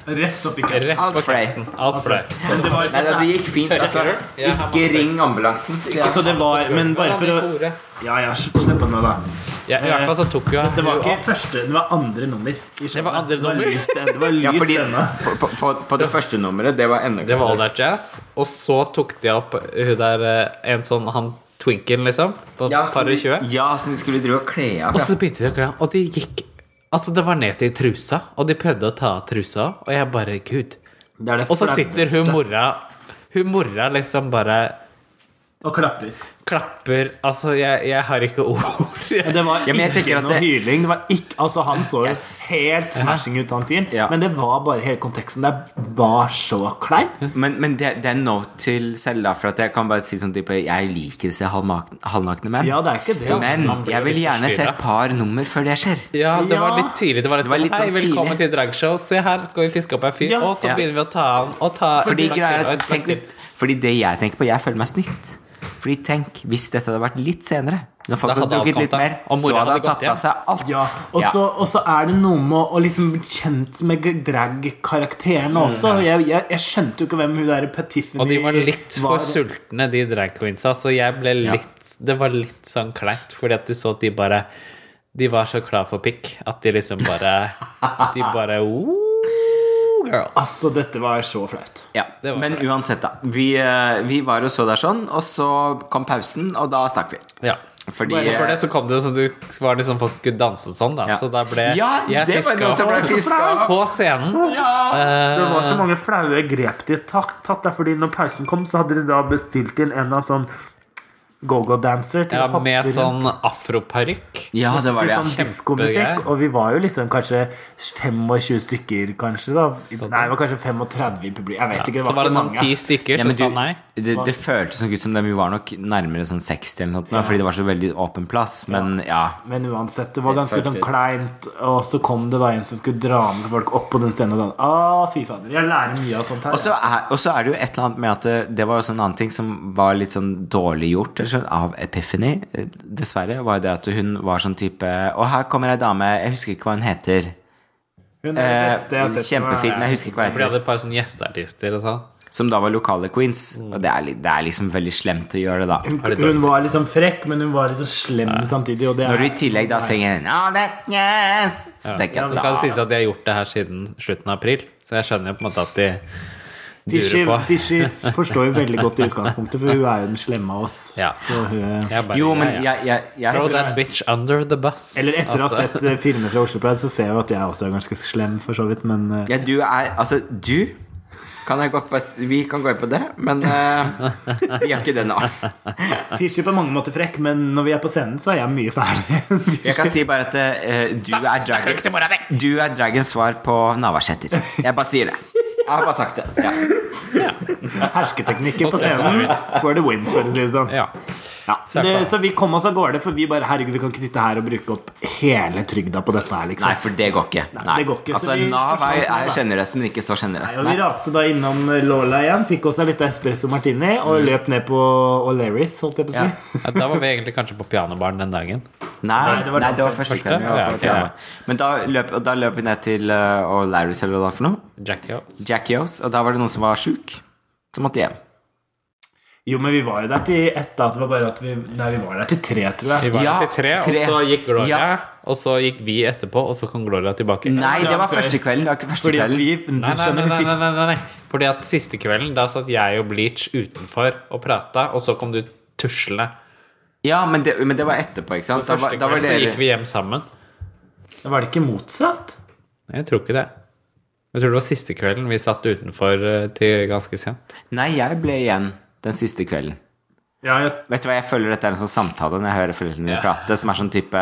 Speaker 1: Rett opp i kø.
Speaker 2: Rett
Speaker 3: Alt
Speaker 2: på
Speaker 3: fløy.
Speaker 2: kapsen. Alt fløy.
Speaker 1: Men det var
Speaker 3: Nei, da, det gikk fint, altså.
Speaker 2: Ja.
Speaker 3: Ikke ring ambulansen. sier jeg.
Speaker 1: Så det var Men bare for å
Speaker 2: Ordet.
Speaker 1: Ja, ja, slipp av nå, da.
Speaker 2: Ja, I hvert fall så tok jo
Speaker 1: Det var
Speaker 2: hun-
Speaker 1: ikke første, det var andre nummer. i
Speaker 2: Det var andre
Speaker 1: showet.
Speaker 2: nummer.
Speaker 1: Det var lyst, det var lyst
Speaker 3: Ja, fordi
Speaker 1: ennå.
Speaker 3: på, på- på, på det første nummeret, det var enda
Speaker 2: Det var All That Jazz. Og så tok de opp hun der eh, En sånn han Twinken, liksom. På
Speaker 3: Ja,
Speaker 2: ja,
Speaker 3: så
Speaker 2: par
Speaker 3: de,
Speaker 2: og tjue.
Speaker 3: ja, så de skulle drive og kle av.
Speaker 2: Og
Speaker 3: Ja.
Speaker 2: så begynte de å klare Og de gikk Altså, det var ned til trusa, og de prøvde å ta av trusa, og jeg bare Gud.
Speaker 1: Det er det
Speaker 2: Og så
Speaker 1: flaut.
Speaker 2: sitter hun mora Hun mora liksom bare
Speaker 1: Og klapper.
Speaker 2: klapper Altså, jeg, jeg har ikke ord.
Speaker 1: Men Det var
Speaker 3: Ja, men jeg tenker
Speaker 1: ikke
Speaker 3: at
Speaker 1: noe
Speaker 3: det-
Speaker 1: hyling. Det var ikke, altså, han så jo
Speaker 3: Yes.
Speaker 1: helt smashing ut, han fyren.
Speaker 3: Ja.
Speaker 1: Men det var bare hele konteksten. Det var så kleint.
Speaker 3: Men, men det, det er no til selv, da. For at jeg kan bare si sånn type Jeg liker å se halvmak- halvnakne menn.
Speaker 1: Ja, det er ikke det. altså.
Speaker 3: men
Speaker 2: man blir
Speaker 3: jeg vil
Speaker 2: litt
Speaker 3: gjerne se
Speaker 2: forstyrret.
Speaker 3: et par nummer før det skjer.
Speaker 2: Ja, det
Speaker 1: Ja.
Speaker 2: var litt tidlig. Det var litt,
Speaker 3: Det var litt
Speaker 2: sånn, Hei,
Speaker 3: sånn
Speaker 2: velkommen
Speaker 3: tidlig.
Speaker 2: til dragshow. Se her, skal vi fiske opp en fyr?
Speaker 1: Ja.
Speaker 2: Og så
Speaker 3: Ja.
Speaker 2: begynner vi å ta han og ta
Speaker 3: Fordi,
Speaker 2: og ta-
Speaker 3: greier,
Speaker 2: og-
Speaker 3: at- tenk hvis, fordi det jeg tenker på Jeg føler meg snytt. Fordi tenk, hvis dette hadde vært litt senere Når folk
Speaker 2: Da
Speaker 3: hadde
Speaker 2: hadde
Speaker 3: drukket litt
Speaker 2: alt
Speaker 3: mer,
Speaker 2: kommet, da. Og
Speaker 3: så
Speaker 2: mora
Speaker 3: hadde
Speaker 2: hadde
Speaker 3: han tatt
Speaker 2: gått hjem.
Speaker 3: av seg alt.
Speaker 1: Ja, og
Speaker 3: Ja.
Speaker 1: så, og så er det noe med å, å liksom bli kjent med g- drag-karakterene også.
Speaker 3: Mm.
Speaker 1: Jeg, jeg, jeg skjønte jo ikke hvem hun der Petiffany
Speaker 2: Og de var litt for
Speaker 1: var.
Speaker 2: sultne, de drag queensa, så jeg ble
Speaker 3: Ja.
Speaker 2: litt Det var litt sånn kleint, fordi at du så at de bare De var så klar for pikk at de liksom bare De bare Ooh, girl.
Speaker 1: Altså, dette var så flaut.
Speaker 3: Ja,
Speaker 2: Det var
Speaker 3: Men uansett, da. Vi, eh, vi var og så der sånn, og så kom pausen, og da stakk vi.
Speaker 2: Ja.
Speaker 3: Fordi
Speaker 2: Og for
Speaker 3: eh,
Speaker 2: det så kom det sånn Du var liksom folk skulle danse sånn, da,
Speaker 3: Ja.
Speaker 2: så da ble
Speaker 3: Ja, det var noe som ble
Speaker 2: opp
Speaker 3: fiska opp.
Speaker 2: på scenen.
Speaker 1: Det var
Speaker 3: Eh.
Speaker 1: så mange flaue grep de tatt, tatt der, fordi når pausen kom, så hadde de da bestilt inn en eller annen sånn go-go-dancer til
Speaker 2: Ja,
Speaker 1: å hoppe
Speaker 2: med sånn
Speaker 1: rundt.
Speaker 2: afroparykk.
Speaker 3: Ja, det
Speaker 1: Til
Speaker 3: var det.
Speaker 1: sånn
Speaker 3: ja.
Speaker 1: diskomusikk.
Speaker 2: Kjempegreier.
Speaker 1: Og vi var jo liksom kanskje 25 stykker, kanskje. da Nei, det var kanskje 35 i publikum. Jeg vet ikke, det
Speaker 2: Så
Speaker 1: var,
Speaker 2: var det
Speaker 1: ikke
Speaker 2: noen
Speaker 1: mange.
Speaker 2: ti stykker
Speaker 3: Ja,
Speaker 2: som
Speaker 3: men
Speaker 2: sa
Speaker 1: sånn
Speaker 3: du-
Speaker 2: nei.
Speaker 3: Det, det føltes som, Gud, som det, vi var nok nærmere sånn 60 eller noe, fordi det var så veldig åpen plass. Men ja.
Speaker 1: Men uansett, det var
Speaker 3: Det
Speaker 1: ganske sånn
Speaker 3: føltes-
Speaker 1: kleint. Og så kom det da en som skulle dra med folk opp på den scenen. Og da, ah, fy fader, jeg lærer mye av sånt her.
Speaker 3: Og så er, og så er det jo et eller annet med at det, det var også en annen ting som var litt sånn dårlig gjort eller sånn, av Epiphany, eh, dessverre, var jo det at hun var sånn type Og her kommer ei dame, jeg husker ikke hva hun heter.
Speaker 1: Hun er
Speaker 3: Eh,
Speaker 1: det beste jeg har sett på meg.
Speaker 3: kjempefin, men jeg husker ikke hva hun
Speaker 2: For de
Speaker 3: heter.
Speaker 2: hadde et par sånne gjesteartister og sånn.
Speaker 3: Som da var lokale queens. Og det er, li- det er liksom veldig slemt å gjøre det, da.
Speaker 2: Er det
Speaker 1: Mm. Hun var liksom frekk, men hun var liksom slem samtidig. Og det
Speaker 3: Når du i
Speaker 1: er
Speaker 3: tillegg da synger «Ah, that yes»,
Speaker 2: Men
Speaker 3: Så tenker jeg
Speaker 2: det skal
Speaker 3: da
Speaker 2: sies at de har gjort det her siden slutten av april, så jeg skjønner jo på en måte at de
Speaker 1: Fishy,
Speaker 2: durer på.
Speaker 1: Fishy forstår jo veldig godt i utgangspunktet, for hun er jo den slemme av oss.
Speaker 2: Ja.
Speaker 1: Så hun
Speaker 2: Jeg bare,
Speaker 3: Jo, men
Speaker 2: ja, ja.
Speaker 3: jeg, jeg, jeg,
Speaker 2: Throw that bitch under the bus.
Speaker 1: Eller etter å ha
Speaker 2: Altså,
Speaker 1: sett eh, filmer fra Oslo Pride, så ser jeg jo at jeg også er ganske slem, for så vidt, men eh,
Speaker 3: Ja, du er Altså, du kan jeg godt bare s- Vi kan gå inn på det, men eh, vi gjør ikke det nå.
Speaker 1: Fishy på mange måter frekk, men når vi er på scenen, så er jeg mye fælere.
Speaker 3: Jeg kan si bare at eh, du er dragen Du er dragens svar på Navarsete. Jeg bare sier det. Jeg har bare sagt det. Ja.
Speaker 1: Hersketeknikker på
Speaker 2: Ok, så er
Speaker 1: scenen for the win, for å si det sånn.
Speaker 2: Ja.
Speaker 1: Ja,
Speaker 2: Så er det
Speaker 1: det,
Speaker 2: klart.
Speaker 1: så vi kom oss av gårde, for vi bare Herregud, vi kan ikke sitte her og bruke opp hele trygda på dette her, liksom.
Speaker 3: Nei, for det går ikke. Nei.
Speaker 1: det går ikke, så
Speaker 3: Altså,
Speaker 1: vi
Speaker 3: Nav er,
Speaker 1: forsvant
Speaker 3: er
Speaker 1: Nav, da.
Speaker 3: generøst, men ikke så generøst.
Speaker 1: Og vi
Speaker 3: Nei.
Speaker 1: raste da innom eh, Lola igjen, fikk oss en liten espresso martini og løp ned på O'Learys, holdt jeg på å si.
Speaker 2: Mm. ja, Da var vi egentlig kanskje på pianobaren den dagen.
Speaker 3: Nei,
Speaker 1: Nei, det var
Speaker 3: nei, det var
Speaker 1: den
Speaker 3: første
Speaker 2: første.
Speaker 3: kvelden. vi var
Speaker 2: Ja,
Speaker 3: på
Speaker 2: ok, ja.
Speaker 3: programmet. Men da løp, og da løp vi ned til uh, og Larrys eller hva det var for noe.
Speaker 2: Jack Yost.
Speaker 3: Jack Yos. Og da var det noen som var sjuk, som måtte hjem.
Speaker 1: Jo, men vi var jo der til ett, da. Det var bare at vi Nei, vi var der til tre, tror
Speaker 2: Vi
Speaker 1: jeg.
Speaker 2: var
Speaker 3: Ja,
Speaker 2: der til tre,
Speaker 3: tre.
Speaker 2: og så gikk Gloria,
Speaker 3: Ja.
Speaker 2: og så gikk vi etterpå, og så kom Gloria tilbake.
Speaker 3: Nei,
Speaker 1: det
Speaker 3: det
Speaker 1: var
Speaker 3: var
Speaker 1: før.
Speaker 3: første kvelden. Det var ikke første
Speaker 1: Fordi at
Speaker 3: kvelden.
Speaker 1: vi
Speaker 2: Nei,
Speaker 1: Du
Speaker 2: nei, nei,
Speaker 1: skjønner, vi
Speaker 2: nei, nei,
Speaker 1: fikk
Speaker 2: nei, nei. Fordi at siste kvelden, da satt jeg og Bleach utenfor og prata, og så kom du tuslende.
Speaker 3: Ja, men det, men det var etterpå, ikke sant? Da var,
Speaker 2: Første
Speaker 3: da var
Speaker 2: kvelden så
Speaker 3: dere
Speaker 2: gikk vi hjem sammen.
Speaker 1: Var det ikke motsatt?
Speaker 2: Jeg tror ikke det. Jeg tror det var siste kvelden vi satt utenfor eh, til ganske sent.
Speaker 3: Nei, jeg ble igjen den siste kvelden.
Speaker 1: Ja, jeg
Speaker 3: Vet du hva, jeg føler dette er en sånn samtale når jeg hører foreldrene mine prate, som er sånn type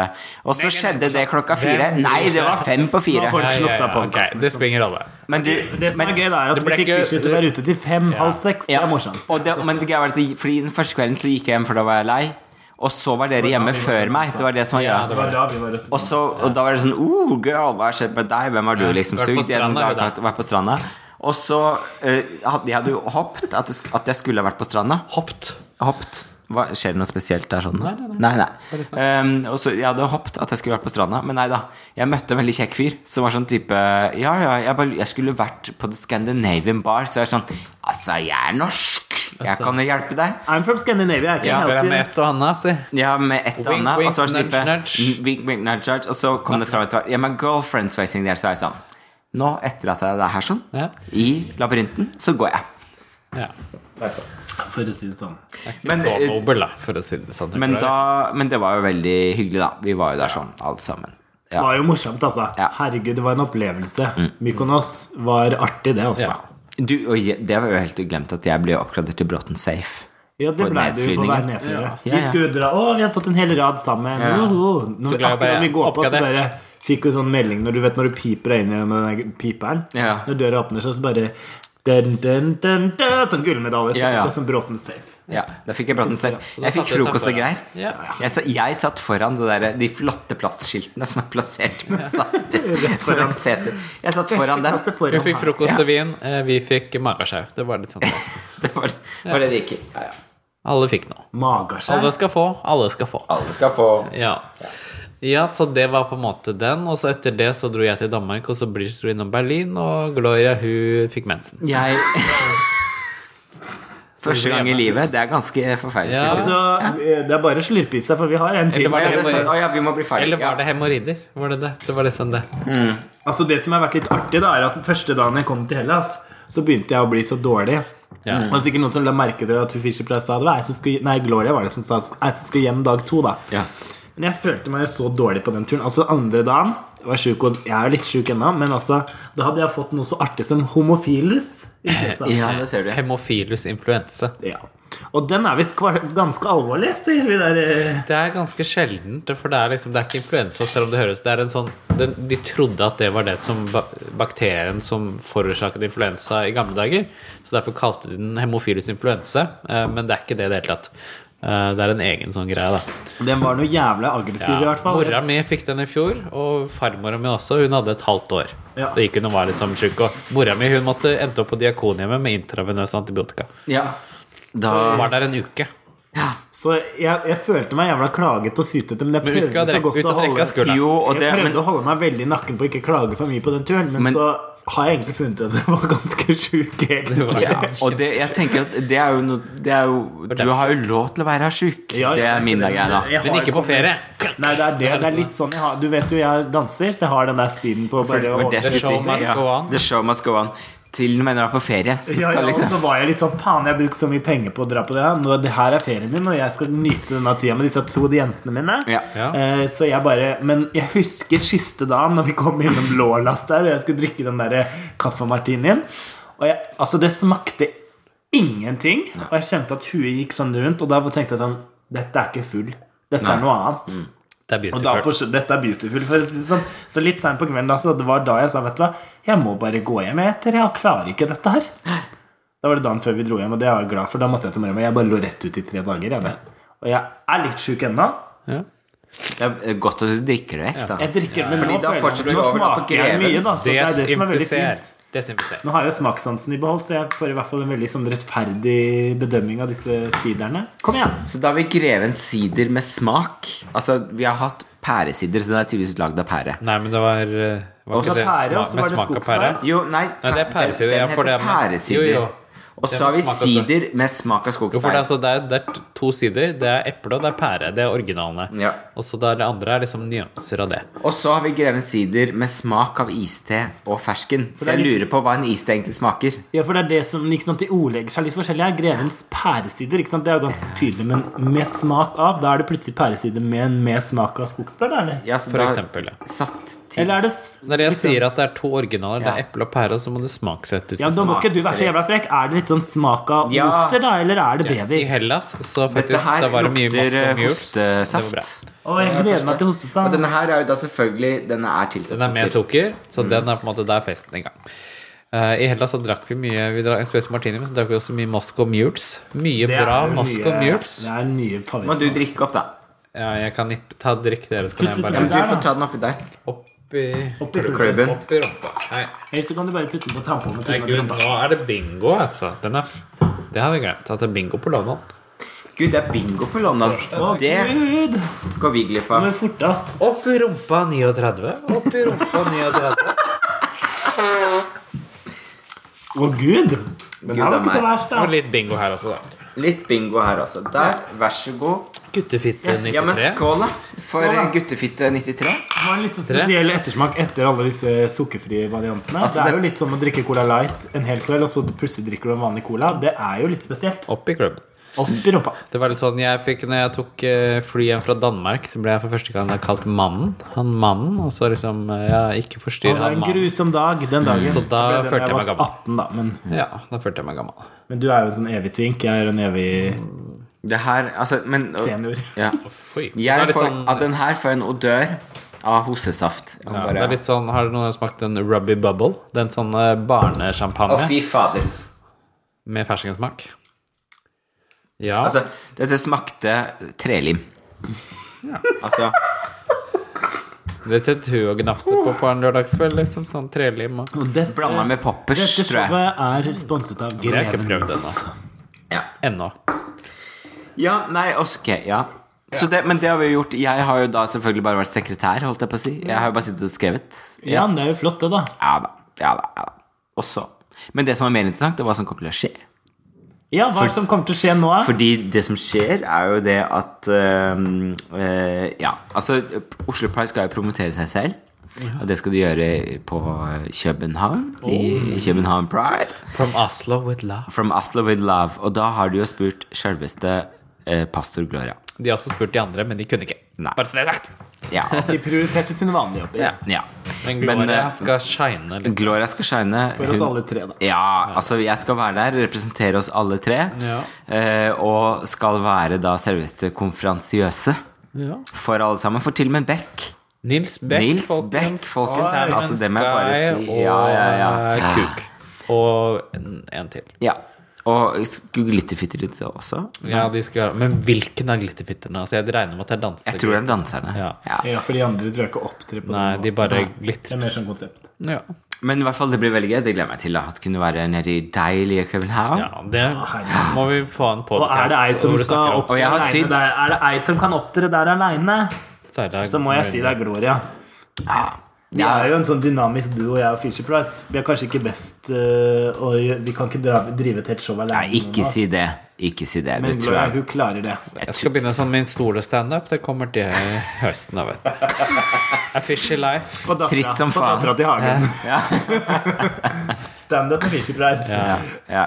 Speaker 3: Og så skjedde det klokka fire.
Speaker 2: Hvem
Speaker 3: Nei, det var fem på
Speaker 1: Nå får
Speaker 3: fire.
Speaker 1: du- Slått av
Speaker 2: ok,
Speaker 1: podcasten.
Speaker 2: det springer alle.
Speaker 3: Men du
Speaker 1: Det som
Speaker 3: men,
Speaker 1: er gøy, da, er at
Speaker 2: Det
Speaker 1: vi
Speaker 2: ble
Speaker 1: fikk
Speaker 2: ikke-
Speaker 1: Fishy til å være ute til fem, halv seks. Det
Speaker 3: ja,
Speaker 1: er morsomt.
Speaker 3: og det, men det greia var at det- fordi den første kvelden så gikk jeg hjem, for da var jeg lei. Og så var dere hjemme før meg. Det var det som var
Speaker 2: Ja, det
Speaker 3: greia.
Speaker 1: Det var da vi var
Speaker 3: Og, så, og da var det sånn Oh, girl, hva har skjedd med deg? Hvem er du,
Speaker 2: Ja,
Speaker 3: liksom?
Speaker 2: vært på
Speaker 3: Sugd gjennom
Speaker 2: stranda, eller
Speaker 3: dagen at du var på stranda. Og så eh, hadde jeg hadde jo hoppet at, det sk- at jeg skulle ha vært på stranda.
Speaker 2: Hoppet.
Speaker 3: Hoppet. Hva, skjer det noe spesielt der sånn?
Speaker 2: Nei, nei, nei.
Speaker 3: nei.
Speaker 2: Bare snakk.
Speaker 3: Ehm, og så, jeg hadde hoppet at jeg skulle vært på stranda, men nei da. Jeg møtte en veldig kjekk fyr som var sånn type Ja, ja, jeg, bare, jeg skulle vært på The Scandinavian Bar, så jeg er sånn Altså, jeg er norsk! Jeg kan jo hjelpe deg.
Speaker 1: I'm from Scandinavia. I can
Speaker 3: Ja,
Speaker 1: help
Speaker 2: Dere er
Speaker 1: you.
Speaker 2: med et og annet, si.
Speaker 3: Ja, med et og
Speaker 2: Wink,
Speaker 3: annet.
Speaker 2: wink,
Speaker 3: Og så var det
Speaker 2: nudge,
Speaker 3: slippe
Speaker 2: nudge.
Speaker 3: Wink, wink, nudge, nudge. Og så kom det fra et par Ja, my girlfriend's waiting there, så var jeg sånn Nå, etter at det er her sånn,
Speaker 2: Ja.
Speaker 3: i labyrinten, så går jeg.
Speaker 2: Ja.
Speaker 1: For å si det sånn.
Speaker 3: Men,
Speaker 2: så
Speaker 3: eh,
Speaker 2: nobel, da, for å si det sånn.
Speaker 3: men, da, men det var jo veldig hyggelig, da. Vi var jo der sånn, alle sammen.
Speaker 1: Det
Speaker 3: Ja.
Speaker 1: var jo morsomt, altså.
Speaker 3: Ja.
Speaker 1: Herregud, det var en opplevelse. Mykonos var artig, det altså. også.
Speaker 2: Mm. Ja.
Speaker 1: Ja,
Speaker 3: Du, og jeg, det var jo helt glemt at jeg ble oppgradert til Bråten Safe.
Speaker 1: det
Speaker 3: På
Speaker 1: blei det jo på vei
Speaker 3: nedflyvningen.
Speaker 1: nedfor.
Speaker 3: Ja, ja.
Speaker 1: Vi skulle dra Å, vi har fått en hel rad sammen.
Speaker 3: Ja.
Speaker 1: Joho. Når,
Speaker 2: Så glad jeg
Speaker 1: akkurat
Speaker 2: bare
Speaker 1: vi går på, så
Speaker 2: oppgradert.
Speaker 1: bare fikk vi sånn melding når du vet når du piper deg inn i den piperen.
Speaker 3: Ja.
Speaker 1: Når døra åpner seg, så bare dun, dun, dun, dun, Sånn gullmedalje. Så
Speaker 3: Ja, ja.
Speaker 1: fikk vi Sånn Bråten safe.
Speaker 3: Ja, da fikk jeg Bråten Safe.
Speaker 2: Så da
Speaker 3: Jeg fikk
Speaker 2: satte jeg
Speaker 3: frokost
Speaker 2: seg
Speaker 3: og greier.
Speaker 2: foran. Ja.
Speaker 3: Jeg, sa, jeg satt foran det der, de flotte plastskiltene som er plassert med SAS. Som
Speaker 1: foran.
Speaker 3: et seter. Jeg satt foran dem.
Speaker 1: Klasse foran
Speaker 2: Vi fikk
Speaker 1: her.
Speaker 2: frokost
Speaker 3: Ja.
Speaker 2: og vin, eh, vi fikk magasjau. Det var litt sånn
Speaker 3: Det var, var det det gikk i. Ja, ja.
Speaker 2: Alle fikk noe.
Speaker 1: Magaskjær.
Speaker 2: Alle skal få, alle skal få.
Speaker 3: Alle skal få
Speaker 2: Ja. ja, så det var på en måte den. Og så etter det så dro jeg til Danmark, og så Bridge dro innom Berlin, og Gloria hun fikk mensen.
Speaker 3: Jeg Første gang i livet. Det er ganske forferdelig.
Speaker 2: Ja.
Speaker 3: skal jeg si.
Speaker 1: Så eh, det er bare å slurpe i seg, for vi har en til.
Speaker 2: Eller var
Speaker 3: Ja, det er sånn. Å ja, vi må bli ferdig.
Speaker 2: Eller var det hemoroider? Var det det? Det var liksom det.
Speaker 1: Altså Det som har vært litt artig, da er at den første dagen jeg kom til Hellas, så begynte jeg å bli så dårlig.
Speaker 2: Ja.
Speaker 1: Og det er sikkert noen som la merke til at hun Fischer Price da, det var jeg som skulle, Nei, Gloria var det som sa jeg som skulle hjem dag to, da.
Speaker 3: Ja.
Speaker 1: Men jeg følte meg jo så dårlig på den turen. Altså Andre dagen var jeg syk, og jeg er jo litt sjuk ennå, men altså da hadde jeg fått noe så artig som homofilus. influensa.
Speaker 3: Ja, det ser du.
Speaker 2: Hemofilus influense.
Speaker 1: Ja. Og den er visst kvar- ganske alvorlig, sier vi der. eh.
Speaker 2: Det er ganske sjeldent, for det er liksom Det er ikke influensa, selv om det høres Det er en sånn den, De trodde at det var det som ba- bakterien som forårsaket influensa i gamle dager. Så derfor kalte de den hemofilus influense. eh, Men det er ikke det i det hele tatt. Eh, Det er en egen sånn greie, da.
Speaker 1: Den var noe jævla aggressiv, i hvert fall.
Speaker 2: Mora mi fikk den i fjor, og farmora mi også. Hun hadde et halvt år.
Speaker 1: Ja.
Speaker 2: Det gikk hun og var litt sånn sjuk. Og mora mi hun måtte endte opp på Diakonhjemmet med intravenøs antibiotika.
Speaker 3: Ja. Da
Speaker 2: Hun var der en uke.
Speaker 1: Så jeg, jeg følte meg jævla klaget og sytete, men jeg
Speaker 2: Men husk å
Speaker 1: prøvde så
Speaker 2: drikke
Speaker 1: godt
Speaker 2: ut
Speaker 1: å
Speaker 2: av
Speaker 1: holde
Speaker 2: rekka skulder.
Speaker 3: Jo, og det
Speaker 1: jeg prøvde
Speaker 3: men,
Speaker 1: å holde meg veldig i nakken på å ikke klage for mye på den turen, men,
Speaker 3: Men-
Speaker 1: så har jeg egentlig funnet ut at jeg var ganske sjuk. egentlig.
Speaker 2: var-
Speaker 3: ja, Og det, jeg tenker at det er jo noe det er jo, Du har jo lov til å være sjuk.
Speaker 1: Ja,
Speaker 3: Det
Speaker 1: jeg-
Speaker 3: er min greie, da.
Speaker 1: Jeg har
Speaker 2: Men ikke på ferie.
Speaker 1: Nei, det er det. Det er litt sånn jeg har Du vet jo jeg danser, så jeg har den der stilen på bare å
Speaker 3: Og det
Speaker 1: holde
Speaker 2: The
Speaker 3: skal
Speaker 2: show
Speaker 3: si-
Speaker 2: must
Speaker 3: ja,
Speaker 2: go on.
Speaker 3: The show must go on. Til og med når du er på ferie, så
Speaker 1: ja, ja,
Speaker 3: skal
Speaker 1: og
Speaker 3: liksom
Speaker 1: så var jeg litt sånn Faen, jeg har brukt så mye penger på å dra på det. her. Nå, det her er ferien min, og jeg skal nyte denne tida med disse to jentene mine.
Speaker 3: Ja.
Speaker 2: Ja.
Speaker 1: Eh, så jeg bare Men jeg husker siste dagen, når vi kom innom Lålas der, og jeg skulle drikke den derre kaffemartinien. Og jeg, altså, det smakte ingenting. Og jeg kjente at huet gikk sånn rundt, og da tenkte jeg sånn Dette er ikke full. Dette er noe annet.
Speaker 2: Det er
Speaker 1: Og da på,
Speaker 2: beautiful.
Speaker 1: dette er beautiful. For, å si det sånn. så litt seint på kvelden, da, så det var da jeg sa vet du hva, jeg må bare gå hjem. Jeg, etter, jeg klarer ikke dette her. Da var det dagen før vi dro hjem, og det er jeg glad for. Da måtte jeg til Maremma. Jeg bare lå rett ut i tre dager. Jeg, det. Og jeg er litt sjuk ennå.
Speaker 2: Ja.
Speaker 3: Det er godt at du drikker det vekk, da.
Speaker 1: Jeg drikker, men
Speaker 3: Fordi
Speaker 1: nå,
Speaker 3: da
Speaker 1: føler jeg-
Speaker 3: fortsetter du
Speaker 1: nå
Speaker 3: over da på
Speaker 1: smaker jeg mye, da. Så det er det som er veldig
Speaker 2: Desinfiser.
Speaker 1: fint.
Speaker 2: Desinfiser.
Speaker 1: Nå har jeg jo smakssansen i behold, så jeg får i hvert fall en veldig sånn rettferdig bedømming av disse siderne. Kom igjen!
Speaker 3: Så da har vi greven sider med smak. Altså, vi har hatt pæresider, så den er tydeligvis lagd av pære.
Speaker 2: Nei, men det var, eh, var
Speaker 3: Det
Speaker 2: ikke
Speaker 3: var
Speaker 2: det
Speaker 1: pære,
Speaker 2: sma-
Speaker 1: og så
Speaker 2: med
Speaker 1: var det
Speaker 2: smak av
Speaker 1: skogsbær.
Speaker 2: pære.
Speaker 3: Jo, nei,
Speaker 2: Nei, det er pæresider,
Speaker 3: Den,
Speaker 2: ja,
Speaker 3: den
Speaker 2: for
Speaker 3: heter
Speaker 2: det er-
Speaker 3: pæresider.
Speaker 2: Jo, jo.
Speaker 3: Og
Speaker 2: Det
Speaker 3: så har vi
Speaker 2: smaker godt.
Speaker 3: sider med smak
Speaker 2: Jo,
Speaker 3: av
Speaker 2: for det, er
Speaker 3: skogsbær.
Speaker 2: altså, det, er, det er to sider. Det er eple og det er pære. Det er originalene.
Speaker 3: Ja.
Speaker 2: Og så det er- det andre er liksom nyanser av det.
Speaker 3: Og så har vi greven sider med smak av iste og fersken. Så
Speaker 1: det er
Speaker 3: jeg
Speaker 1: litt-
Speaker 3: lurer på hva en iste egentlig smaker.
Speaker 1: Ja, for det er det som ikke sant, de ordlegger seg litt forskjellig. her. Grevens pæresider ikke sant? det er jo ganske tydelig, men med smak av. Da er det plutselig pæresider med en med smak av skogsbær, da, eller?
Speaker 3: Ja, så
Speaker 2: For
Speaker 3: da-
Speaker 2: eksempel, ja.
Speaker 3: Satt til
Speaker 1: Eller er det
Speaker 2: Når jeg
Speaker 1: liksom-
Speaker 2: sier at det er to originaler, det
Speaker 3: Ja.
Speaker 2: er eple og pære, så må det smaksette ut.
Speaker 1: Ja, Da må ikke du være så jævla frekk. Er det litt sånn smak av
Speaker 3: Ja.
Speaker 1: oter, da, eller er det
Speaker 2: I
Speaker 1: bever?
Speaker 2: Hellas så faktisk
Speaker 3: Dette her
Speaker 2: da var det mye
Speaker 3: lukter
Speaker 2: mask
Speaker 3: eh,
Speaker 2: og mules. Det var bra.
Speaker 3: hostesaft.
Speaker 1: Å, jeg gleder meg til
Speaker 3: Og
Speaker 1: hostestand.
Speaker 3: denne her er jo da selvfølgelig Denne er tilsatt
Speaker 2: Den er med sukker, Mm. så den er på en måte der festen i gang. Eh, I Hellas så drakk vi mye Vi drakk spesielt martini, men så drakk vi også mye Moscow Mules. Mye bra Moscow Mules.
Speaker 1: Det er nye
Speaker 3: Må
Speaker 1: favoritter.
Speaker 3: du drikke opp, da.
Speaker 2: Ja, jeg kan nippe, ta drikk dere, så kan jeg
Speaker 1: Putt
Speaker 3: Ja,
Speaker 2: bare
Speaker 3: men du
Speaker 1: Der, da.
Speaker 3: får ta den oppi der.
Speaker 2: Oppi
Speaker 1: Oppi klubben.
Speaker 3: Klubben.
Speaker 2: Oppi rumpa. Nei,
Speaker 1: Eller så kan du bare putte den på tampongen. og
Speaker 2: nei,
Speaker 1: putte den
Speaker 2: gud,
Speaker 1: på
Speaker 2: nå er det bingo, altså. Den er f det hadde vi glemt. At det er bingo på London.
Speaker 3: Gud, det er bingo på London.
Speaker 1: Å,
Speaker 3: Det
Speaker 1: Gud!
Speaker 3: går vi glipp av.
Speaker 1: Men fort, ass.
Speaker 2: Oppi rumpa 39. Oppi rumpa 39.
Speaker 1: Å, gud! Det er jo ikke så verst,
Speaker 2: Og
Speaker 1: da.
Speaker 2: litt bingo her også, da.
Speaker 3: Litt bingo her også. Der, vær så god.
Speaker 2: Guttefitte
Speaker 3: Ja, men
Speaker 2: 93.
Speaker 3: skål, da. For
Speaker 1: Skål, da.
Speaker 3: guttefitte 93.
Speaker 1: Det var en litt sånn spesiell ettersmak etter alle disse sukkerfrie variantene.
Speaker 3: Altså,
Speaker 1: det
Speaker 3: det-
Speaker 1: er jo litt som å drikke Cola Light en hel kveld, og så plutselig drikker du en vanlig cola. Det er jo litt spesielt.
Speaker 2: Opp i klubben.
Speaker 1: Opp i rumpa.
Speaker 2: Det var litt sånn, jeg fikk, når jeg tok eh, fly hjem fra Danmark, så ble jeg for første gang da kalt mannen. Han mannen, og så liksom, eh, ja, ikke
Speaker 1: Det
Speaker 2: forstyrr
Speaker 1: var
Speaker 2: han
Speaker 1: en
Speaker 2: mannen.
Speaker 1: grusom dag den dagen.
Speaker 2: Mm. Så
Speaker 1: Jeg
Speaker 2: da
Speaker 1: ble det
Speaker 2: følte jeg
Speaker 1: var
Speaker 2: meg gammel.
Speaker 1: 18, da. Men,
Speaker 2: Ja, da følte jeg meg gammel.
Speaker 1: men du er jo en sånn evig tvink. Jeg er en evig
Speaker 3: Det her, altså men,
Speaker 1: senior.
Speaker 3: Ja.
Speaker 2: Fy. Det er
Speaker 3: Jeg
Speaker 2: litt
Speaker 3: får,
Speaker 2: sånn-
Speaker 3: av den her får jeg en odør av hosesaft. Jeg
Speaker 2: Ja,
Speaker 3: bare-
Speaker 2: det er litt sånn, Har noen smakt en Rubby Bubble? Den sånn eh,
Speaker 3: Å,
Speaker 2: barnesjampanje
Speaker 3: fy fader.
Speaker 2: med ferskensmak? Ja.
Speaker 3: Altså, dette smakte trelim. Altså
Speaker 2: det setter hun og gnafser på på en lørdagskveld. liksom Sånn trelim og
Speaker 1: Og dette,
Speaker 3: blanda med poppers,
Speaker 1: dette
Speaker 3: tror jeg.
Speaker 1: showet er sponset av
Speaker 2: Det har jeg ikke
Speaker 1: Greven.
Speaker 2: prøvd altså. ennå.
Speaker 3: Ja.
Speaker 2: Ennå.
Speaker 3: ja, nei, ok, ja. Så det, men det har vi jo gjort. Jeg har jo da selvfølgelig bare vært sekretær, holdt jeg på å si. Jeg har jo bare sittet og skrevet.
Speaker 1: Ja, men det er jo flott, det, da.
Speaker 3: Ja da. Ja da. Ja, da. Og så Men det som var mer interessant, det var hva som kom til å skje.
Speaker 1: Ja, Hva er det som kommer til å skje nå? da?
Speaker 3: Fordi det som skjer, er jo det at øhm, øh, Ja, altså Oslo Pride skal jo promotere seg selv. Og det skal du gjøre på København. I København Pride.
Speaker 2: From Oslo with love.
Speaker 3: From Oslo with love. Og da har du jo spurt sjølveste eh, pastor Gloria.
Speaker 2: De har også spurt de andre, men de kunne ikke.
Speaker 3: Nei.
Speaker 2: Bare så det er sagt.
Speaker 3: Ja.
Speaker 1: De prioriterte sine vanlige jobber.
Speaker 2: Ja.
Speaker 3: ja.
Speaker 2: Men Gloria
Speaker 3: eh,
Speaker 2: skal shine. litt.
Speaker 3: Gloria skal shine.
Speaker 1: For oss
Speaker 3: Hun-
Speaker 1: alle tre, da.
Speaker 3: Ja, altså jeg skal være der, representere oss alle tre.
Speaker 2: Ja.
Speaker 3: eh, og skal være da selveste konferansiøse
Speaker 2: Ja.
Speaker 3: for alle sammen. For til og med Beck.
Speaker 2: Nils Beck,
Speaker 3: Nils Beck, folkens.
Speaker 1: Oi,
Speaker 3: Altså, det må jeg bare
Speaker 2: Sky
Speaker 3: si. Ja, ja,
Speaker 2: og
Speaker 3: ja.
Speaker 2: eh, Kuk. Og en, en til.
Speaker 3: ja. Og skulle glitterfitter litt også?
Speaker 2: Ja, de skal, men hvilken av glitterfitterne? Altså, jeg regner med at jeg danser.
Speaker 3: Jeg tror det er danserne.
Speaker 2: Ja.
Speaker 3: Ja.
Speaker 1: Ja, for de andre tror jeg ikke opptrer på
Speaker 2: Nei,
Speaker 1: den
Speaker 2: de
Speaker 1: måten.
Speaker 2: bare
Speaker 1: Det
Speaker 2: glitrer.
Speaker 1: er mer sånn konsept.
Speaker 2: Ja.
Speaker 3: Men i hvert fall, det blir veldig gøy. Det gleder jeg meg til. da, At det kunne være nede i deilige København.
Speaker 2: ja, det må vi få en
Speaker 1: Og
Speaker 2: podcast
Speaker 1: er det ei som
Speaker 2: hvor du snakker
Speaker 1: skal
Speaker 2: om-
Speaker 3: Og
Speaker 1: opptre
Speaker 3: jeg har
Speaker 1: alene
Speaker 3: sydd.
Speaker 1: der, er det ei som kan opptre der aleine,
Speaker 2: Særlig-
Speaker 1: så må jeg si det er Gloria. Vi
Speaker 3: Ja.
Speaker 1: er jo en sånn dynamisk duo, jeg og Fisher Price. Vi er kanskje ikke best øh, og gjø- Vi kan ikke dra, drive et helt show alene.
Speaker 3: Nei, ikke si det. Ikke si det. Det
Speaker 1: Men
Speaker 3: tror
Speaker 1: Gloria,
Speaker 3: jeg
Speaker 1: hun klarer det.
Speaker 2: Jeg skal begynne som min store standup. Det kommer til høsten, da, vet du. A fishy life.
Speaker 1: På dattera-
Speaker 3: Trist som
Speaker 1: på
Speaker 3: faen.
Speaker 1: dattera til Hagen. Standup med Fisher Price.
Speaker 2: Ja.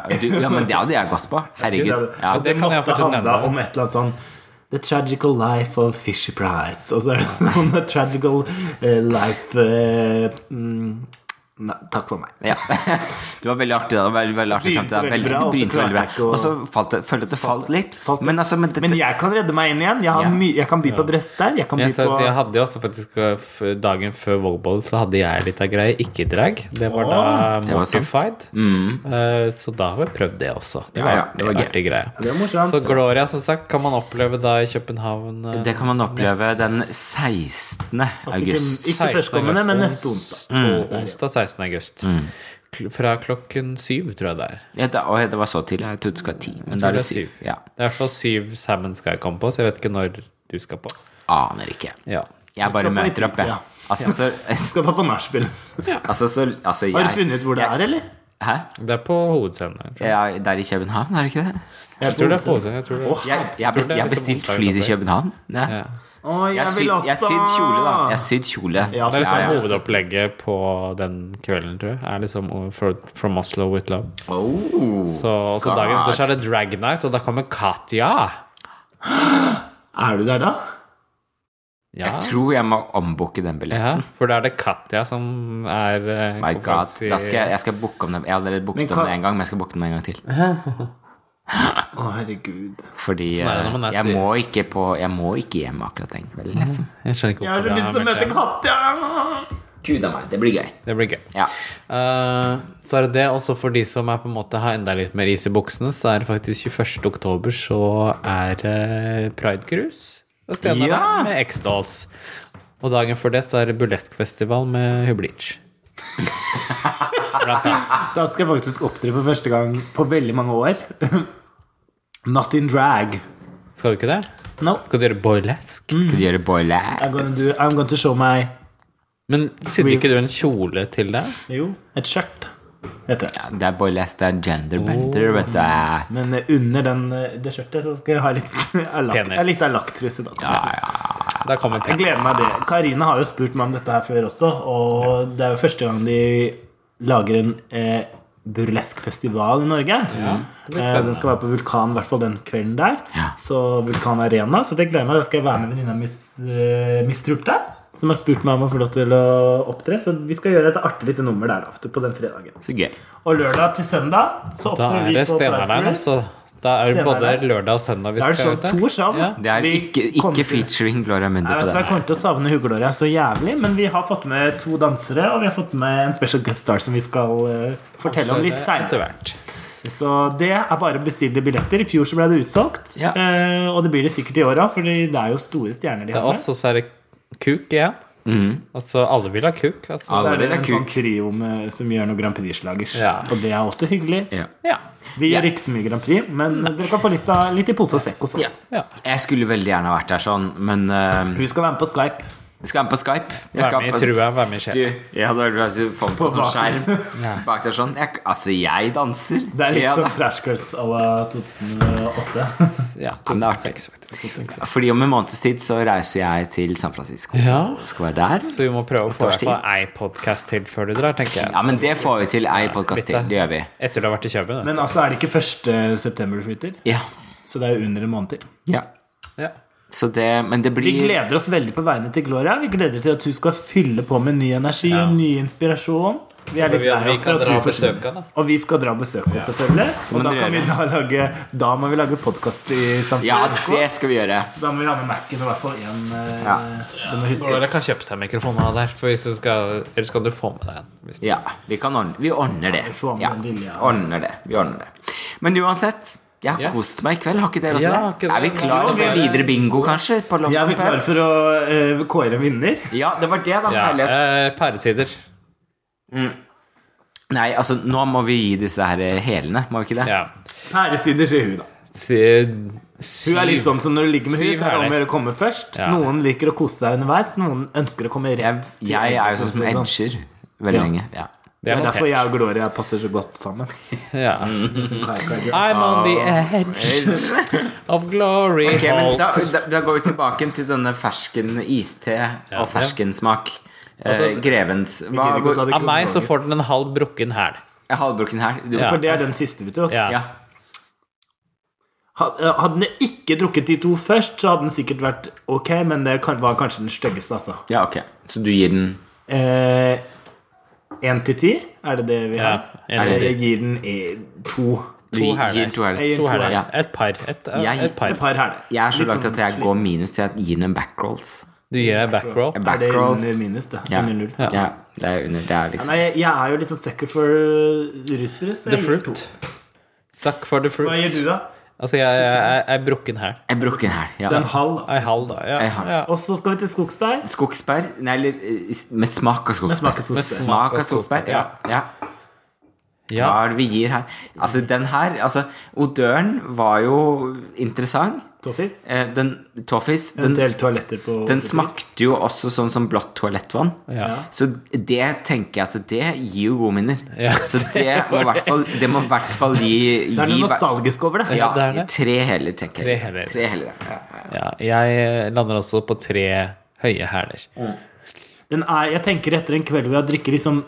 Speaker 3: ja, du, ja, men det hadde jeg gått på. Herregud. Ja.
Speaker 1: Og det
Speaker 2: kan jeg
Speaker 1: måtte
Speaker 2: fortsatt
Speaker 1: handle
Speaker 2: nevne.
Speaker 1: om et eller annet sånn The Tragical Life of Fisher Price. Og så er det sånn The Tragical eh, Life eh, mm, Nei, takk for meg.
Speaker 3: Ja. Det var veldig artig. da, Det var veldig, veldig artig
Speaker 1: Begynte
Speaker 3: samtidig.
Speaker 1: veldig
Speaker 3: Veldig,
Speaker 1: bra, og så
Speaker 3: det begynte veldig
Speaker 1: klarte
Speaker 3: bra.
Speaker 1: jeg ikke å-
Speaker 3: Og så falt det, følte jeg at det falt litt.
Speaker 1: Falt litt.
Speaker 3: Men altså, men dette,
Speaker 1: Men jeg kan redde meg inn igjen. Jeg, har
Speaker 3: Ja.
Speaker 1: my jeg kan by på brøster. Jeg kan by
Speaker 2: Jeg, sa
Speaker 1: på
Speaker 2: at jeg hadde jo også faktisk eh, f- Dagen før Vågboll så hadde jeg litt av greie, ikke drag. Det var da
Speaker 3: det var sant. Mm.
Speaker 2: Mortified. Eh, Så da har vi prøvd det også. Det
Speaker 3: Ja,
Speaker 2: var,
Speaker 3: ja,
Speaker 2: artig-
Speaker 3: det var gøy.
Speaker 2: artig greie.
Speaker 1: Det er morsomt.
Speaker 2: Så Gloria, som sagt, kan man oppleve da i København eh,
Speaker 3: det kan man oppleve den 16.
Speaker 1: Altså, ikke,
Speaker 3: august.
Speaker 1: ikke
Speaker 2: 16.
Speaker 1: førstkommende, men
Speaker 2: august,
Speaker 1: neste onsdag.
Speaker 3: Mm.
Speaker 2: ons- Onsdag 16. august. Kl- Fra klokken syv, tror jeg det er.
Speaker 3: Ja, da, oi, det var så tidlig. Jeg trodde det skulle være ti. Men da er det syv. Ja,
Speaker 2: Det er i hvert fall syv Salmon skal jeg komme på, så jeg vet ikke når du skal på.
Speaker 3: Aner ikke.
Speaker 2: Ja.
Speaker 3: Jeg bare
Speaker 1: på
Speaker 3: møter opp,
Speaker 1: Ja.
Speaker 3: jeg. Altså, så
Speaker 1: Skal bare på nachspiel.
Speaker 3: Altså, så altså, jeg,
Speaker 1: Har du funnet ut hvor det er, eller?
Speaker 3: Hæ?
Speaker 2: Det er på hovedscenen. her, tror Jeg
Speaker 3: Ja, det er i København, er det ikke det?
Speaker 2: Jeg tror det er på hovedscenen. Jeg tror det.
Speaker 1: Åh,
Speaker 3: Jeg, jeg, har
Speaker 2: tror
Speaker 3: best,
Speaker 2: det er
Speaker 3: jeg
Speaker 2: liksom
Speaker 3: har bestilt
Speaker 2: onsdag
Speaker 3: fly til
Speaker 2: utenfor.
Speaker 3: København. Ja.
Speaker 2: Ja.
Speaker 1: Å,
Speaker 3: Jeg har sydd jeg har sydd kjole, da. Jeg har sydd kjole.
Speaker 1: Ja,
Speaker 2: Det er liksom
Speaker 1: ja, ja.
Speaker 2: hovedopplegget på den kvelden, tror jeg. Er liksom over- for, From Oslo with Love.
Speaker 3: Oh.
Speaker 2: Så, og så dagen
Speaker 3: God.
Speaker 2: etter så er det Drag Night, og da kommer Katja.
Speaker 1: Er du der, da?
Speaker 2: Ja.
Speaker 3: Jeg tror jeg må ombooke den billetten.
Speaker 2: ja. For da er det Katja som er eh,
Speaker 3: My god,
Speaker 2: konferansi-
Speaker 3: da skal jeg, jeg skal booke om den Jeg har allerede
Speaker 1: Men
Speaker 3: booket
Speaker 1: hva-
Speaker 3: om den en gang, men jeg skal booke den en gang til.
Speaker 1: Å, herregud.
Speaker 3: Fordi
Speaker 2: Sånn er det når man er
Speaker 3: eh, jeg
Speaker 2: student.
Speaker 3: må ikke på Jeg må ikke hjem akkurat den kvelden,
Speaker 1: Mhm.
Speaker 3: liksom.
Speaker 2: Jeg skjønner ikke
Speaker 1: Jeg har
Speaker 2: hvorfor
Speaker 1: så
Speaker 2: det
Speaker 1: lyst til å møte
Speaker 2: meldt hjem.
Speaker 1: Katja!
Speaker 3: Gud a meg, det blir gøy.
Speaker 2: Det blir gøy.
Speaker 3: Ja.
Speaker 2: Eh, så er det det, også for de som er på en måte har enda litt mer is i buksene, så er det faktisk 21. oktober så er det Pride Cruise. Og Stena
Speaker 3: Ja!
Speaker 2: der med X-Dolls. Og dagen før det så er det burleskfestival med Hublitsch. Blant annet.
Speaker 1: Da skal jeg faktisk opptre for første gang på veldig mange år. Not in drag.
Speaker 2: Skal du ikke det?
Speaker 1: No.
Speaker 2: Skal du gjøre boilesk?
Speaker 1: Mm.
Speaker 3: Skal du gjøre boile?
Speaker 1: I'm gonna, do, I'm gonna show my
Speaker 2: Men sydde ikke du en kjole til det?
Speaker 1: Jo, et skjørt. Vet du.
Speaker 3: Det er boyless, det er
Speaker 1: Oh.
Speaker 3: genderbender, vet du. Ja,
Speaker 1: Men eh, under den, eh, det skjørtet så skal jeg ha litt, jeg lagt,
Speaker 2: Penis.
Speaker 1: jeg litt av laktruse. Da, kan jeg si.
Speaker 3: ja.
Speaker 2: Da kommer
Speaker 1: Jeg gleder meg det. Karina har jo spurt meg om dette her før også, og det er jo første gang de lager en eh, burleskfestival i Norge.
Speaker 2: blir
Speaker 1: eh,
Speaker 2: spennende.
Speaker 1: den skal være på Vulkan, i hvert fall den kvelden der.
Speaker 3: Ja.
Speaker 1: Så Vulkan Arena. Så jeg gleder meg. Da skal jeg være med venninna mi, eh, Miss Trulte, som har spurt meg om å få lov til å opptre. Så vi skal gjøre et artig lite nummer der da, vet du, på den fredagen.
Speaker 3: Så gøy.
Speaker 1: Og lørdag til søndag så
Speaker 2: Da
Speaker 1: opptrer
Speaker 2: er
Speaker 1: vi
Speaker 2: det
Speaker 1: på
Speaker 2: Stenarein,
Speaker 1: Pride
Speaker 2: altså. Da er det både
Speaker 1: Stenarein.
Speaker 2: lørdag og søndag vi
Speaker 1: Da er det
Speaker 2: skal
Speaker 1: show
Speaker 2: ut.
Speaker 1: to show. da.
Speaker 3: Det er
Speaker 1: Vi
Speaker 3: ikke,
Speaker 1: kommer
Speaker 3: ikke
Speaker 1: til-
Speaker 3: featuring Gloria Mundi
Speaker 1: Jeg
Speaker 3: på
Speaker 1: vet du, hva,
Speaker 3: den.
Speaker 1: jeg kommer til å savne Hugloria så jævlig, men vi har fått med to dansere, og vi har fått med en special guest star som vi skal eh, fortelle om litt
Speaker 2: Etter
Speaker 1: seinere.
Speaker 2: hvert.
Speaker 1: Så det er bare å bestille billetter. I fjor så ble det utsolgt,
Speaker 3: Ja.
Speaker 1: eh, og det blir det sikkert i år òg, for det er jo store stjerner de
Speaker 2: Det er
Speaker 1: har
Speaker 2: oss,
Speaker 1: med.
Speaker 2: og så er det kuk igjen.
Speaker 3: Mhm.
Speaker 2: Altså, alle vil ha kuk. Altså.
Speaker 1: Så
Speaker 3: Alle
Speaker 1: er det
Speaker 3: vil ha
Speaker 1: en
Speaker 3: kuk.
Speaker 1: sånn trio med, som gjør noe Grand Prix-slagers.
Speaker 2: Ja.
Speaker 1: Og det er også hyggelig.
Speaker 3: Ja.
Speaker 2: Ja.
Speaker 1: Vi gjør ikke så mye Grand Prix, men dere kan få litt, av, litt i pose og sekk hos oss.
Speaker 2: ja.
Speaker 3: Jeg skulle veldig gjerne vært der sånn, men eh,
Speaker 1: Vi skal være med på Skype.
Speaker 3: Skal jeg med på Skype? Jeg
Speaker 2: Vær
Speaker 3: skal
Speaker 2: med i
Speaker 3: på-
Speaker 2: trua, vær med i
Speaker 3: Du,
Speaker 2: sjela.
Speaker 3: jeg hadde vært glad i å få den på
Speaker 1: På
Speaker 3: som
Speaker 1: baken.
Speaker 3: skjerm. Bak der sånn jeg, Altså, jeg danser.
Speaker 1: Det er litt
Speaker 3: Ja,
Speaker 1: sånn
Speaker 3: da.
Speaker 1: Trash Girls à la 2008.
Speaker 2: Ja,
Speaker 3: men det er
Speaker 2: 2006, faktisk.
Speaker 3: Fordi om en måneds tid så reiser jeg til San Francisco.
Speaker 2: Ja.
Speaker 3: Skal være der.
Speaker 2: Så vi må prøve å få deg
Speaker 3: Torsdag.
Speaker 2: på ei podkast til før du drar, tenker jeg.
Speaker 3: Ja, men det får vi til ei podkast til.
Speaker 2: Bitte.
Speaker 3: Det gjør vi.
Speaker 2: Etter du har vært i København.
Speaker 1: Men altså er det ikke 1. september du flytter?
Speaker 3: Ja.
Speaker 1: Så det er jo under en måned til.
Speaker 3: ja.
Speaker 2: Ja.
Speaker 3: Så det Men det
Speaker 1: Vi
Speaker 3: blir
Speaker 1: gleder oss veldig på vegne til Gloria. Vi gleder til at hun skal fylle på med ny energi og ny inspirasjon. Vi er
Speaker 2: Vi,
Speaker 1: litt lei
Speaker 2: vi
Speaker 1: oss for
Speaker 2: kan
Speaker 1: at
Speaker 2: dra
Speaker 1: hun
Speaker 2: og
Speaker 1: forsvinner.
Speaker 2: besøke han, da.
Speaker 1: Og vi skal dra og besøke henne, selvfølgelig. Og
Speaker 3: Men
Speaker 1: da,
Speaker 3: det
Speaker 1: kan vi
Speaker 3: gjør
Speaker 1: da, lage, da må vi lage podkast i samtidig.
Speaker 3: Ja, det skal vi gjøre.
Speaker 1: Da må vi ha med Mac-en og i hvert fall én. eh,
Speaker 3: Ja.
Speaker 1: Det må vi huske.
Speaker 2: Dere kan kjøpe seg mikrofoner av der, for hvis du skal, ellers kan du få med deg en. Hvis du,
Speaker 3: Ja, vi kan ordne Vi ordner det.
Speaker 1: vi får med
Speaker 3: Ja.
Speaker 1: den lille, ja.
Speaker 3: Ordner det. Vi ordner det. Men uansett, jeg
Speaker 2: Ja.
Speaker 3: har kost meg i kveld. Har ikke dere
Speaker 2: Ja,
Speaker 3: også
Speaker 2: har ikke
Speaker 3: det?
Speaker 2: dere
Speaker 3: Er vi
Speaker 2: det?
Speaker 3: klare
Speaker 2: Ja,
Speaker 3: for
Speaker 2: vi er-
Speaker 3: videre bingo, kanskje? På
Speaker 1: Jeg er vi klare
Speaker 3: Lommepær?
Speaker 1: for å eh, kåre en vinner?
Speaker 3: Ja, det var det, da.
Speaker 2: ja.
Speaker 3: Herlighet.
Speaker 2: eh, Pæresider.
Speaker 3: Nei, altså, nå må vi gi disse her eh, hælene, må vi ikke det?
Speaker 2: Ja.
Speaker 1: Pæresider, sier hun, da. Hun er litt sånn som når du ligger med henne,
Speaker 2: Syv
Speaker 1: så er det om å
Speaker 2: herrer.
Speaker 1: gjøre å komme først.
Speaker 2: Ja.
Speaker 1: Noen liker å kose seg underveis, noen ønsker å komme
Speaker 3: Jeg,
Speaker 1: rett. til
Speaker 3: jeg er jo sånn som
Speaker 1: endepunktet, sånn.
Speaker 3: edger veldig
Speaker 1: Ja.
Speaker 3: lenge. Ja.
Speaker 1: Det er derfor
Speaker 2: jeg
Speaker 1: jeg og Gloria passer så godt sammen.
Speaker 2: ja. I'm on the edge of glory
Speaker 3: Ok, men da,
Speaker 2: halls.
Speaker 3: da, da går vi tilbake til denne fersken iste
Speaker 2: Ja.
Speaker 3: og ferskensmak. Eh,
Speaker 2: Altså,
Speaker 3: grevens Hva
Speaker 1: gidder ikke å ta det
Speaker 3: hvor-
Speaker 2: Av meg så får den en halv brukken hæl.
Speaker 3: Halvbruken her. Du,
Speaker 2: Ja.
Speaker 1: For det er den siste vi tok.
Speaker 2: Ja.
Speaker 3: ja.
Speaker 1: Had- eh, Hadde den ikke drukket de to først, så hadde den sikkert vært ok, men det kan- var kanskje den styggeste, altså.
Speaker 3: ja, ok. Så du gir den
Speaker 1: Én til ti, er det det vi
Speaker 2: Ja,
Speaker 1: har? Jeg
Speaker 2: en til ti.
Speaker 1: gir den eh, to.
Speaker 3: Du
Speaker 2: To
Speaker 3: gir-
Speaker 2: hæler.
Speaker 3: gir den to
Speaker 1: Jeg
Speaker 3: hæler.
Speaker 1: gir-
Speaker 2: To hæler.
Speaker 3: Ja.
Speaker 2: Et par. Et,
Speaker 3: Jeg-
Speaker 2: et
Speaker 1: Et
Speaker 2: par.
Speaker 1: par hæler.
Speaker 3: Jeg er så
Speaker 1: Litt
Speaker 3: langt
Speaker 1: sånn
Speaker 3: at jeg går minus. Jeg gir den en backrolls.
Speaker 2: Du gir deg backroll.
Speaker 3: En
Speaker 1: Er det
Speaker 3: Backroll.
Speaker 1: under minus, det?
Speaker 3: Ja.
Speaker 1: Under null?
Speaker 2: Ja.
Speaker 3: Ja, det er under. Det er liksom
Speaker 1: Nei, jeg, jeg er jo litt sånn sucker for eh, rusbrus. så
Speaker 2: The
Speaker 1: jeg gir to.
Speaker 2: fruit. Suck for the
Speaker 1: Hva
Speaker 2: fruit.
Speaker 1: gir du, da?
Speaker 2: Altså, jeg, jeg, jeg er brukken hæl.
Speaker 3: En brukken hæl.
Speaker 1: Så
Speaker 3: Ja.
Speaker 1: en halv. da.
Speaker 2: Ei halv, da. Ja.
Speaker 3: Ei halv.
Speaker 2: ja.
Speaker 1: Og så skal vi til skogsbær.
Speaker 3: Skogsbær? Nei, eller eh, s- med smak av skogsbær.
Speaker 1: smak av skogsbær.
Speaker 3: Med smak av skogsbær, ja. ja.
Speaker 2: ja.
Speaker 3: Hva er det vi gir her? Altså, den her altså, Odøren var jo interessant.
Speaker 1: Toffis.
Speaker 3: Eh, Den Toffis, den,
Speaker 1: Eventuelt toaletter på
Speaker 3: den smakte jo også sånn som blått toalettvann.
Speaker 2: Ja.
Speaker 3: Så det tenker jeg at det gir jo gode minner.
Speaker 2: Ja,
Speaker 3: Så det må i hvert fall, det må i hvert fall gi,
Speaker 1: Det er
Speaker 3: gi
Speaker 1: noe nostalgisk over det.
Speaker 3: ja,
Speaker 2: det er det.
Speaker 3: Tre heller, tenker
Speaker 2: Tre
Speaker 3: jeg.
Speaker 2: heller.
Speaker 3: heller, ja.
Speaker 2: ja. Jeg lander også på tre høye hæler.
Speaker 1: Den er, jeg tenker etter en kveld hvor jeg drikker liksom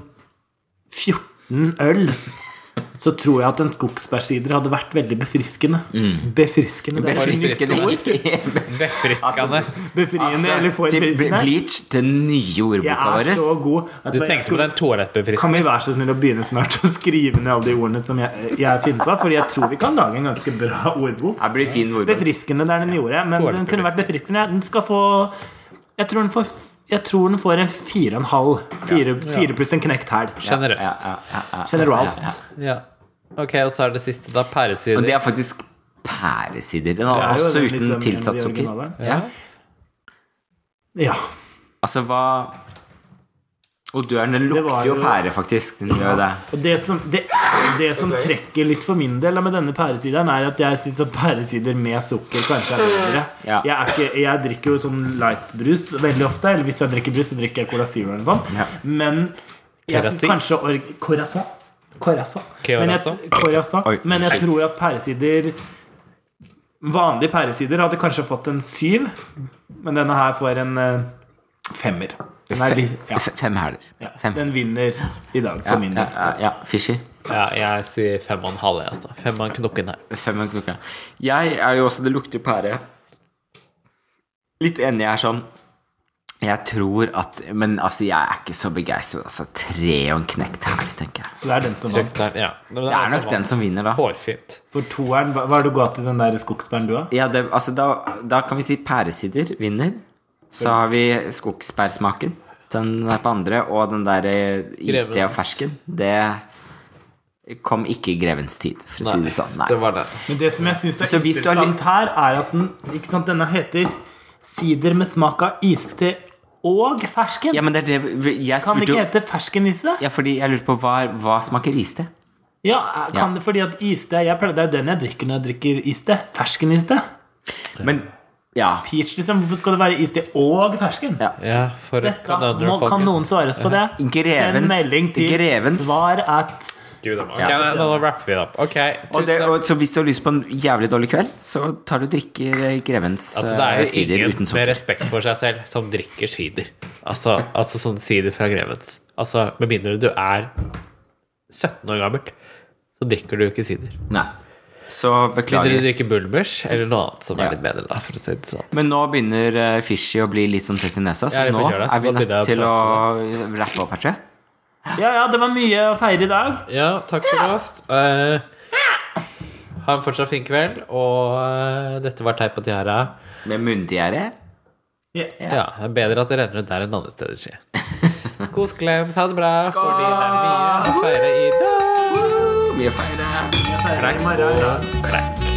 Speaker 1: 14 øl, så tror jeg at en skogsbærsider hadde vært veldig befriskende.
Speaker 3: Mm.
Speaker 1: Befriskende. Det er
Speaker 2: Befri-
Speaker 1: fint.
Speaker 3: Friskende
Speaker 2: Friskende.
Speaker 3: ord.
Speaker 2: Befriskende.
Speaker 1: Befriende eller
Speaker 3: Altså, til Ble-
Speaker 1: forfriskende.
Speaker 3: Bleach, den nye ordboka
Speaker 1: Jeg er
Speaker 3: vår.
Speaker 1: så god. at
Speaker 2: Du
Speaker 1: jeg
Speaker 2: tenkte på
Speaker 1: skulle-
Speaker 2: den toalettbefriskende.
Speaker 1: Kan vi være så snill å begynne snart å skrive ned alle de ordene som jeg, jeg finner på? Fordi jeg tror vi kan lage en ganske bra ordbok.
Speaker 3: Det blir fin ordbok.
Speaker 1: Befriskende der den gjorde, men den kunne vært befriskende. Den skal få Jeg tror den får, jeg tror den får en fire og en halv. Fire, fire pluss en knekt hæl.
Speaker 3: Ja,
Speaker 2: Sjenerøst.
Speaker 3: ja, ja, ja.
Speaker 1: Generalst.
Speaker 2: Ja. Ok, og så er det siste, da.
Speaker 3: Og det
Speaker 2: Pæresider.
Speaker 3: er faktisk pæresider. Den
Speaker 1: Det
Speaker 3: er
Speaker 1: er jo
Speaker 3: også
Speaker 1: den liksom en
Speaker 3: uten
Speaker 1: av de
Speaker 3: tilsatt sukker.
Speaker 1: originale.
Speaker 3: Ja.
Speaker 1: Ja.
Speaker 3: Altså, hva Odøren, den
Speaker 1: Det var
Speaker 3: lukter jo
Speaker 1: jo-
Speaker 3: pære, faktisk. Den gjør jo det.
Speaker 1: Og det som, det, det som trekker litt for min del med denne pæresideren, er at jeg syns at pæresider med sukker kanskje er bedre.
Speaker 3: Ja.
Speaker 1: Jeg, er ikke, jeg drikker jo sånn lightbrus veldig ofte, eller hvis jeg drikker brus, så drikker jeg Cola Zero eller noe sånt.
Speaker 3: Ja.
Speaker 1: Men jeg syns
Speaker 2: Terassi?
Speaker 1: kanskje or Corazon Kårassa. Men
Speaker 2: Kårassa?
Speaker 1: jeg, Kårassa.
Speaker 3: Oi,
Speaker 1: Men jeg
Speaker 3: unnskyld.
Speaker 1: tror at pæresider Vanlige pæresider hadde kanskje fått en syv, men denne her får en eh, femmer. Den, er litt, ja,
Speaker 3: F- Fem hæler.
Speaker 1: ja,
Speaker 3: Fem.
Speaker 1: den vinner i dag, for min
Speaker 3: Ja,
Speaker 1: del.
Speaker 3: ja, ja, fishy.
Speaker 2: Ja, jeg sier fem og en halv, jeg, altså. Fem av en knokken her.
Speaker 3: Fem med knokka. Jeg er jo også Det lukter jo pære. Litt enig jeg er sånn Jeg tror at Men altså, jeg er ikke så begeistret. Altså, tre og en knekt hæl, tenker jeg.
Speaker 1: Så det er den som vant.
Speaker 2: Trøkteren, ja. Men
Speaker 3: Det er
Speaker 2: altså
Speaker 3: nok den som vinner, da.
Speaker 2: Hårfint.
Speaker 1: For toeren, hva hva har du gått til den der skogsbæren du har?
Speaker 3: Ja, det, altså, da, da kan vi si pæresider vinner. Så har vi skogsbærsmaken. Den er på andre, og den der eh, iste og
Speaker 2: Grevens.
Speaker 3: fersken. Det kom ikke i grevens tid, for å si det sånn. Nei.
Speaker 2: Det var den.
Speaker 1: Men det som jeg syns er
Speaker 3: Så hvis du har
Speaker 1: interessant her, er at den ikke sant, denne heter sider med smak av iste og fersken.
Speaker 3: Ja, men det er det vi- Jeg
Speaker 1: Kan det
Speaker 3: spurte
Speaker 1: ikke
Speaker 3: jo
Speaker 1: hete ferskeniste?
Speaker 3: ja, fordi jeg lurte på hva, hva smaker iste?
Speaker 1: Ja, kan det fordi at iste jeg pleier, Det er jo den jeg drikker når jeg drikker iste. Ferskeniste.
Speaker 3: Men ja.
Speaker 1: Peach, liksom. Hvorfor skal det være iste og fersken?
Speaker 3: Ja.
Speaker 2: Ja, for
Speaker 1: Dette,
Speaker 2: Another
Speaker 1: må, kan
Speaker 2: Focus.
Speaker 1: noen svare oss på det? Send
Speaker 3: Grevens-
Speaker 1: melding til
Speaker 3: Grevens.
Speaker 1: svar at
Speaker 2: Gud, det var-
Speaker 3: Ja.
Speaker 2: Ok, nei, nå rapper vi det opp. Ok,
Speaker 3: Og
Speaker 2: tusen
Speaker 3: det,
Speaker 2: takk.
Speaker 3: og, så hvis du har lyst på en jævlig dårlig kveld, så tar du og drikker eh, Grevens
Speaker 2: Altså, det er
Speaker 3: eh,
Speaker 2: jo
Speaker 3: sider
Speaker 2: ingen
Speaker 3: uten
Speaker 2: med
Speaker 3: sukker.
Speaker 2: respekt for seg selv som drikker sider. Altså, altså sånn sider fra Grevens. Altså, med mindre du er 17 år gammelt, så drikker du ikke sider.
Speaker 3: Nei. Så
Speaker 2: Mindre du
Speaker 3: beklager.
Speaker 2: drikker Bulmers eller noe annet som
Speaker 3: Ja.
Speaker 2: er litt bedre, da, for å si det sånn.
Speaker 3: Men nå begynner eh, Fishy å bli litt sånn tett i nesa, så
Speaker 2: Jeg er litt
Speaker 3: nå
Speaker 2: forkjølet, så
Speaker 3: er vi
Speaker 2: nå
Speaker 3: nødt
Speaker 2: begynner jeg
Speaker 3: til å
Speaker 2: å
Speaker 3: rappe opp her, tror jeg.
Speaker 1: Ja, ja, det var mye å feire i dag.
Speaker 2: Ja, takk for oss. Eh, ha en fortsatt fin kveld, og eh, dette var Teip og tiara.
Speaker 3: Med munndiaré.
Speaker 2: Ja. det er bedre at det renner ut der enn andre steder, sier jeg. Kos, klems, ha det bra. Fordi det er mye å feire i dag.
Speaker 3: Mye feil.
Speaker 2: er
Speaker 1: Jeg feirer i morgen.
Speaker 2: Klekk.